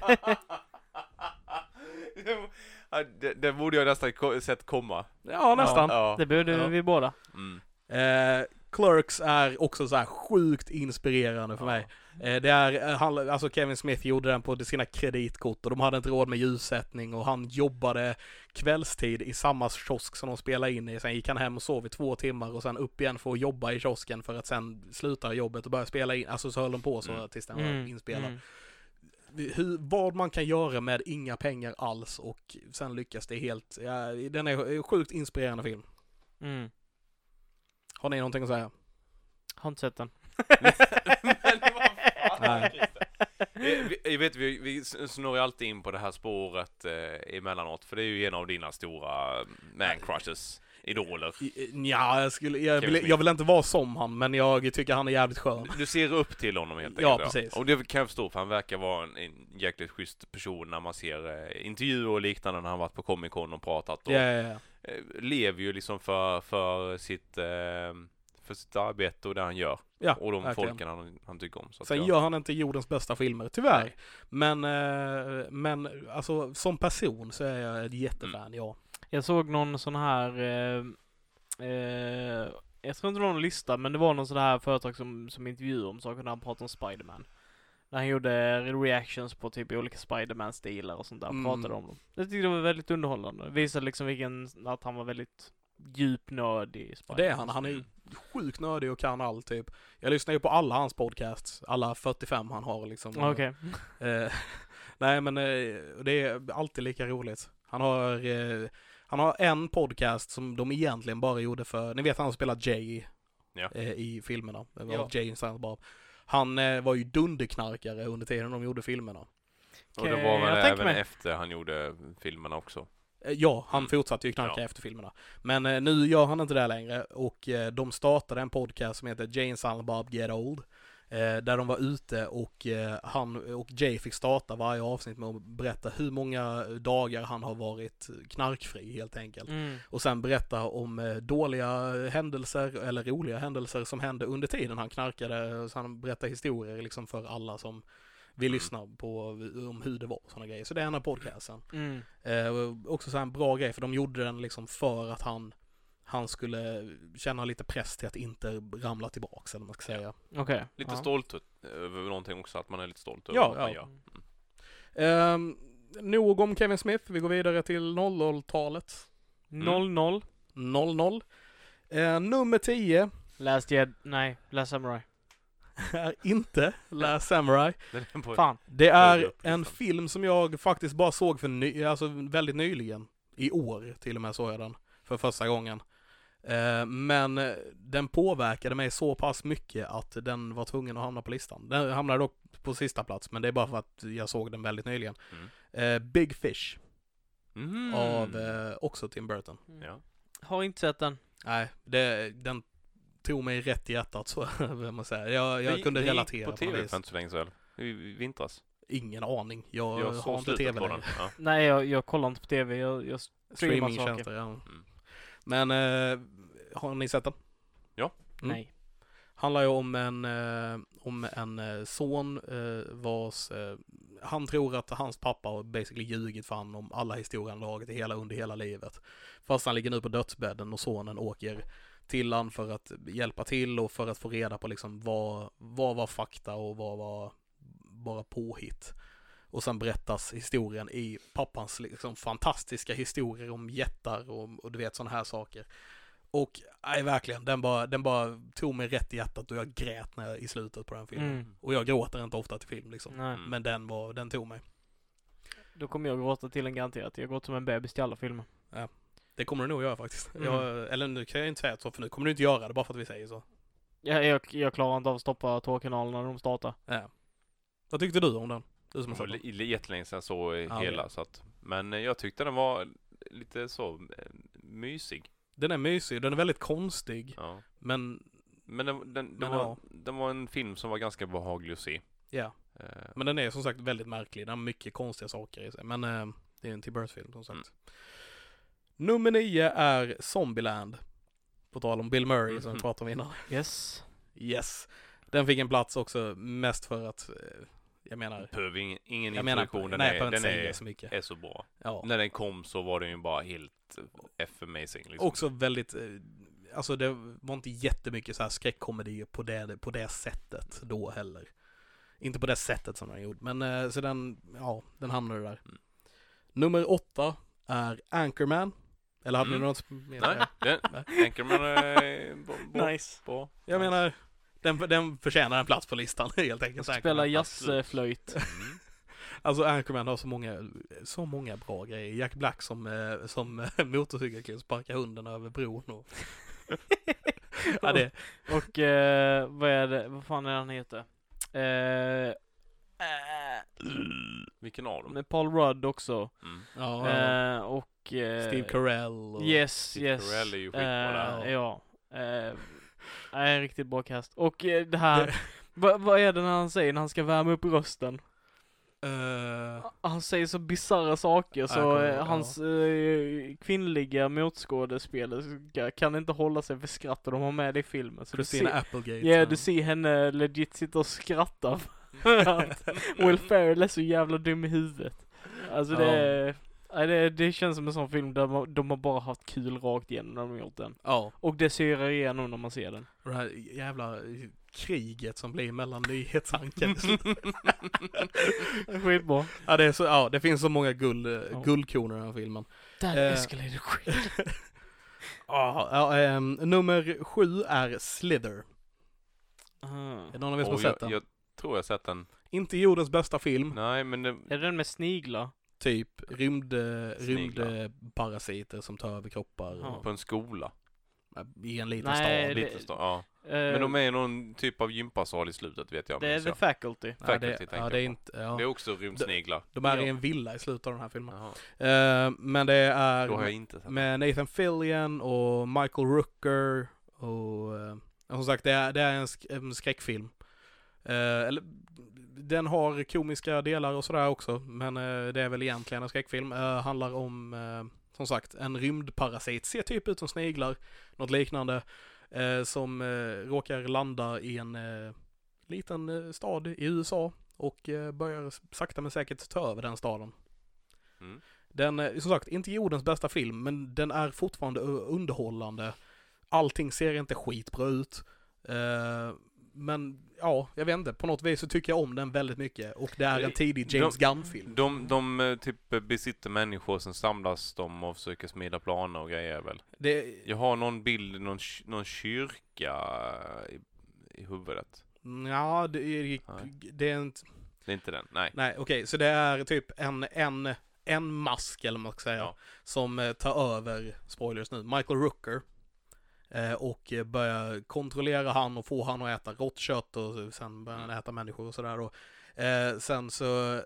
Speaker 1: Ja, det, det borde jag nästan ko- sett komma.
Speaker 3: Ja, nästan.
Speaker 1: Ja.
Speaker 2: Det borde
Speaker 3: Ja.
Speaker 2: vi båda.
Speaker 1: Mm.
Speaker 3: Eh, Clerks är också så här sjukt inspirerande för
Speaker 1: Ja.
Speaker 3: mig. Eh, det är, eh, han, alltså Kevin Smith gjorde den på sina kreditkort och de hade inte råd med ljussättning och han jobbade kvällstid i samma kiosk som de spelade in i. Sen gick han hem och sov i två timmar och sen upp igen för att jobba i kiosken för att sen sluta jobbet och börja spela in. Alltså så höll de på så
Speaker 1: Mm.
Speaker 3: tills den var inspelad. Hur, vad man kan göra med inga pengar alls och sen lyckas det helt. Ja, den är en sjukt inspirerande film.
Speaker 2: Mm. Mm.
Speaker 3: Har ni någonting att säga?
Speaker 2: Har inte
Speaker 3: [laughs]
Speaker 2: sett den.
Speaker 1: Men vad fan,
Speaker 3: Nej.
Speaker 1: Christer. Eh, vi- Jag vet, vi, vi snurrar ju alltid in på det här spåret eh, emellanåt, för det är ju en av dina stora eh, man crushes, idoler.
Speaker 3: Ja, jag, skulle, jag,
Speaker 1: Kevin
Speaker 3: vill,
Speaker 1: Smith.
Speaker 3: jag vill inte vara som han, men jag tycker han är jävligt skön.
Speaker 1: Du ser upp till honom helt
Speaker 3: Ja,
Speaker 1: enkelt.
Speaker 3: precis.
Speaker 1: Och det kan jag förstå, för han verkar vara en, en jäkligt schysst person när man ser eh, intervjuer och liknande när han varit på Comic Con och pratat. Och,
Speaker 3: Ja, ja, ja.
Speaker 1: eh, lever ju liksom för, för, sitt, eh, för sitt arbete och det han gör.
Speaker 3: ja
Speaker 1: Och de
Speaker 3: verkligen.
Speaker 1: folken han, han tycker om. Så att
Speaker 3: Sen
Speaker 1: jag-
Speaker 3: gör han inte jordens bästa filmer, tyvärr.
Speaker 1: Nej.
Speaker 3: Men, eh, men alltså som person så är jag ett jättefan,
Speaker 1: Mm.
Speaker 3: ja.
Speaker 2: Jag såg någon sån här, eh, eh, jag tror inte det var någon lista, men det var någon sån här företag som, som intervjuade om saker när han pratade om Spiderman. När han gjorde reactions på typ olika Spiderman-stilar och sånt där,
Speaker 3: Mm.
Speaker 2: pratade om dem. Jag tyckte det var väldigt underhållande. Visade liksom vilken, att han var väldigt djupnördig Spider-Man.
Speaker 3: Det är han. Han är ju sjukt nördig och kan allt typ. Jag lyssnar ju på alla hans podcasts, alla 45 han har liksom.
Speaker 2: Ah, Okej.
Speaker 3: Eh, [laughs] nej men eh, det är alltid lika roligt. Han har, eh, han har en podcast som de egentligen bara gjorde för, ni vet han som spelar Jay
Speaker 1: Ja.
Speaker 3: eh, i filmerna. Det var
Speaker 2: Ja.
Speaker 3: Jay and Silent Bob. Han eh, var ju dunderknarkare under tiden de gjorde filmerna.
Speaker 1: Och det
Speaker 2: Okej,
Speaker 1: var
Speaker 2: jag
Speaker 1: väl
Speaker 2: tänker
Speaker 1: även
Speaker 2: mig.
Speaker 1: efter han gjorde filmerna också.
Speaker 3: Eh, Ja, han
Speaker 1: Mm.
Speaker 3: fortsatte ju knarka
Speaker 1: Ja.
Speaker 3: efter filmerna. Men eh, nu gör han inte det längre och eh, de startade en podcast som heter Jane Silent Bob Get Old. Eh, där de var ute och eh, han och Jay fick starta varje avsnitt med att berätta hur många dagar han har varit knarkfri helt enkelt.
Speaker 2: Mm.
Speaker 3: Och sen berätta om eh, dåliga händelser eller roliga händelser som hände under tiden han knarkade. Så han berättar historier liksom för alla som vill
Speaker 1: Mm.
Speaker 3: lyssna på om hur det var och sådana grejer. Så det är en av podcasten.
Speaker 2: Mm.
Speaker 3: Eh, och också så här en bra grej, för de gjorde den liksom för att han, han skulle känna lite press till att inte ramla tillbaks, eller vad man ska säga.
Speaker 2: Okej.
Speaker 1: Lite
Speaker 3: Ja.
Speaker 1: stolt över någonting också, att man är lite stolt över
Speaker 3: Ja,
Speaker 1: vad man
Speaker 3: ja.
Speaker 1: gör.
Speaker 3: Ehm, nog om Kevin Smith, vi går vidare till 00-talet.
Speaker 1: Mm.
Speaker 2: 0-0.
Speaker 3: 00. Eh, nummer 10
Speaker 2: Last Jed... Nej, Last Samurai.
Speaker 3: [laughs] är inte Last Samurai.
Speaker 1: Den är på-
Speaker 2: Fan.
Speaker 3: Det
Speaker 1: Högre
Speaker 3: är
Speaker 1: upp,
Speaker 3: en
Speaker 1: liksom.
Speaker 3: film som jag faktiskt bara såg för ny, alltså väldigt nyligen. I år till och med såg jag den för första gången. Eh, men eh, den påverkade mig så pass mycket att den var tvungen att hamna på listan. Den hamnade dock på sista plats, men det är bara för att jag såg den väldigt nyligen.
Speaker 1: Mm.
Speaker 3: Eh, Big Fish
Speaker 1: Mm.
Speaker 3: av eh, också Tim Burton.
Speaker 1: Ja.
Speaker 2: Har inte sett den.
Speaker 3: Nej, det, den tog mig rätt i hjärtat så, [laughs] vad man säger. Jag, jag
Speaker 1: Det-
Speaker 3: kunde
Speaker 1: det gick
Speaker 3: relatera
Speaker 1: på
Speaker 3: på något
Speaker 1: tv
Speaker 3: vis.
Speaker 1: för inte så länge sedan. I i vintras.
Speaker 3: Ingen aning. Jag,
Speaker 1: Jag
Speaker 3: har
Speaker 1: såg
Speaker 3: inte
Speaker 1: slutet
Speaker 3: tv
Speaker 1: på
Speaker 3: längre.
Speaker 1: den. Ja.
Speaker 2: Nej, jag, jag kollar inte på TV. Jag, jag...
Speaker 3: Streamingtjänster, ja. Men eh, har ni sett den? Mm.
Speaker 2: Nej.
Speaker 3: Handlar ju om en, eh, om en eh, son eh, vars, eh, han tror att hans pappa har basically ljugit för honom om alla historier han dragit i hela under hela livet. Fast han ligger nu på dödsbädden och sonen åker till han för att hjälpa till och för att få reda på liksom vad, vad var fakta och vad var bara påhitt. Och sen berättas historien i pappans liksom fantastiska historier om jättar och, och du vet sådana här saker. Och nej, verkligen, den bara, den bara tog mig rätt i hjärtat och jag grät när jag, i slutet på den filmen.
Speaker 2: Mm.
Speaker 3: Och jag gråter inte ofta till film liksom.
Speaker 2: Nej.
Speaker 1: Mm.
Speaker 3: Men den var, den tog mig.
Speaker 2: Då kommer jag gråta till en garanterat. Jag har gått som en bebis till alla filmer.
Speaker 3: Det kommer du nog göra faktiskt.
Speaker 2: Mm.
Speaker 3: Jag, eller nu kan jag inte säga så, för nu kommer du inte göra det bara för att vi säger så.
Speaker 2: Jag, jag, jag klarar inte av att stoppa tårkanalerna när de startar.
Speaker 3: Ja. Vad tyckte du om den? Du [laughs] som
Speaker 1: Det
Speaker 3: har
Speaker 1: var
Speaker 3: sett den.
Speaker 1: li- li- jättelänge sedan jag såg
Speaker 3: Ja,
Speaker 1: hela
Speaker 3: okej.
Speaker 1: så att, Men eh, jag tyckte den var lite så eh, mysig.
Speaker 3: Den är mysig, den är väldigt konstig.
Speaker 1: Ja.
Speaker 3: Men,
Speaker 1: Men, den, den, det
Speaker 3: Men
Speaker 1: var,
Speaker 3: ja.
Speaker 1: den var en film som var ganska behaglig att se.
Speaker 3: ja.
Speaker 1: Eh,
Speaker 3: Men den är som sagt väldigt märklig. Den har mycket konstiga saker i sig. Men eh, det är en Tim Burton-film som sagt.
Speaker 1: Mm.
Speaker 3: Nummer nio är Zombieland. På tal om Bill Murray som vi
Speaker 1: Mhm.
Speaker 3: pratade om innan.
Speaker 2: Yes.
Speaker 3: Yes. Den fick en plats också mest för att, eh, jag menar,
Speaker 1: Behöver ingen, ingen
Speaker 3: jag menar,
Speaker 1: introduktion. Den,
Speaker 3: nej,
Speaker 1: är,
Speaker 3: jag behöver
Speaker 1: den
Speaker 3: inte säga
Speaker 1: är,
Speaker 3: så mycket.
Speaker 1: är så bra.
Speaker 3: Ja.
Speaker 1: När den kom så var den ju bara helt F-amazing liksom.
Speaker 3: Också väldigt, eh, alltså det var inte jättemycket så här skräckkomedi på det, på det sättet då heller. Inte på det sättet som den gjorde, men eh, så den, ja, den hamnade där.
Speaker 1: Mm.
Speaker 3: Nummer åtta är Anchorman. Eller hade ni
Speaker 1: Mm.
Speaker 3: något mer?
Speaker 1: Nej, den, Anchorman är bra. bra-
Speaker 2: Nice.
Speaker 1: bra.
Speaker 3: Jag menar, den, den förtjänar en plats på listan [laughs] helt enkelt.
Speaker 2: Spela
Speaker 1: [laughs]
Speaker 3: Anchorman.
Speaker 2: jazzflöjt.
Speaker 1: Mm.
Speaker 3: Alltså Anchorman har så många, så många bra grejer. Jack Black som, eh, som eh, [laughs] motorcykelkille sparkar hunden över bron
Speaker 2: [laughs]
Speaker 3: och... ja, det,
Speaker 2: Och eh, vad är det? Vad fan är det han heter? Eh, eh,
Speaker 1: Vilken av dem?
Speaker 2: med Paul Rudd också.
Speaker 1: Mm.
Speaker 3: ja,
Speaker 2: Eh, och... Eh,
Speaker 3: Steve Carell och...
Speaker 2: Yes,
Speaker 1: Steve
Speaker 2: yes.
Speaker 1: Carell är ju skitbra
Speaker 3: där.
Speaker 2: eh, Ja. Eh, nej, riktigt bra cast. Och eh, det här, vad vad är det när han säger när han ska värma upp rösten?
Speaker 3: Eh,
Speaker 2: Han säger så bisarra saker
Speaker 3: jag
Speaker 2: så
Speaker 3: kommer
Speaker 2: eh,
Speaker 3: ihåg,
Speaker 2: hans eh, kvinnliga motskådespelerska kan inte hålla sig för skratt och de har med det i filmen. Så du
Speaker 3: Christina
Speaker 2: ser-
Speaker 3: Applegate.
Speaker 2: Ja, du ser henne legit sitta och skratta
Speaker 3: [laughs]
Speaker 2: för att Will Ferrell är så jävla dum i huvudet. Alltså det,
Speaker 3: Ja.
Speaker 2: är- nej, det, det känns som en sån film där man, de har bara haft kul rakt igenom när de har gjort den.
Speaker 3: Ja,
Speaker 2: Och det syrar igenom när man ser den.
Speaker 3: och det här jävla eh, kriget som blir mellan nyhetsanken. [laughs]
Speaker 2: Skitbra.
Speaker 3: ja, det är så, ja, det finns så många guld, eh,
Speaker 2: Ja.
Speaker 3: guldkorn i den här filmen.
Speaker 2: That
Speaker 3: Eh.
Speaker 2: escalated quick.
Speaker 3: [laughs] Ja, ja, ehm, nummer sju är Slither.
Speaker 2: Ah.
Speaker 3: Är det någon av er som har
Speaker 1: Och jag,
Speaker 3: sett den? Mm.
Speaker 1: jag tror jag sett den.
Speaker 3: Inte jordens bästa film,
Speaker 1: Nej, men det...
Speaker 2: Är det den med sniglar?
Speaker 3: typ rymd, eh,
Speaker 1: Sniglar.
Speaker 3: rymdparasiter som tar över kroppar
Speaker 2: Ja.
Speaker 1: på en skola.
Speaker 3: och- i en liten
Speaker 2: Nej,
Speaker 3: stad.
Speaker 2: det-
Speaker 1: Lite stå, ja.
Speaker 2: Eh,
Speaker 1: Men de är i någon typ av gympasal i slutet vet jag.
Speaker 2: det är
Speaker 1: minns
Speaker 2: The
Speaker 1: jag.
Speaker 2: Faculty.
Speaker 3: Ja,
Speaker 1: Faculty
Speaker 3: det,
Speaker 1: tänker
Speaker 3: ja,
Speaker 1: jag
Speaker 3: det
Speaker 1: på.
Speaker 3: är inte, ja.
Speaker 1: det är också rymdsniglar.
Speaker 3: De är
Speaker 2: Ja.
Speaker 3: i en villa i slutet av den här filmen.
Speaker 1: Jaha,
Speaker 3: Eh, men det är
Speaker 1: då har jag inte sett den.
Speaker 3: med Nathan Fillion och Michael Rooker och eh, som sagt det är, det är en, sk- en skräckfilm. Eh, eller, den har komiska delar och sådär också men eh, det är väl egentligen en skräckfilm. Eh, handlar om eh, som sagt en rymdparasit, ser typ ut som sniglar, något liknande, eh, som eh, råkar landa i en eh, liten eh, stad i USA och eh, börjar s- sakta men säkert ta över den staden.
Speaker 1: Mm.
Speaker 3: Den, är, som sagt, inte jordens bästa film, men den är fortfarande ö- underhållande. Allting ser inte skitbra ut. Eh, men ja, jag vet inte. På något vis så tycker jag om den väldigt mycket. Och det är en tidig James Gunn-film.
Speaker 1: De, de eh, typ eh, besitter människor, sen samlas de och försöker smida planer och grejer väl.
Speaker 3: Det,
Speaker 1: Jag har någon bild, någon, ky- någon kyrka eh, i, i huvudet.
Speaker 3: ja, det, är-
Speaker 1: Nej.
Speaker 3: det är inte...
Speaker 1: Det är inte den, nej.
Speaker 3: Nej, okej, så det är typ en, en, en mask, eller vad man ska säga,
Speaker 1: Ja.
Speaker 3: som eh, tar över, spoilers nu, Michael Rooker. eh, Och eh, börjar kontrollera han och få han att äta rått kött och sen börjar han
Speaker 1: Mm.
Speaker 3: äta människor och sådär. Och, eh, sen så, eh,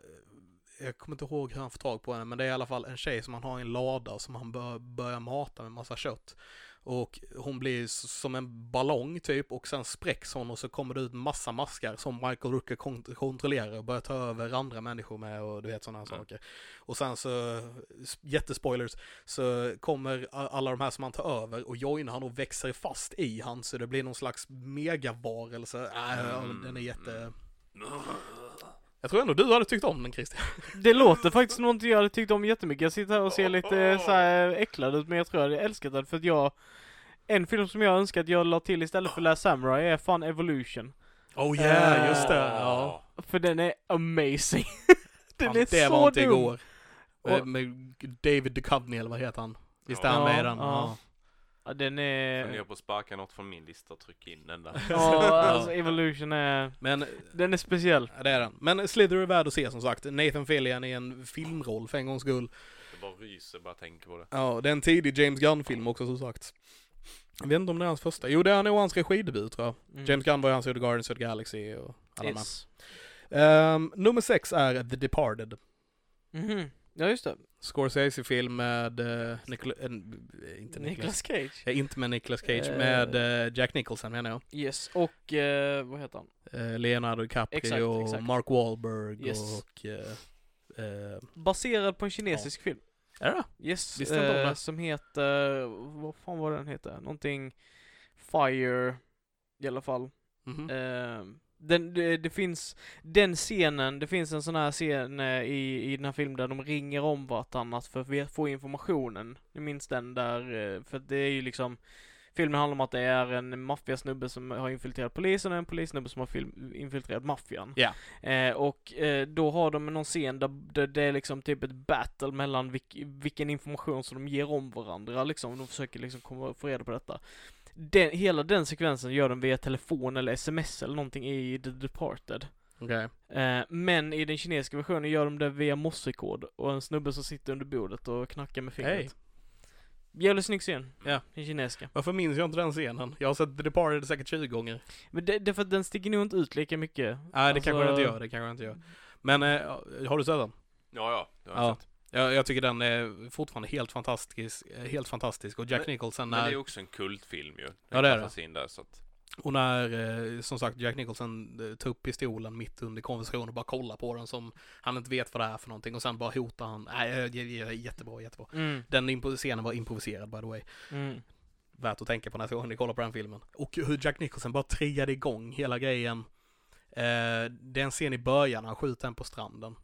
Speaker 3: jag kommer inte ihåg hur han får tag på henne, men det är i alla fall en tjej som han har i en lada som han bör, börjar mata med massa kött. Och hon blir s- som en ballong typ och sen spräcks hon och så kommer det ut massa maskar som Michael Rooker kont- kontrollerar och börjar ta över andra människor med och du vet sådana här
Speaker 1: Mm.
Speaker 3: saker. Och sen så, s- jättespoilers, så kommer a- alla de här som han tar över och joinar han och växer fast i han så det blir någon slags megavarelse. Äh, ja,
Speaker 1: Mm.
Speaker 3: Den är jätte... Jag tror ändå du hade tyckt om den Christian.
Speaker 2: Det låter faktiskt någonting jag hade tyckt om jättemycket. Jag sitter här och ser lite eh, så här äcklad ut men jag tror jag hade älskat den för att jag En film som jag önskar att jag la till istället för Last Samurai är fan Evolution.
Speaker 3: Oh
Speaker 2: yeah, just
Speaker 3: Ja.
Speaker 2: För den är amazing. [laughs] den
Speaker 3: Fan,
Speaker 2: är
Speaker 3: det
Speaker 2: så
Speaker 3: var inte
Speaker 2: dum.
Speaker 3: igår. Eh,
Speaker 2: Och-
Speaker 3: Med David Duchovny eller vad heter han? Visst är
Speaker 1: Ja.
Speaker 3: han med i
Speaker 2: Ja,
Speaker 3: den?
Speaker 2: ja. Ja, den
Speaker 1: Funderar
Speaker 2: är...
Speaker 1: på att sparka något från min lista och trycka in den där.
Speaker 2: Ja, alltså Evolution är...
Speaker 3: Men
Speaker 2: Den är speciell.
Speaker 3: ja, det är den. Men Slither är värd att se som sagt. Nathan Fillion i en filmroll för en gångs skull.
Speaker 1: Jag bara ryser bara jag tänker på det.
Speaker 3: Ja, det är en tidig James Gunn-film också som sagt. Jag vet inte om det är hans första. Jo, det är nog hans regidebut tror jag.
Speaker 2: Mm.
Speaker 3: James Gunn var ju hans gjorde Guardians of the Galaxy och alla de här.
Speaker 2: yes.
Speaker 3: Ehm, nummer sex är The Departed.
Speaker 2: Mhm. Ja just det.
Speaker 3: Scorsese-film med... eh, Nicol- eh, inte Nicolas...
Speaker 2: Nicolas Cage.
Speaker 3: Ja, inte med Nicolas Cage,
Speaker 2: Eh.
Speaker 3: med eh, Jack Nicholson menar jag.
Speaker 2: Yes, och eh, vad heter han?
Speaker 3: Eh, Leonardo DiCaprio
Speaker 2: Exakt,
Speaker 3: och
Speaker 2: exakt.
Speaker 3: Mark Wahlberg
Speaker 2: Yes.
Speaker 3: och... eh, eh,
Speaker 2: Baserad på en kinesisk film.
Speaker 3: är det?
Speaker 2: Yes,
Speaker 3: Visste inte om
Speaker 2: eh,
Speaker 3: det.
Speaker 2: som heter, vad fan var den heter? Någonting Fire i alla fall.
Speaker 3: Mhm.
Speaker 1: Mm-hmm.
Speaker 2: Eh, den, det, det finns, den scenen, det finns en sån här scen eh, i, i den här filmen där de ringer om vartannat för att ve- få informationen. Ni minns den där, eh, för att det är ju liksom Filmen handlar om att det är en maffiasnubbe som har infiltrerat polisen och en polissnubbe som har film, infiltrerat maffian.
Speaker 3: Ja.
Speaker 2: Eh, och eh, då har de någon scen där, där det är liksom typ ett battle mellan vilk, vilken information som de ger om varandra liksom. De försöker liksom komma, få reda på detta. Den, hela den sekvensen gör de via telefon eller sms eller någonting i The Departed.
Speaker 3: Okej.
Speaker 2: Eh, men i den kinesiska versionen gör de det via morsekod och en snubbe som sitter under bordet och knackar med fingret.
Speaker 3: Hej.
Speaker 2: Jävligt snygg scen.
Speaker 3: Ja.
Speaker 2: Den kinesiska.
Speaker 3: Varför minns jag inte den scenen? Jag har sett The Departed säkert 20 gånger.
Speaker 2: Men det, det är för att den sticker nog inte ut lika mycket.
Speaker 3: Nej, det
Speaker 2: Alltså-
Speaker 3: kanske den inte gör. Det kanske den inte gör. Men eh, har du sett den?
Speaker 1: Ja, ja. Det har
Speaker 3: Ja.
Speaker 1: jag sett.
Speaker 3: Jag, jag tycker den är fortfarande helt fantastisk. eh, Helt fantastisk. Och Jack
Speaker 1: Men-
Speaker 3: Nicholson
Speaker 1: Men det
Speaker 3: när,
Speaker 1: är ju också en kultfilm ju. Den
Speaker 3: Ja, det är
Speaker 1: klassas In där, så att...
Speaker 3: och när eh, som sagt Jack Nicholson eh, tar upp pistolen mitt under konversationen och bara kollar på den som han inte vet vad det är för någonting och sen bara hotar han. Nej, eh, j- j- jättebra, jättebra.
Speaker 2: Mm,
Speaker 3: Den impo- scenen var improviserad by the way.
Speaker 2: mm.
Speaker 3: värt att tänka på nästa gång ni kollar på den filmen. Och hur Jack Nicholson bara triggade igång hela grejen. Eh, det är en scen i början, han skjuter en på stranden.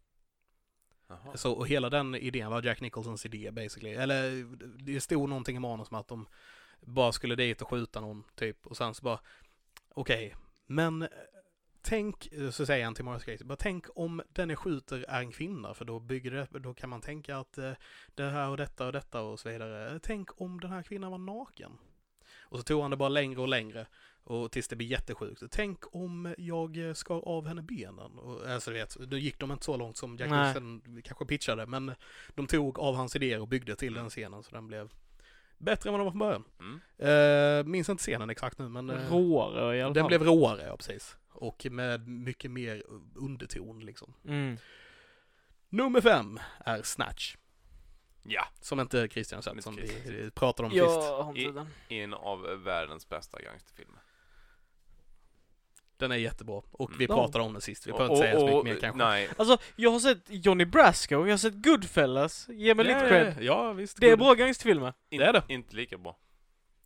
Speaker 1: Jaha.
Speaker 3: Så, och hela den idén var Jack Nicholsons idé basically. Eller det stod någonting i manus om att de bara skulle dit och skjuta någon typ. Och sen så bara, okej, men tänk, så säger han till Marius Gracie, bara tänk om den jag skjuter är en kvinna, för då bygger det, då kan man tänka att eh, det här och detta och detta och så vidare. Tänk om den här kvinnan var naken. Och så tog han det bara längre och längre, och tills det blev jättesjukt. Tänk om jag eh, skar av henne benen. Och, alltså du vet, då gick de inte så långt som Jack
Speaker 2: Nej.
Speaker 3: Nicholson kanske pitchade, men de tog av hans idéer och byggde till den scenen, så den blev bättre än vad den var från början.
Speaker 1: Mm.
Speaker 3: Eh, minns inte scenen exakt nu, men... eh,
Speaker 2: Råare i alla fall.
Speaker 3: den blev råare, ja precis. Och med mycket mer underton liksom.
Speaker 2: Mm.
Speaker 3: Nummer fem är Snatch.
Speaker 1: Ja,
Speaker 3: Som inte Christian har sett,
Speaker 1: Inte
Speaker 3: som vi
Speaker 1: Christian.
Speaker 3: vi pratade om sist.
Speaker 2: Jag har
Speaker 1: I-
Speaker 2: inte den.
Speaker 1: en av världens bästa gangsterfilmer.
Speaker 3: Den är jättebra. Och vi
Speaker 1: Mm.
Speaker 3: pratade om den sist, vi behöver inte säga så mycket mer kanske.
Speaker 1: Nej,
Speaker 2: Alltså, jag har sett Johnny Brasco, jag har sett Goodfellas. Ge mig lite cred.
Speaker 3: Ja, visst.
Speaker 2: Det är
Speaker 3: Good-
Speaker 2: bra gangsterfilmer.
Speaker 1: inte,
Speaker 3: Det är det.
Speaker 1: inte lika bra.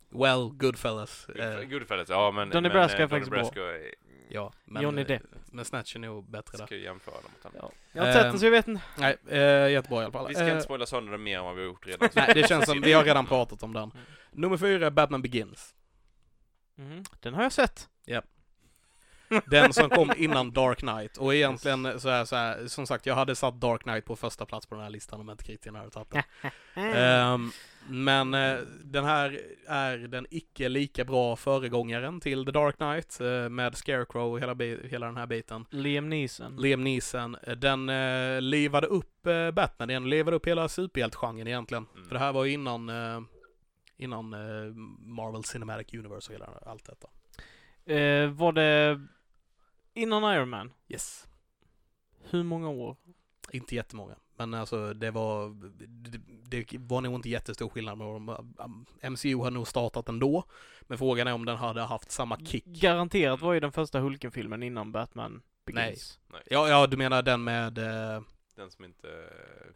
Speaker 3: Well, Goodfellas. Eh,
Speaker 1: Goodfellas, ja men...
Speaker 2: Donnie
Speaker 1: men,
Speaker 2: Brasco
Speaker 1: eh,
Speaker 2: är faktiskt
Speaker 1: Donnie
Speaker 2: bra.
Speaker 1: Brasco är-
Speaker 3: ja, men,
Speaker 2: Johnny
Speaker 3: eh,
Speaker 2: Depp.
Speaker 3: Men Snatch är nog bättre där.
Speaker 1: Ska ju jämföra dem mot honom.
Speaker 2: Ja. Jag har inte sett
Speaker 3: Ehm,
Speaker 2: den så jag vet inte.
Speaker 3: Nej, eh, jättebra i alla fall.
Speaker 1: Vi ska
Speaker 3: Eh,
Speaker 1: inte spoila sönder det mer än vad vi har gjort redan.
Speaker 3: [laughs] nej, det känns som, vi har redan pratat om den.
Speaker 2: Mm.
Speaker 3: Nummer fyra är Batman Begins.
Speaker 2: Mhm. Den har jag sett.
Speaker 3: Den som kom
Speaker 2: [laughs]
Speaker 3: innan Dark Knight. Och egentligen så här, så här, som sagt, jag hade satt Dark Knight på första plats på den här listan om inte kritikerna hade tagit den.
Speaker 2: Eh. Mm.
Speaker 3: Ehm, men eh, den här är den icke lika bra föregångaren till The Dark Knight eh, med Scarecrow och hela, bi- hela den här biten.
Speaker 2: Liam Neeson.
Speaker 3: Liam Neeson, eh, den eh, livade upp eh, Batman igen, livade upp hela superhjältgenren egentligen.
Speaker 1: Mm.
Speaker 3: För det här var ju innan, eh, innan eh, Marvel Cinematic Universe och hela allt detta.
Speaker 2: Eh, var det innan Iron Man?
Speaker 3: Yes.
Speaker 2: Hur många år?
Speaker 3: Inte jättemånga. Men alltså det var, det, det var nog inte jättestor skillnad. med dem. MCU hade nog startat ändå. Men frågan är om den hade haft samma
Speaker 2: Mm.
Speaker 3: kick. Mm.
Speaker 2: Garanterat var ju den första Hulken-filmen innan Batman Begins.
Speaker 3: Ja, ja du menar den med, eh,
Speaker 1: Den som inte...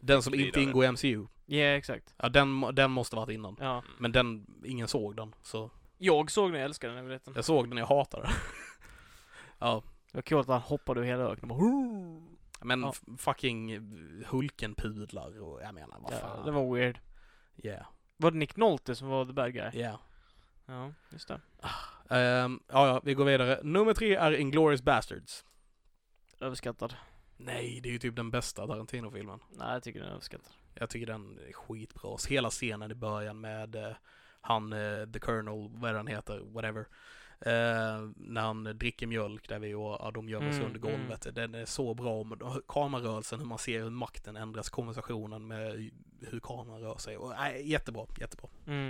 Speaker 3: den som inte
Speaker 1: Vidare.
Speaker 3: ingår i MCU.
Speaker 2: Ja, exakt.
Speaker 3: Ja, den, må- den måste varit innan.
Speaker 2: Ja.
Speaker 1: Mm.
Speaker 3: Men den, ingen såg den. Så
Speaker 2: Mm. Jag såg den, jag älskade den, jag vet inte.
Speaker 3: jag såg den, jag hatade den. [laughs] ja,
Speaker 2: Det var kul att han hoppade ur hela öknen och bara, "Hurr!"
Speaker 3: men
Speaker 2: Ja.
Speaker 3: f- fucking Hulken-pudlar och jag menar vad
Speaker 2: ja,
Speaker 3: fan.
Speaker 2: Det var weird.
Speaker 3: Yeah,
Speaker 2: Var det Nick Nolte som var the bad guy?
Speaker 3: yeah.
Speaker 2: Ja, just det.
Speaker 3: Ehm, ja, ja, vi går vidare. Nummer tre är Inglourious Bastards.
Speaker 2: Överskattad.
Speaker 3: Nej, det är ju typ den bästa Tarantino-filmen.
Speaker 2: Nej, jag tycker den är överskattad.
Speaker 3: Jag tycker den är skitbra. Hela scenen i början med eh, han, eh, the colonel, vad han heter, whatever. Eh, när han dricker mjölk där vi och ja, de gömmer sig
Speaker 2: Mm,
Speaker 3: under golvet. Den är så bra. Om de- kamerarörelsen, hur man ser hur makten ändras, konversationen med hur kameran rör sig. Och, nej, jättebra, jättebra.
Speaker 2: Mm.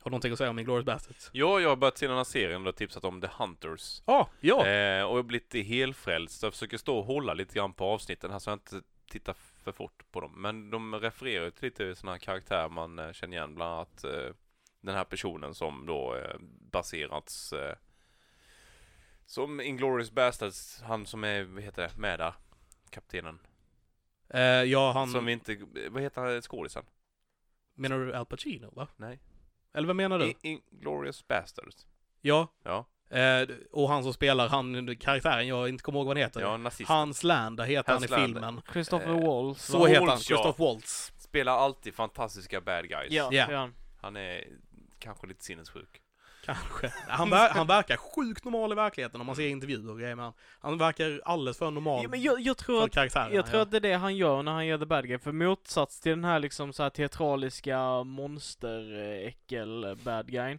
Speaker 3: Har du någonting att säga om Inglourious Bastards?
Speaker 1: Ja, jag har börjat se den här serien och du har tipsat om The Hunters.
Speaker 3: Ah, ja!
Speaker 1: Eh, och jag blir lite helfrälst. Jag försöker stå och hålla lite grann på avsnitten här så jag inte tittar för fort på dem. Men de refererar ju till lite sådana här karaktärer man eh, känner igen. Bland annat eh, den här personen som då eh, baserats eh, som Inglourious Basterds, han som är, vad heter det, med där, kaptenen.
Speaker 3: Eh, ja, han...
Speaker 1: Som vi inte, eh, vad heter han, skådisen?
Speaker 3: Menar du Al Pacino, va?
Speaker 1: Nej.
Speaker 3: Eller vad menar du?
Speaker 1: I- Inglourious Basterds.
Speaker 3: ja.
Speaker 1: Ja,
Speaker 3: Eh, och han som spelar, han, karaktären, jag inte kommer ihåg vad han heter.
Speaker 1: ja, nazist.
Speaker 3: Hans Landa heter
Speaker 1: Hans
Speaker 3: han i
Speaker 1: Landa.
Speaker 3: filmen.
Speaker 2: Christopher
Speaker 1: Eh,
Speaker 2: Waltz.
Speaker 3: Så
Speaker 2: va?
Speaker 3: heter han,
Speaker 1: Waltz, ja.
Speaker 3: Christoph Waltz.
Speaker 1: Spelar alltid fantastiska bad guys.
Speaker 2: Ja,
Speaker 3: Ja.
Speaker 2: det gör han.
Speaker 1: Han är kanske lite sinnessjuk.
Speaker 3: Kanske. Han, ver- han verkar sjukt normal i verkligheten om man
Speaker 1: Mm.
Speaker 3: ser intervjuer och grejer med han. Han verkar alldeles för normal
Speaker 2: Ja, men jag, jag tror
Speaker 3: för
Speaker 2: att
Speaker 3: karaktären.
Speaker 2: Jag tror
Speaker 3: ja.
Speaker 2: att det är det han gör när han gör The Bad Guy, för motsats till den här liksom så här teatraliska monsteräckel-bad guyn,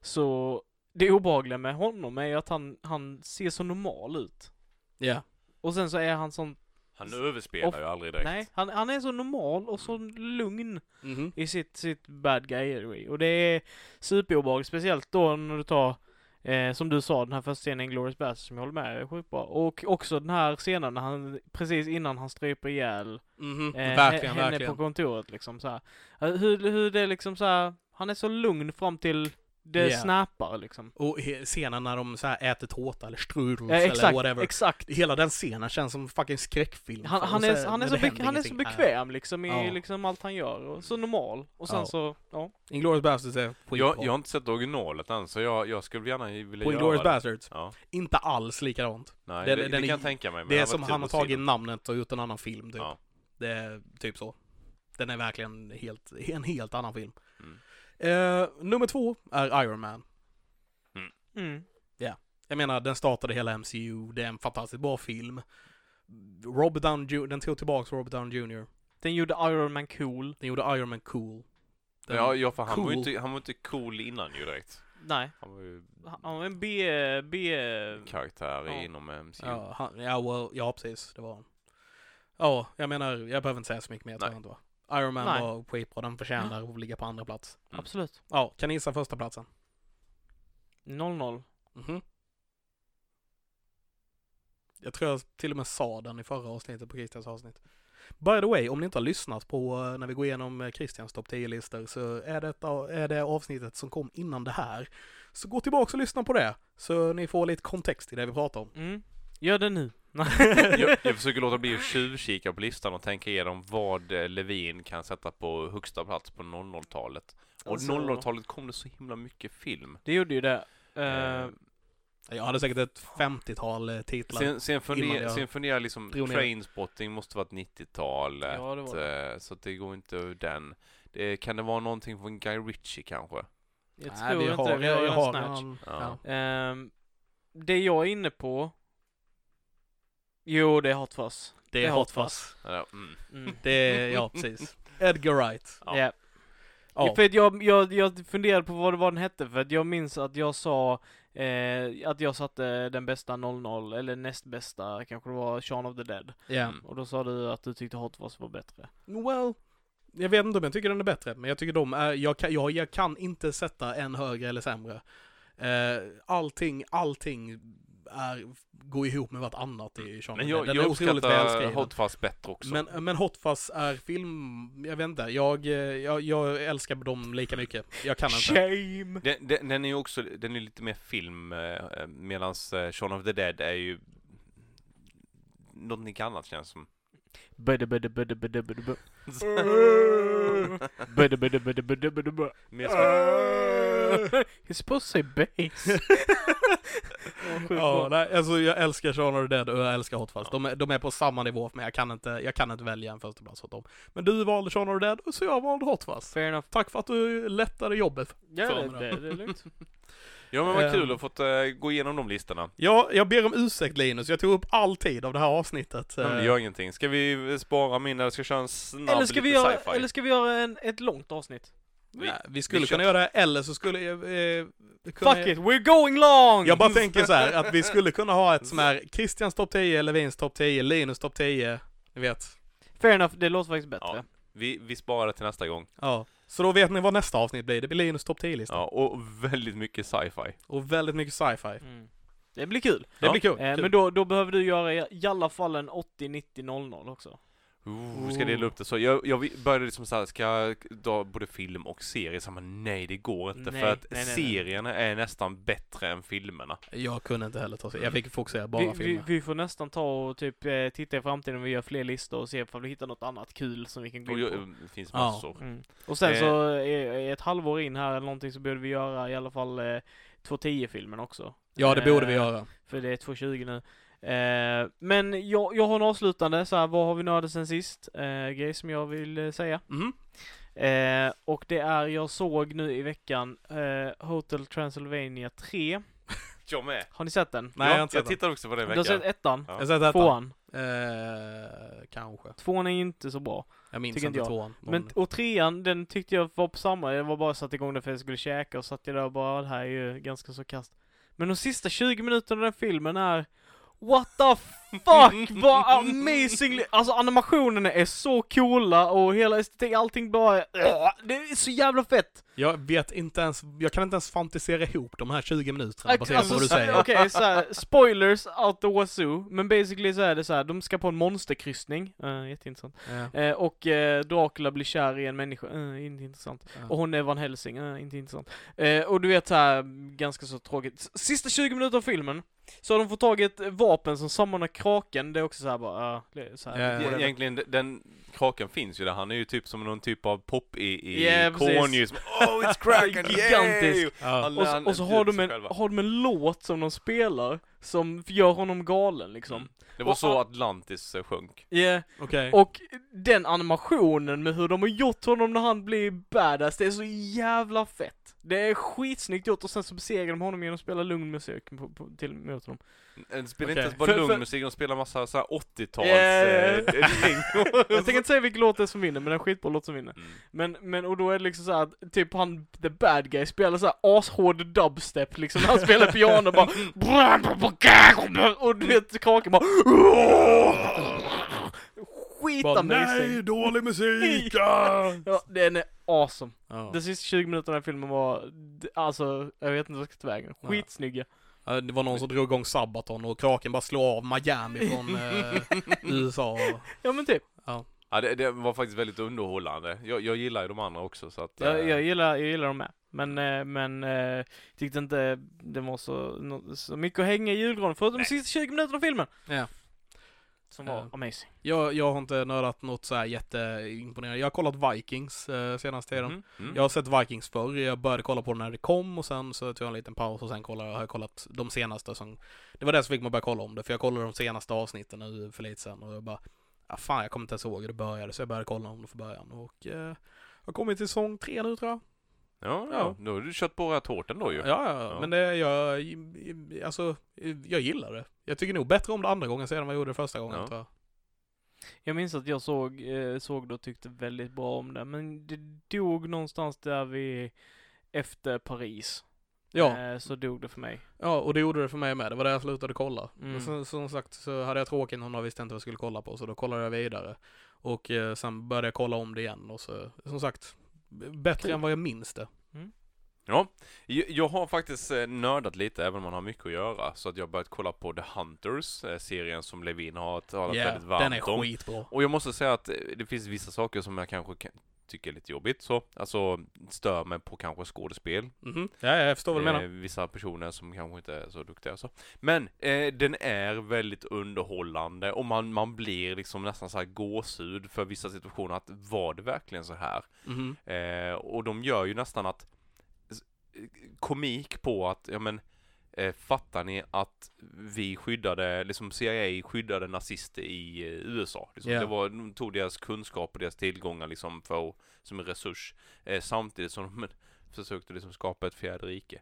Speaker 2: så det obehagliga med honom är ju att han, han ser så normal ut.
Speaker 3: Ja.
Speaker 2: Och sen så är han sån,
Speaker 1: Han överspelar
Speaker 2: Off-
Speaker 1: ju aldrig direkt.
Speaker 2: nej, han, han är så normal och så lugn
Speaker 1: Mhm.
Speaker 2: i sitt, sitt bad guy Och det är superobehagligt, speciellt då när du tar Eh, som du sa, den här första scenen i Glorious Bastards som jag håller med är sjukt bra. Och också den här scenen när han, precis innan han stryper ihjäl
Speaker 3: Mhm. [laughs]
Speaker 2: Eh,
Speaker 3: verkligen,
Speaker 2: henne
Speaker 3: verkligen.
Speaker 2: på kontoret liksom så här. Eh, Hur, hur det är liksom så här, han är så lugn fram till det
Speaker 3: Ja. Mm,
Speaker 2: snappar liksom.
Speaker 3: Och he- scenen när de så här äter tårta eller strudels
Speaker 2: Eh,
Speaker 3: eller
Speaker 2: exakt,
Speaker 3: whatever.
Speaker 2: exakt.
Speaker 3: Hela den scenen känns som fucking skräckfilm.
Speaker 2: Han,
Speaker 3: Och
Speaker 2: han,
Speaker 3: så-
Speaker 2: är, han, är
Speaker 3: men
Speaker 2: så
Speaker 3: det
Speaker 2: be,
Speaker 3: händer
Speaker 2: han är så
Speaker 3: ingenting. Nej.
Speaker 2: bekväm liksom i
Speaker 3: Ja.
Speaker 2: liksom allt han gör och så normal. Och sen
Speaker 3: Ja.
Speaker 2: så, ja.
Speaker 3: Inglourious Bastards är skitbra.
Speaker 1: Jag, jag har inte sett originalet än, så jag, jag skulle gärna vilja
Speaker 3: på Inglourious
Speaker 1: göra det.
Speaker 3: Bastards,
Speaker 1: Ja,
Speaker 3: inte alls likadant.
Speaker 1: nej,
Speaker 3: Den-
Speaker 1: det,
Speaker 3: den
Speaker 1: det
Speaker 3: är-
Speaker 1: kan jag tänka mig. men
Speaker 3: Det
Speaker 1: det
Speaker 3: är
Speaker 1: hade
Speaker 3: som
Speaker 1: varit kul
Speaker 3: han har
Speaker 1: att se
Speaker 3: tagit
Speaker 1: den.
Speaker 3: namnet och gjort en annan film typ.
Speaker 1: Ja.
Speaker 3: Det är typ så. Den är verkligen helt, en helt annan film.
Speaker 1: Mm.
Speaker 3: Eh, nummer två är Iron Man.
Speaker 2: Mm.
Speaker 3: Jag menar, den startade hela MCU, det är en fantastiskt bra film. Robert Downey Jr, den tog tillbaks Robert Downey Jr.
Speaker 2: Den gjorde Iron Man cool.
Speaker 3: Den gjorde Iron Man cool. Den,
Speaker 1: Ja, ja för han, var ju
Speaker 3: cool.
Speaker 1: inte, han var inte cool innan ju direkt.
Speaker 2: Nej,
Speaker 1: Han var ju
Speaker 2: han han var en B... B...
Speaker 1: karaktär
Speaker 2: Ja.
Speaker 1: inom MCU.
Speaker 3: ja, han, ja, well, ja, precis, det var han. Ja, jag menar, jag behöver inte säga så mycket mer, tror
Speaker 1: Nej.
Speaker 3: jag inte va? Iron Man
Speaker 2: Nej.
Speaker 3: var skitbra, den förtjänar att ligga på andra plats.
Speaker 2: Absolut.
Speaker 3: Ja, kan ni gissa första platsen?
Speaker 2: 0-0.
Speaker 3: Mhm. Jag tror jag till och med sa den i förra avsnittet på Christians avsnitt. By the way, om ni inte har lyssnat på eh, när vi går igenom eh, Christians topp 10-listor så är det, är det avsnittet som kom innan det här. Så gå tillbaka och lyssna på det, så ni får lite kontext i det vi pratar om.
Speaker 2: Mm. Gör det nu.
Speaker 1: [laughs] Jag, jag försöker låta bli att tjuvkika på listan och tänka igenom vad eh, Levin kan sätta på högsta plats på 00-talet. Och
Speaker 2: Alltså-
Speaker 1: 00-talet kom det så himla mycket film.
Speaker 2: Det gjorde ju det. Eh,
Speaker 1: Eh,
Speaker 3: Jag hade säkert ett 50-tal eh, titlar.
Speaker 1: Sen, sen,
Speaker 3: innan
Speaker 1: funderar,
Speaker 3: jag
Speaker 1: sen funderar jag liksom,
Speaker 3: drog ner.
Speaker 1: Trainspotting måste varit 90-talet.
Speaker 2: ja, det var det.
Speaker 1: eh, Så att det går inte ur den. Det, kan det vara någonting från Guy Ritchie kanske?
Speaker 2: Jag
Speaker 3: Nej,
Speaker 2: tror
Speaker 3: vi
Speaker 2: inte
Speaker 3: har,
Speaker 2: det. Vi har
Speaker 3: jag
Speaker 2: redan
Speaker 3: har
Speaker 2: Snatch.
Speaker 3: redan-
Speaker 1: Ja.
Speaker 3: ja.
Speaker 2: Ehm, det jag är inne på... Jo, det är Hot Fuzz.
Speaker 3: Det
Speaker 2: Det
Speaker 3: är
Speaker 2: är
Speaker 3: hot
Speaker 2: hot
Speaker 3: fuzz.
Speaker 1: Ja, mm.
Speaker 2: Mm.
Speaker 3: Det är, ja precis. Edgar Wright.
Speaker 1: Ja.
Speaker 2: [laughs] Ja.
Speaker 3: Ja.
Speaker 2: För att jag, jag, jag funderade på vad, det var den hette, för att jag minns att jag sa eh, att jag satte den bästa 00, eller näst bästa, kanske det var Shaun of the Dead.
Speaker 3: Ja.
Speaker 1: Mm.
Speaker 2: Och då sa du att du tyckte Hot Fuzz var bättre.
Speaker 3: Well, jag vet inte om jag tycker den är bättre, men jag tycker de är, jag kan, jag, jag kan inte sätta en högre eller sämre. Eh, allting, allting är, går ihop med vartannat i Sean
Speaker 1: Men
Speaker 3: of the
Speaker 1: jag,
Speaker 3: Dead.
Speaker 1: jag uppskattar
Speaker 3: välskriven.
Speaker 1: Hot Fuzz bättre också.
Speaker 2: eh,
Speaker 3: Men, men Hot Fuzz är film, jag vet inte, jag, eh, jag, jag älskar dem lika mycket. Jag kan inte.
Speaker 2: Shame!
Speaker 1: Den, den, den är ju också, den är lite mer film, eh, medan Shaun of the Dead är ju någonting annat känns
Speaker 2: [laughs]
Speaker 1: som.
Speaker 2: Budde, budde, budde, budde, budde, budde. Budde, budde, budde, budde, budde, budde.
Speaker 1: mer som
Speaker 2: You're supposed to say bass.
Speaker 3: Ja, nej, alltså jag älskar Sean of the Dead och jag älskar Hot Fuzz. De, är- de är på samma nivå för mig, jag kan inte, jag kan inte välja en första plats åt dem. Men du valde Sean of the Dead, och så jag valde Hot Fuzz.
Speaker 2: Fair enough.
Speaker 3: Tack för att du lättade jobbet.
Speaker 2: Ja,
Speaker 3: Fan,
Speaker 2: det, det, det är lugnt.
Speaker 1: ja men vad
Speaker 3: Ehm.
Speaker 1: kul att fått eh, gå igenom de listorna.
Speaker 3: Ja, jag ber om ursäkt Linus, jag tog upp all tid av det här avsnittet.
Speaker 1: Men det
Speaker 3: Eh,
Speaker 1: gör ingenting. Ska vi spara min eller ska vi köra en snabb
Speaker 2: Eller ska,
Speaker 1: lite
Speaker 2: vi göra,
Speaker 1: sci-fi?
Speaker 2: eller ska vi göra en, ett långt avsnitt?
Speaker 3: nej, vi skulle
Speaker 1: vi
Speaker 3: kunna
Speaker 1: kör.
Speaker 3: göra det, eller så skulle jag... Eh, kunna-
Speaker 2: Fuck it, we're going long!
Speaker 3: Jag bara tänker så här, att vi skulle kunna ha ett som är Christians topp 10, Levins topp 10, Linus topp 10, ni vet.
Speaker 2: Fair enough, det låter faktiskt bättre.
Speaker 1: Ja. Vi, vi sparar det till nästa gång.
Speaker 3: Ja. Så då vet ni vad nästa avsnitt blir, det blir Linus topp 10-lista.
Speaker 1: Ja, och väldigt mycket sci-fi.
Speaker 3: Och väldigt mycket sci-fi.
Speaker 2: Mm. Det blir kul.
Speaker 3: Det
Speaker 1: Ja.
Speaker 3: blir kul.
Speaker 2: Eh,
Speaker 3: kul.
Speaker 2: men då, då behöver du göra i, i alla fall en 80-90-00 också.
Speaker 1: Ooh, vi ska dela upp det så. Jag, jag började liksom såhär, ska jag dra både film och serie? Så men nej det går inte
Speaker 2: Nej,
Speaker 1: för att
Speaker 2: nej, nej, nej.
Speaker 1: serierna är nästan bättre än filmerna.
Speaker 3: Jag kunde inte heller ta sig, jag fick fokusera bara
Speaker 2: Vi,
Speaker 3: filmer.
Speaker 2: vi, vi får nästan ta och typ eh, titta i framtiden om vi gör fler listor och se om vi hittar något annat kul som vi kan gå
Speaker 1: Och
Speaker 2: in
Speaker 1: jag,
Speaker 2: på.
Speaker 1: det finns
Speaker 3: Ja.
Speaker 1: massor.
Speaker 2: Mm. Och sen
Speaker 1: Eh.
Speaker 2: så, eh, ett halvår in här eller någonting så borde vi göra i alla fall eh, 2.10-filmen också.
Speaker 3: Ja, det borde vi
Speaker 2: Eh,
Speaker 3: göra.
Speaker 2: För det är 2.20 nu. Eh, men jag, jag har en avslutande, så här, vad har vi nördat sen sist? Eh, grej som jag vill eh, säga.
Speaker 3: Mhm.
Speaker 2: Eh, och det är, jag såg nu i veckan eh, Hotel Transylvania 3.
Speaker 1: Jag med.
Speaker 2: Har ni sett den?
Speaker 3: Nej, jag har inte sett
Speaker 1: jag
Speaker 3: den.
Speaker 1: tittar också på den
Speaker 2: Du har sett
Speaker 1: veckan.
Speaker 2: ettan?
Speaker 1: Ja.
Speaker 3: Jag har sett ettan.
Speaker 2: Tvåan?
Speaker 3: Eh, kanske.
Speaker 2: Tvåan är ju inte så bra.
Speaker 3: Jag minns
Speaker 2: Tycker
Speaker 3: inte
Speaker 2: inte jag.
Speaker 3: tvåan.
Speaker 2: Men, och trean, den tyckte jag var på samma. Jag var bara satt igång den för att jag skulle käka och satt jag där och bara, det här är ju ganska så kast. Men de sista 20 minuterna av den filmen är What the
Speaker 3: [laughs]
Speaker 2: fuck vad amazingly, alltså animationerna är så coola och hela estetiken, allting bara är, det är så jävla fett!
Speaker 3: Jag vet inte ens, jag kan inte ens fantisera ihop de här 20 minuterna baserat
Speaker 2: Alltså,
Speaker 3: på vad du
Speaker 2: så-
Speaker 3: säger.
Speaker 2: Okej, så här, spoilers out the wazoo, men basically så är det så här, de ska på en monsterkryssning, uh, jätteintressant,
Speaker 3: Ja,
Speaker 2: Eh, och eh, Dracula blir kär i en människa, Eh, inte intressant. Och
Speaker 3: ja.
Speaker 2: hon är Van Helsing, eh, inte intressant. Eh, och du vet såhär, ganska så tråkigt. S- Sista 20 minuter av filmen, så har de fått tag i ett vapen som sammanar kraken, det är också såhär bara, uh, så
Speaker 3: Ja,
Speaker 2: här,
Speaker 3: ja,
Speaker 1: E-
Speaker 2: whatever.
Speaker 1: Egentligen, de- den kraken finns ju där. Han är ju typ som någon typ av pop i, i
Speaker 2: Ja, precis.
Speaker 1: corny som Oh it's kraken!
Speaker 2: [laughs] Gigantisk.
Speaker 1: yay!"
Speaker 3: Ja.
Speaker 1: Han-
Speaker 2: Och,
Speaker 1: han
Speaker 2: så, och så
Speaker 1: bjuder
Speaker 2: har de,
Speaker 1: sig
Speaker 2: en,
Speaker 1: själva.
Speaker 2: har de en låt som de spelar, som gör honom galen liksom.
Speaker 1: Mm. Det var
Speaker 2: Och
Speaker 1: så
Speaker 2: han-
Speaker 1: Atlantis eh, sjönk.
Speaker 2: Yeah.
Speaker 3: Okej.
Speaker 2: Och den animationen med hur de har gjort honom när han blir badass, det är så jävla fett. Det är skitsnyggt gjort och sen så besegrar de honom genom att spela lugn musik på, på, till mot honom.
Speaker 1: De spelar
Speaker 3: Okej.
Speaker 1: inte ens bara
Speaker 2: För-
Speaker 1: lugn
Speaker 2: för-
Speaker 1: musik, de spelar massa så här 80-tals...
Speaker 2: Ja, ja, ja. [laughs]
Speaker 1: eh, ting.
Speaker 2: Jag tänker inte säga vilken låt det är som vinner, men det är en skitbra låt som vinner.
Speaker 1: Mm.
Speaker 2: Men, men och då är det liksom såhär att typ han, the bad guy, spelar såhär ashård dubstep liksom när han spelar piano bara [laughs] Och du vet kakan bara
Speaker 3: Bara,
Speaker 2: Skitande
Speaker 3: dålig
Speaker 2: [laughs]
Speaker 3: musik!
Speaker 2: Ja, den är awesome.
Speaker 3: Ja.
Speaker 2: De sista 20 minuterna i filmen var, alltså, jag vet inte vad jag ska ta vägen.
Speaker 3: Nej.
Speaker 2: Skitsnygga.
Speaker 3: Ja, Det var någon som drog igång Sabaton och kraken bara slog av Miami
Speaker 2: [laughs]
Speaker 3: från eh, USA.
Speaker 2: Ja men typ.
Speaker 1: Ja, det, det var faktiskt väldigt underhållande. Jag, jag gillar ju de andra också så att... eh,
Speaker 2: Jag, jag, gillar, jag gillar dem med. Men, eh, men eh, tyckte inte det var så, nå- så mycket att hänga i julgranen förutom de sista 20 minuterna av filmen.
Speaker 3: Ja.
Speaker 2: Som var
Speaker 3: Ja.
Speaker 2: amazing.
Speaker 3: Jag, jag har inte nördat något så här jätteimponerande. Jag har kollat Vikings eh, senaste tiden.
Speaker 1: Mm. Mm.
Speaker 3: Jag har sett Vikings förr, jag började kolla på den när det kom och sen så tog jag en liten paus och sen kollade, har jag kollat de senaste som... Det var det som fick mig att börja kolla om det, för jag kollade de senaste avsnitten nu för lite sen och jag bara... Ja, fan, jag kommer inte ens ihåg hur det började, så jag började kolla om det från början och... Eh, jag har kommit till säsong tre nu tror jag.
Speaker 1: Ja,
Speaker 3: Ja.
Speaker 1: ja. Då har du kört på rätt hårt ändå ju.
Speaker 3: Ja, ja,
Speaker 1: Ja.
Speaker 3: men det, jag... Alltså, jag gillar det. Jag tycker nog bättre om det andra gången sen än vad jag gjorde det första gången
Speaker 1: Ja.
Speaker 3: tror jag.
Speaker 2: Jag minns att jag såg, eh, såg det och tyckte väldigt bra om det, men det dog någonstans där vi efter Paris.
Speaker 3: Ja,
Speaker 2: Eh, så dog det för mig. [laughs]
Speaker 3: ja, och det gjorde det för mig med. Det var där jag slutade kolla.
Speaker 2: Mm.
Speaker 3: Men sen, som sagt så hade jag tråkigt någon dag visste inte vad jag skulle kolla på, så då kollade jag vidare. Och eh, sen började jag kolla om det igen och så, som sagt, b- bättre
Speaker 2: Kul.
Speaker 3: än vad jag minns det.
Speaker 1: Ja, jag jag har faktiskt eh, nördat lite, även om man har mycket att göra, så att jag har börjat kolla på The Hunters, eh, serien som Levin har talat väldigt varmt
Speaker 3: den är
Speaker 1: om.
Speaker 3: skitbra.
Speaker 1: Och jag måste säga att eh, det finns vissa saker som jag kanske kan tycker är lite jobbigt så, alltså stör mig på kanske skådespel.
Speaker 3: Mhm. Ja, jag förstår vad du menar.
Speaker 1: Eh, vissa personer som kanske inte är så duktiga så. Men eh, den är väldigt underhållande och man, man blir liksom nästan så här gåshud för vissa situationer att var det verkligen så här?
Speaker 3: Mhm.
Speaker 1: Eh, och de gör ju nästan att s- komik på att, ja men eh, fattar ni att vi skyddade, liksom CIA skyddade nazister i eh, USA? Liksom.
Speaker 3: Ja.
Speaker 1: Det var, de tog deras kunskap och deras tillgångar liksom för, som en resurs eh, samtidigt som de [laughs] försökte liksom skapa ett fjärde rike.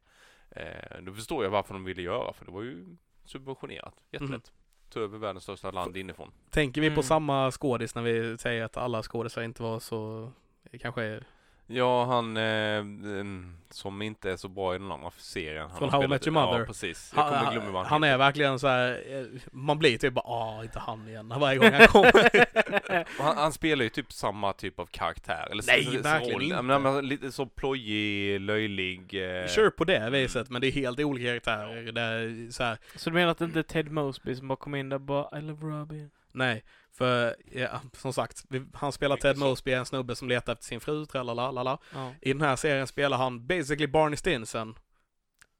Speaker 1: Eh, då förstår jag varför de ville göra för det var ju
Speaker 3: Mhm.
Speaker 1: subventionerat, jättelätt. Ta över världens största land inifrån.
Speaker 3: Tänker vi på
Speaker 2: Mm.
Speaker 3: samma skådis när vi säger att alla skådisar inte var så, eh, kanske är
Speaker 1: Ja, han eh, mm, som inte är så bra i den andra serien. Han
Speaker 3: Från
Speaker 1: har
Speaker 3: How I
Speaker 1: spelat-
Speaker 3: Met Your Mother.
Speaker 1: Ja, precis. Jag kommer glömma
Speaker 3: Han,
Speaker 1: vad
Speaker 3: han,
Speaker 1: han
Speaker 3: han är verkligen så här, eh, man blir typ bara ah, inte han igen [laughs] varje gång han kommer.
Speaker 1: heter. han, han spelar ju typ samma typ av karaktär. Eller
Speaker 3: Nej,
Speaker 1: s- s-
Speaker 3: verkligen
Speaker 1: roll.
Speaker 3: inte.
Speaker 1: Ja, Men, men, lite så plojig, löjlig. [laughs] Eh,
Speaker 3: Kör på det viset, men det är helt olika karaktärer. Det är så här,
Speaker 2: Så du menar att det inte är Ted Mosby som bara kom in där och bara I love Robin?
Speaker 3: nej. För, ja, som sagt, vi- han spelar Ted
Speaker 1: Mycket så.
Speaker 3: Mosby, en snubbe som letar efter sin fru, tralalala.
Speaker 2: Ja.
Speaker 3: I den här serien spelar han basically Barney Stinson.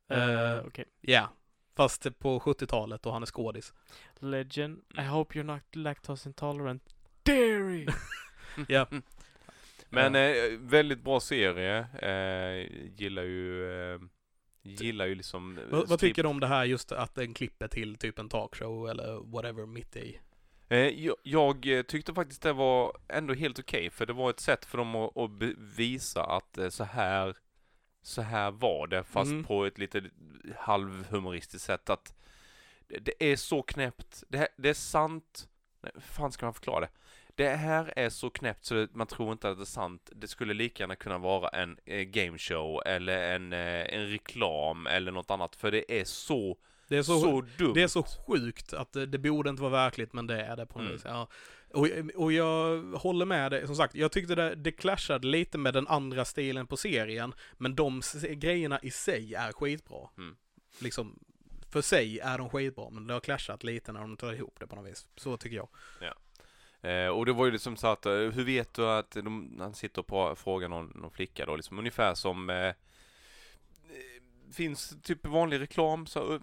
Speaker 3: Ja,
Speaker 2: Eh, Okej.
Speaker 3: fast på 70-talet och han är skådis.
Speaker 2: Legend, I hope you're not lactose intolerant. Dairy!
Speaker 3: Ja.
Speaker 1: Men eh, väldigt bra serie. Eh, gillar ju... Eh, gillar ju liksom... eh,
Speaker 3: Vad- vad
Speaker 1: Steve-
Speaker 3: tycker du om det här just att den klipper till typ en talkshow eller whatever mitt i?
Speaker 1: Eh, jag, jag eh, tyckte faktiskt det var ändå helt okej, för det var ett sätt för dem att, att visa att eh, så här, så här var det, fast
Speaker 3: Mm.
Speaker 1: på ett lite halvhumoristiskt sätt. Att det- det är så knäppt, det, här, det är sant, nej, hur fan ska man förklara det? Det här är så knäppt så det- man tror inte att det är sant. Det skulle lika gärna kunna vara en eh, gameshow eller en, eh, en reklam eller något annat, för det är så,
Speaker 3: Det är
Speaker 1: så,
Speaker 3: så,
Speaker 1: dumt.
Speaker 3: Det är så sjukt att det, det borde inte vara verkligt, men det är det på något
Speaker 1: Mm.
Speaker 3: vis. Ja. Och, och jag håller med dig, som sagt, jag tyckte det, det clashade lite med den andra stilen på serien, men de s- grejerna i sig är skitbra.
Speaker 1: Mm.
Speaker 3: Liksom, för sig är de skitbra, men det har clashat lite när de tar ihop det på något vis. Så tycker jag.
Speaker 1: Eh, och det var ju liksom så att, eh, hur vet du att de, han sitter och pra- frågar någon, någon flicka då, liksom ungefär som eh, eh, Finns typ vanlig reklam, så, eh,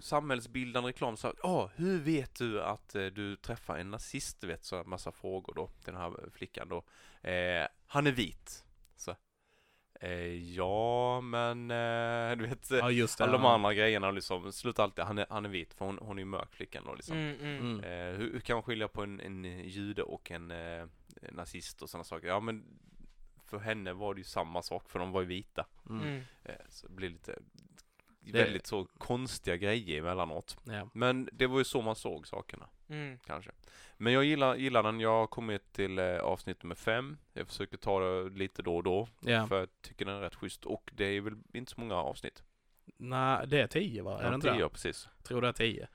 Speaker 1: samhällsbildande reklam, så ja, ah, hur vet du att eh, du träffar en nazist? Du vet, så här massa frågor då, till den här flickan då. Eh, han är vit. Så, eh, ja, men, eh, du vet, eh,
Speaker 3: Ja, just det.
Speaker 1: alla de andra grejerna liksom, sluta alltid, han är, han är vit, för hon, hon är ju mörk flickan då liksom.
Speaker 2: Mm, mm.
Speaker 3: Mm.
Speaker 1: Eh, hur, hur kan man skilja på en, en jude och en eh, nazist och sådana saker? Ja men för henne var det ju samma sak för de var ju vita.
Speaker 3: Mm.
Speaker 2: Mm.
Speaker 1: Eh, Så det blir lite
Speaker 3: Det-
Speaker 1: väldigt så konstiga grejer emellanåt.
Speaker 3: Ja.
Speaker 1: Men det var ju så man såg sakerna
Speaker 2: Mm.
Speaker 1: kanske. Men jag gillar, gillar den. Jag har kommit till eh, avsnitt nummer fem. Jag försöker ta det lite då och då.
Speaker 3: Ja.
Speaker 1: För jag tycker den är rätt schysst. Och det är väl inte så många avsnitt.
Speaker 3: Nej, det är tio va? Är det inte
Speaker 1: tio,
Speaker 3: det?
Speaker 1: precis.
Speaker 3: Tror det är tio.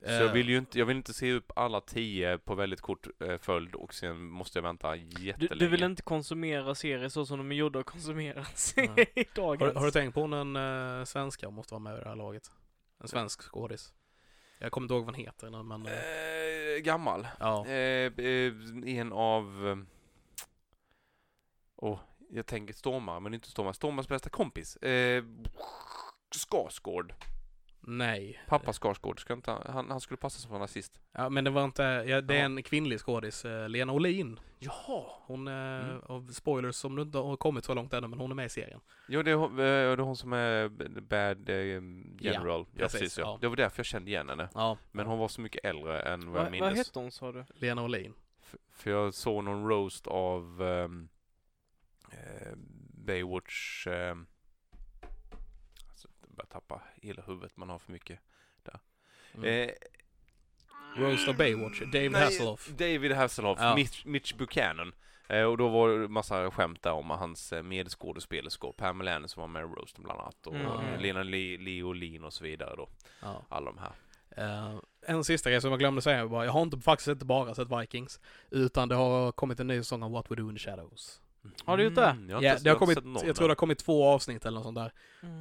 Speaker 1: Så
Speaker 3: Eh.
Speaker 1: jag vill ju inte, jag vill inte se upp alla tio på väldigt kort eh, följd och sen måste jag vänta
Speaker 2: Du,
Speaker 1: jättelänge.
Speaker 2: du vill inte konsumera serier så som de är gjorda att konsumeras [laughs] i
Speaker 3: Har,
Speaker 2: dagens.
Speaker 3: har du tänkt på den eh, svenska måste vara med i det här laget? En svensk skådis. Jag kommer inte ihåg vad han heter nu, men... eh,
Speaker 1: Eh, gammal.
Speaker 3: ja.
Speaker 1: Eh, eh, en av... eh, Åh, jag tänker Stormare, men inte Stormare. Stormars bästa kompis. Eh, Skarsgård.
Speaker 3: Nej.
Speaker 1: Pappa Skarsgård. Ska inte, han- han, han skulle passa som nazist.
Speaker 3: Ja, men det var inte... Ja, det är
Speaker 1: Ja.
Speaker 3: en kvinnlig skådis. eh, Lena Olin.
Speaker 1: Jaha!
Speaker 3: Hon... eh,
Speaker 1: Mm.
Speaker 3: Av spoilers som du inte har kommit så långt ännu, men hon är med i serien.
Speaker 1: Jo, det är, hon- eh, det är hon som är Bad eh, General. Ja,
Speaker 3: precis,
Speaker 1: precis. ja.
Speaker 3: ja.
Speaker 1: Det var därför jag kände igen henne.
Speaker 3: Ja.
Speaker 1: Men hon var så mycket äldre än vad jag
Speaker 2: Vad, vad
Speaker 1: minns.
Speaker 2: hette hon sa du?
Speaker 3: Lena Olin.
Speaker 1: F- För jag såg någon roast av ehm, eh, Baywatch... ehm, alltså, jag börjar tappa hela huvudet, man har för mycket där.
Speaker 3: Mm.
Speaker 1: Eh,
Speaker 3: Roast of Baywatch, David
Speaker 1: Nej,
Speaker 3: Hasselhoff.
Speaker 1: David Hasselhoff,
Speaker 3: Ja.
Speaker 1: Mitch, Mitch Buchanan. Eh, och då var det massa skämt där om hans eh, medskådespelerskor, Pamela Anderson var med i roasten bland annat, och
Speaker 2: Mm.
Speaker 1: Lena Li- Leolin och så vidare då,
Speaker 3: Ja.
Speaker 1: alla de här.
Speaker 3: Eh, en sista grej som jag glömde säga var, jag har inte, faktiskt inte bara sett Vikings, utan det har kommit en ny säsong av What We Do In The Shadows.
Speaker 2: Har du gjort det?
Speaker 1: Mm, jag har
Speaker 3: Ja,
Speaker 1: inte,
Speaker 3: det
Speaker 1: jag
Speaker 3: har
Speaker 1: har inte
Speaker 3: kommit,
Speaker 1: sett någon
Speaker 3: jag tror
Speaker 1: än.
Speaker 3: det har kommit två avsnitt eller något sånt där.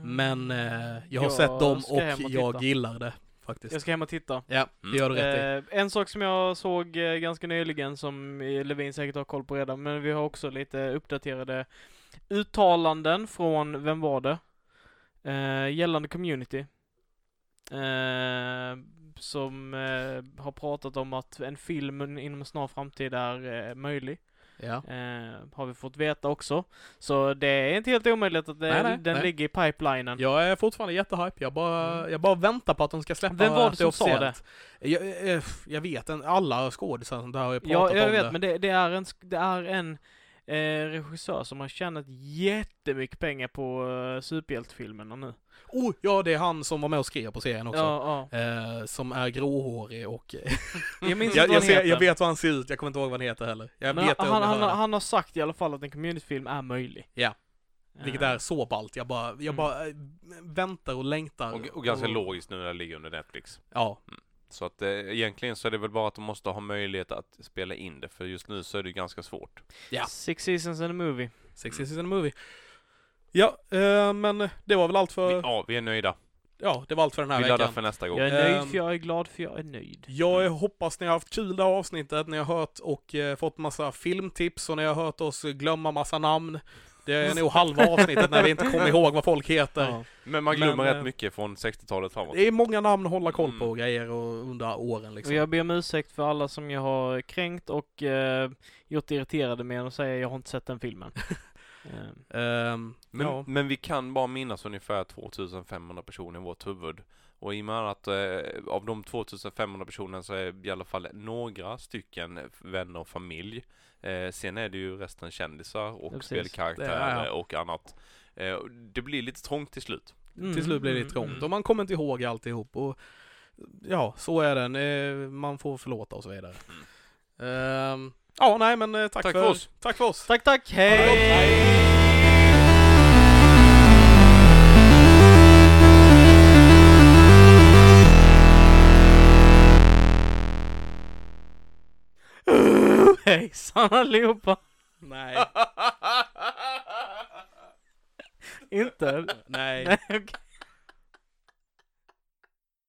Speaker 3: Men eh, jag har sett dem
Speaker 2: ska hem
Speaker 3: och,
Speaker 2: och
Speaker 3: jag
Speaker 2: titta.
Speaker 3: gillar det faktiskt.
Speaker 2: Jag ska hem och titta.
Speaker 3: Ja,
Speaker 1: Mm.
Speaker 3: det gör du rätt i.
Speaker 2: Eh, en sak som jag såg eh, ganska nyligen som eh, Levin säkert har koll på redan, men vi har också lite uppdaterade uttalanden från, vem var det? Eh, gällande community. Eh, som eh, har pratat om att en film inom en snar framtid är eh, möjlig.
Speaker 3: Ja.
Speaker 2: Eh, har vi fått veta också. Så det är inte helt omöjligt att det,
Speaker 3: Nej, nej,
Speaker 2: den
Speaker 3: nej.
Speaker 2: ligger i pipelinen.
Speaker 3: Jag är fortfarande jättehype, jag bara,
Speaker 2: Mm.
Speaker 3: jag bara väntar på att de ska släppa
Speaker 2: Vem var det som sa
Speaker 3: officiellt. Jag, eh, jag vet, en- alla skådisar som där har ju pratat
Speaker 2: Ja, jag
Speaker 3: om
Speaker 2: vet,
Speaker 3: det.
Speaker 2: men det, det är en, sk- det är en eh, regissör som har tjänat jättemycket pengar på eh, superhjältefilmerna nu.
Speaker 3: Oh, ja, det är han som var med och skrev på serien också.
Speaker 2: Ja,
Speaker 3: [laughs] Eh, som är gråhårig och...
Speaker 2: ja. Jag minns
Speaker 3: [laughs]
Speaker 2: inte
Speaker 3: jag,
Speaker 2: vad
Speaker 3: jag,
Speaker 2: han
Speaker 3: ser,
Speaker 2: heter.
Speaker 3: jag vet vad han ser ut, jag kommer inte ihåg vad han heter heller. Jag
Speaker 2: Men
Speaker 3: vet det om
Speaker 2: han,
Speaker 3: jag
Speaker 2: han,
Speaker 3: hör det.
Speaker 2: han, har sagt i alla fall att en communityfilm är möjlig.
Speaker 3: Ja.
Speaker 2: Eh,
Speaker 3: Vilket är så ballt. Jag bara, jag
Speaker 2: Mm.
Speaker 3: bara eh, väntar och längtar.
Speaker 1: Och, och ganska logiskt nu när det ligger under Netflix.
Speaker 3: Ja.
Speaker 1: Så att eh, egentligen så är det väl bara att de måste ha möjlighet att spela in det, för just nu så är det ju ganska svårt.
Speaker 3: ja.
Speaker 2: Six Seasons and a Movie.
Speaker 3: Sex
Speaker 1: Mm.
Speaker 3: is in a movie. Ja, eh, men det var väl allt
Speaker 1: Vi,
Speaker 3: för...
Speaker 1: ja, vi är nöjda.
Speaker 3: Ja, det var allt för den här
Speaker 1: Vi laddar
Speaker 3: veckan.
Speaker 1: för Mm. nästa gång.
Speaker 2: Jag är nöjd
Speaker 3: Ehm.
Speaker 2: för jag är glad för jag är nöjd.
Speaker 3: Jag eh, hoppas ni har haft kul det här avsnittet, ni har hört och eh, fått massa filmtips och ni har hört oss glömma massa namn. Det är nog halva avsnittet när vi inte kommer ihåg vad folk heter.
Speaker 2: Ja.
Speaker 1: Men man glömmer
Speaker 3: Men, eh,
Speaker 1: rätt mycket från 60-talet framåt.
Speaker 3: Det är många namn att hålla koll på
Speaker 1: Mm.
Speaker 3: och grejer och under åren
Speaker 2: Och
Speaker 3: liksom.
Speaker 2: jag ber om ursäkt för alla som jag har kränkt och eh, gjort irriterade med och säga jag har inte sett den
Speaker 3: [laughs]
Speaker 2: filmen. Eh,
Speaker 3: Ehm,
Speaker 1: Men,
Speaker 3: ja.
Speaker 1: men vi kan bara minnas ungefär 2500 personer i vårt huvud. Och i och med att eh, av de 2500 personerna så är i alla fall några stycken vänner och familj. Eh, sen är det ju resten kändisar och
Speaker 2: Ja, precis.
Speaker 1: spelkaraktärer
Speaker 3: Det är- ja.
Speaker 1: och annat. Eh, och det blir lite trångt till slut.
Speaker 2: mm,
Speaker 3: Till slut blir det
Speaker 2: mm,
Speaker 3: trångt
Speaker 2: mm.
Speaker 3: och man kommer inte ihåg alltihop och ja, så är den. Eh, Man får förlåta och så vidare. Ehm, Ja, nej men eh, tack,
Speaker 1: Tack för oss.
Speaker 3: Tack för
Speaker 2: [laughs]
Speaker 3: oss.
Speaker 2: Tack, tack, hej! [laughs] Hejsan allihopa!
Speaker 3: Nej,
Speaker 2: Inte?
Speaker 3: nej.
Speaker 2: Nej, okej.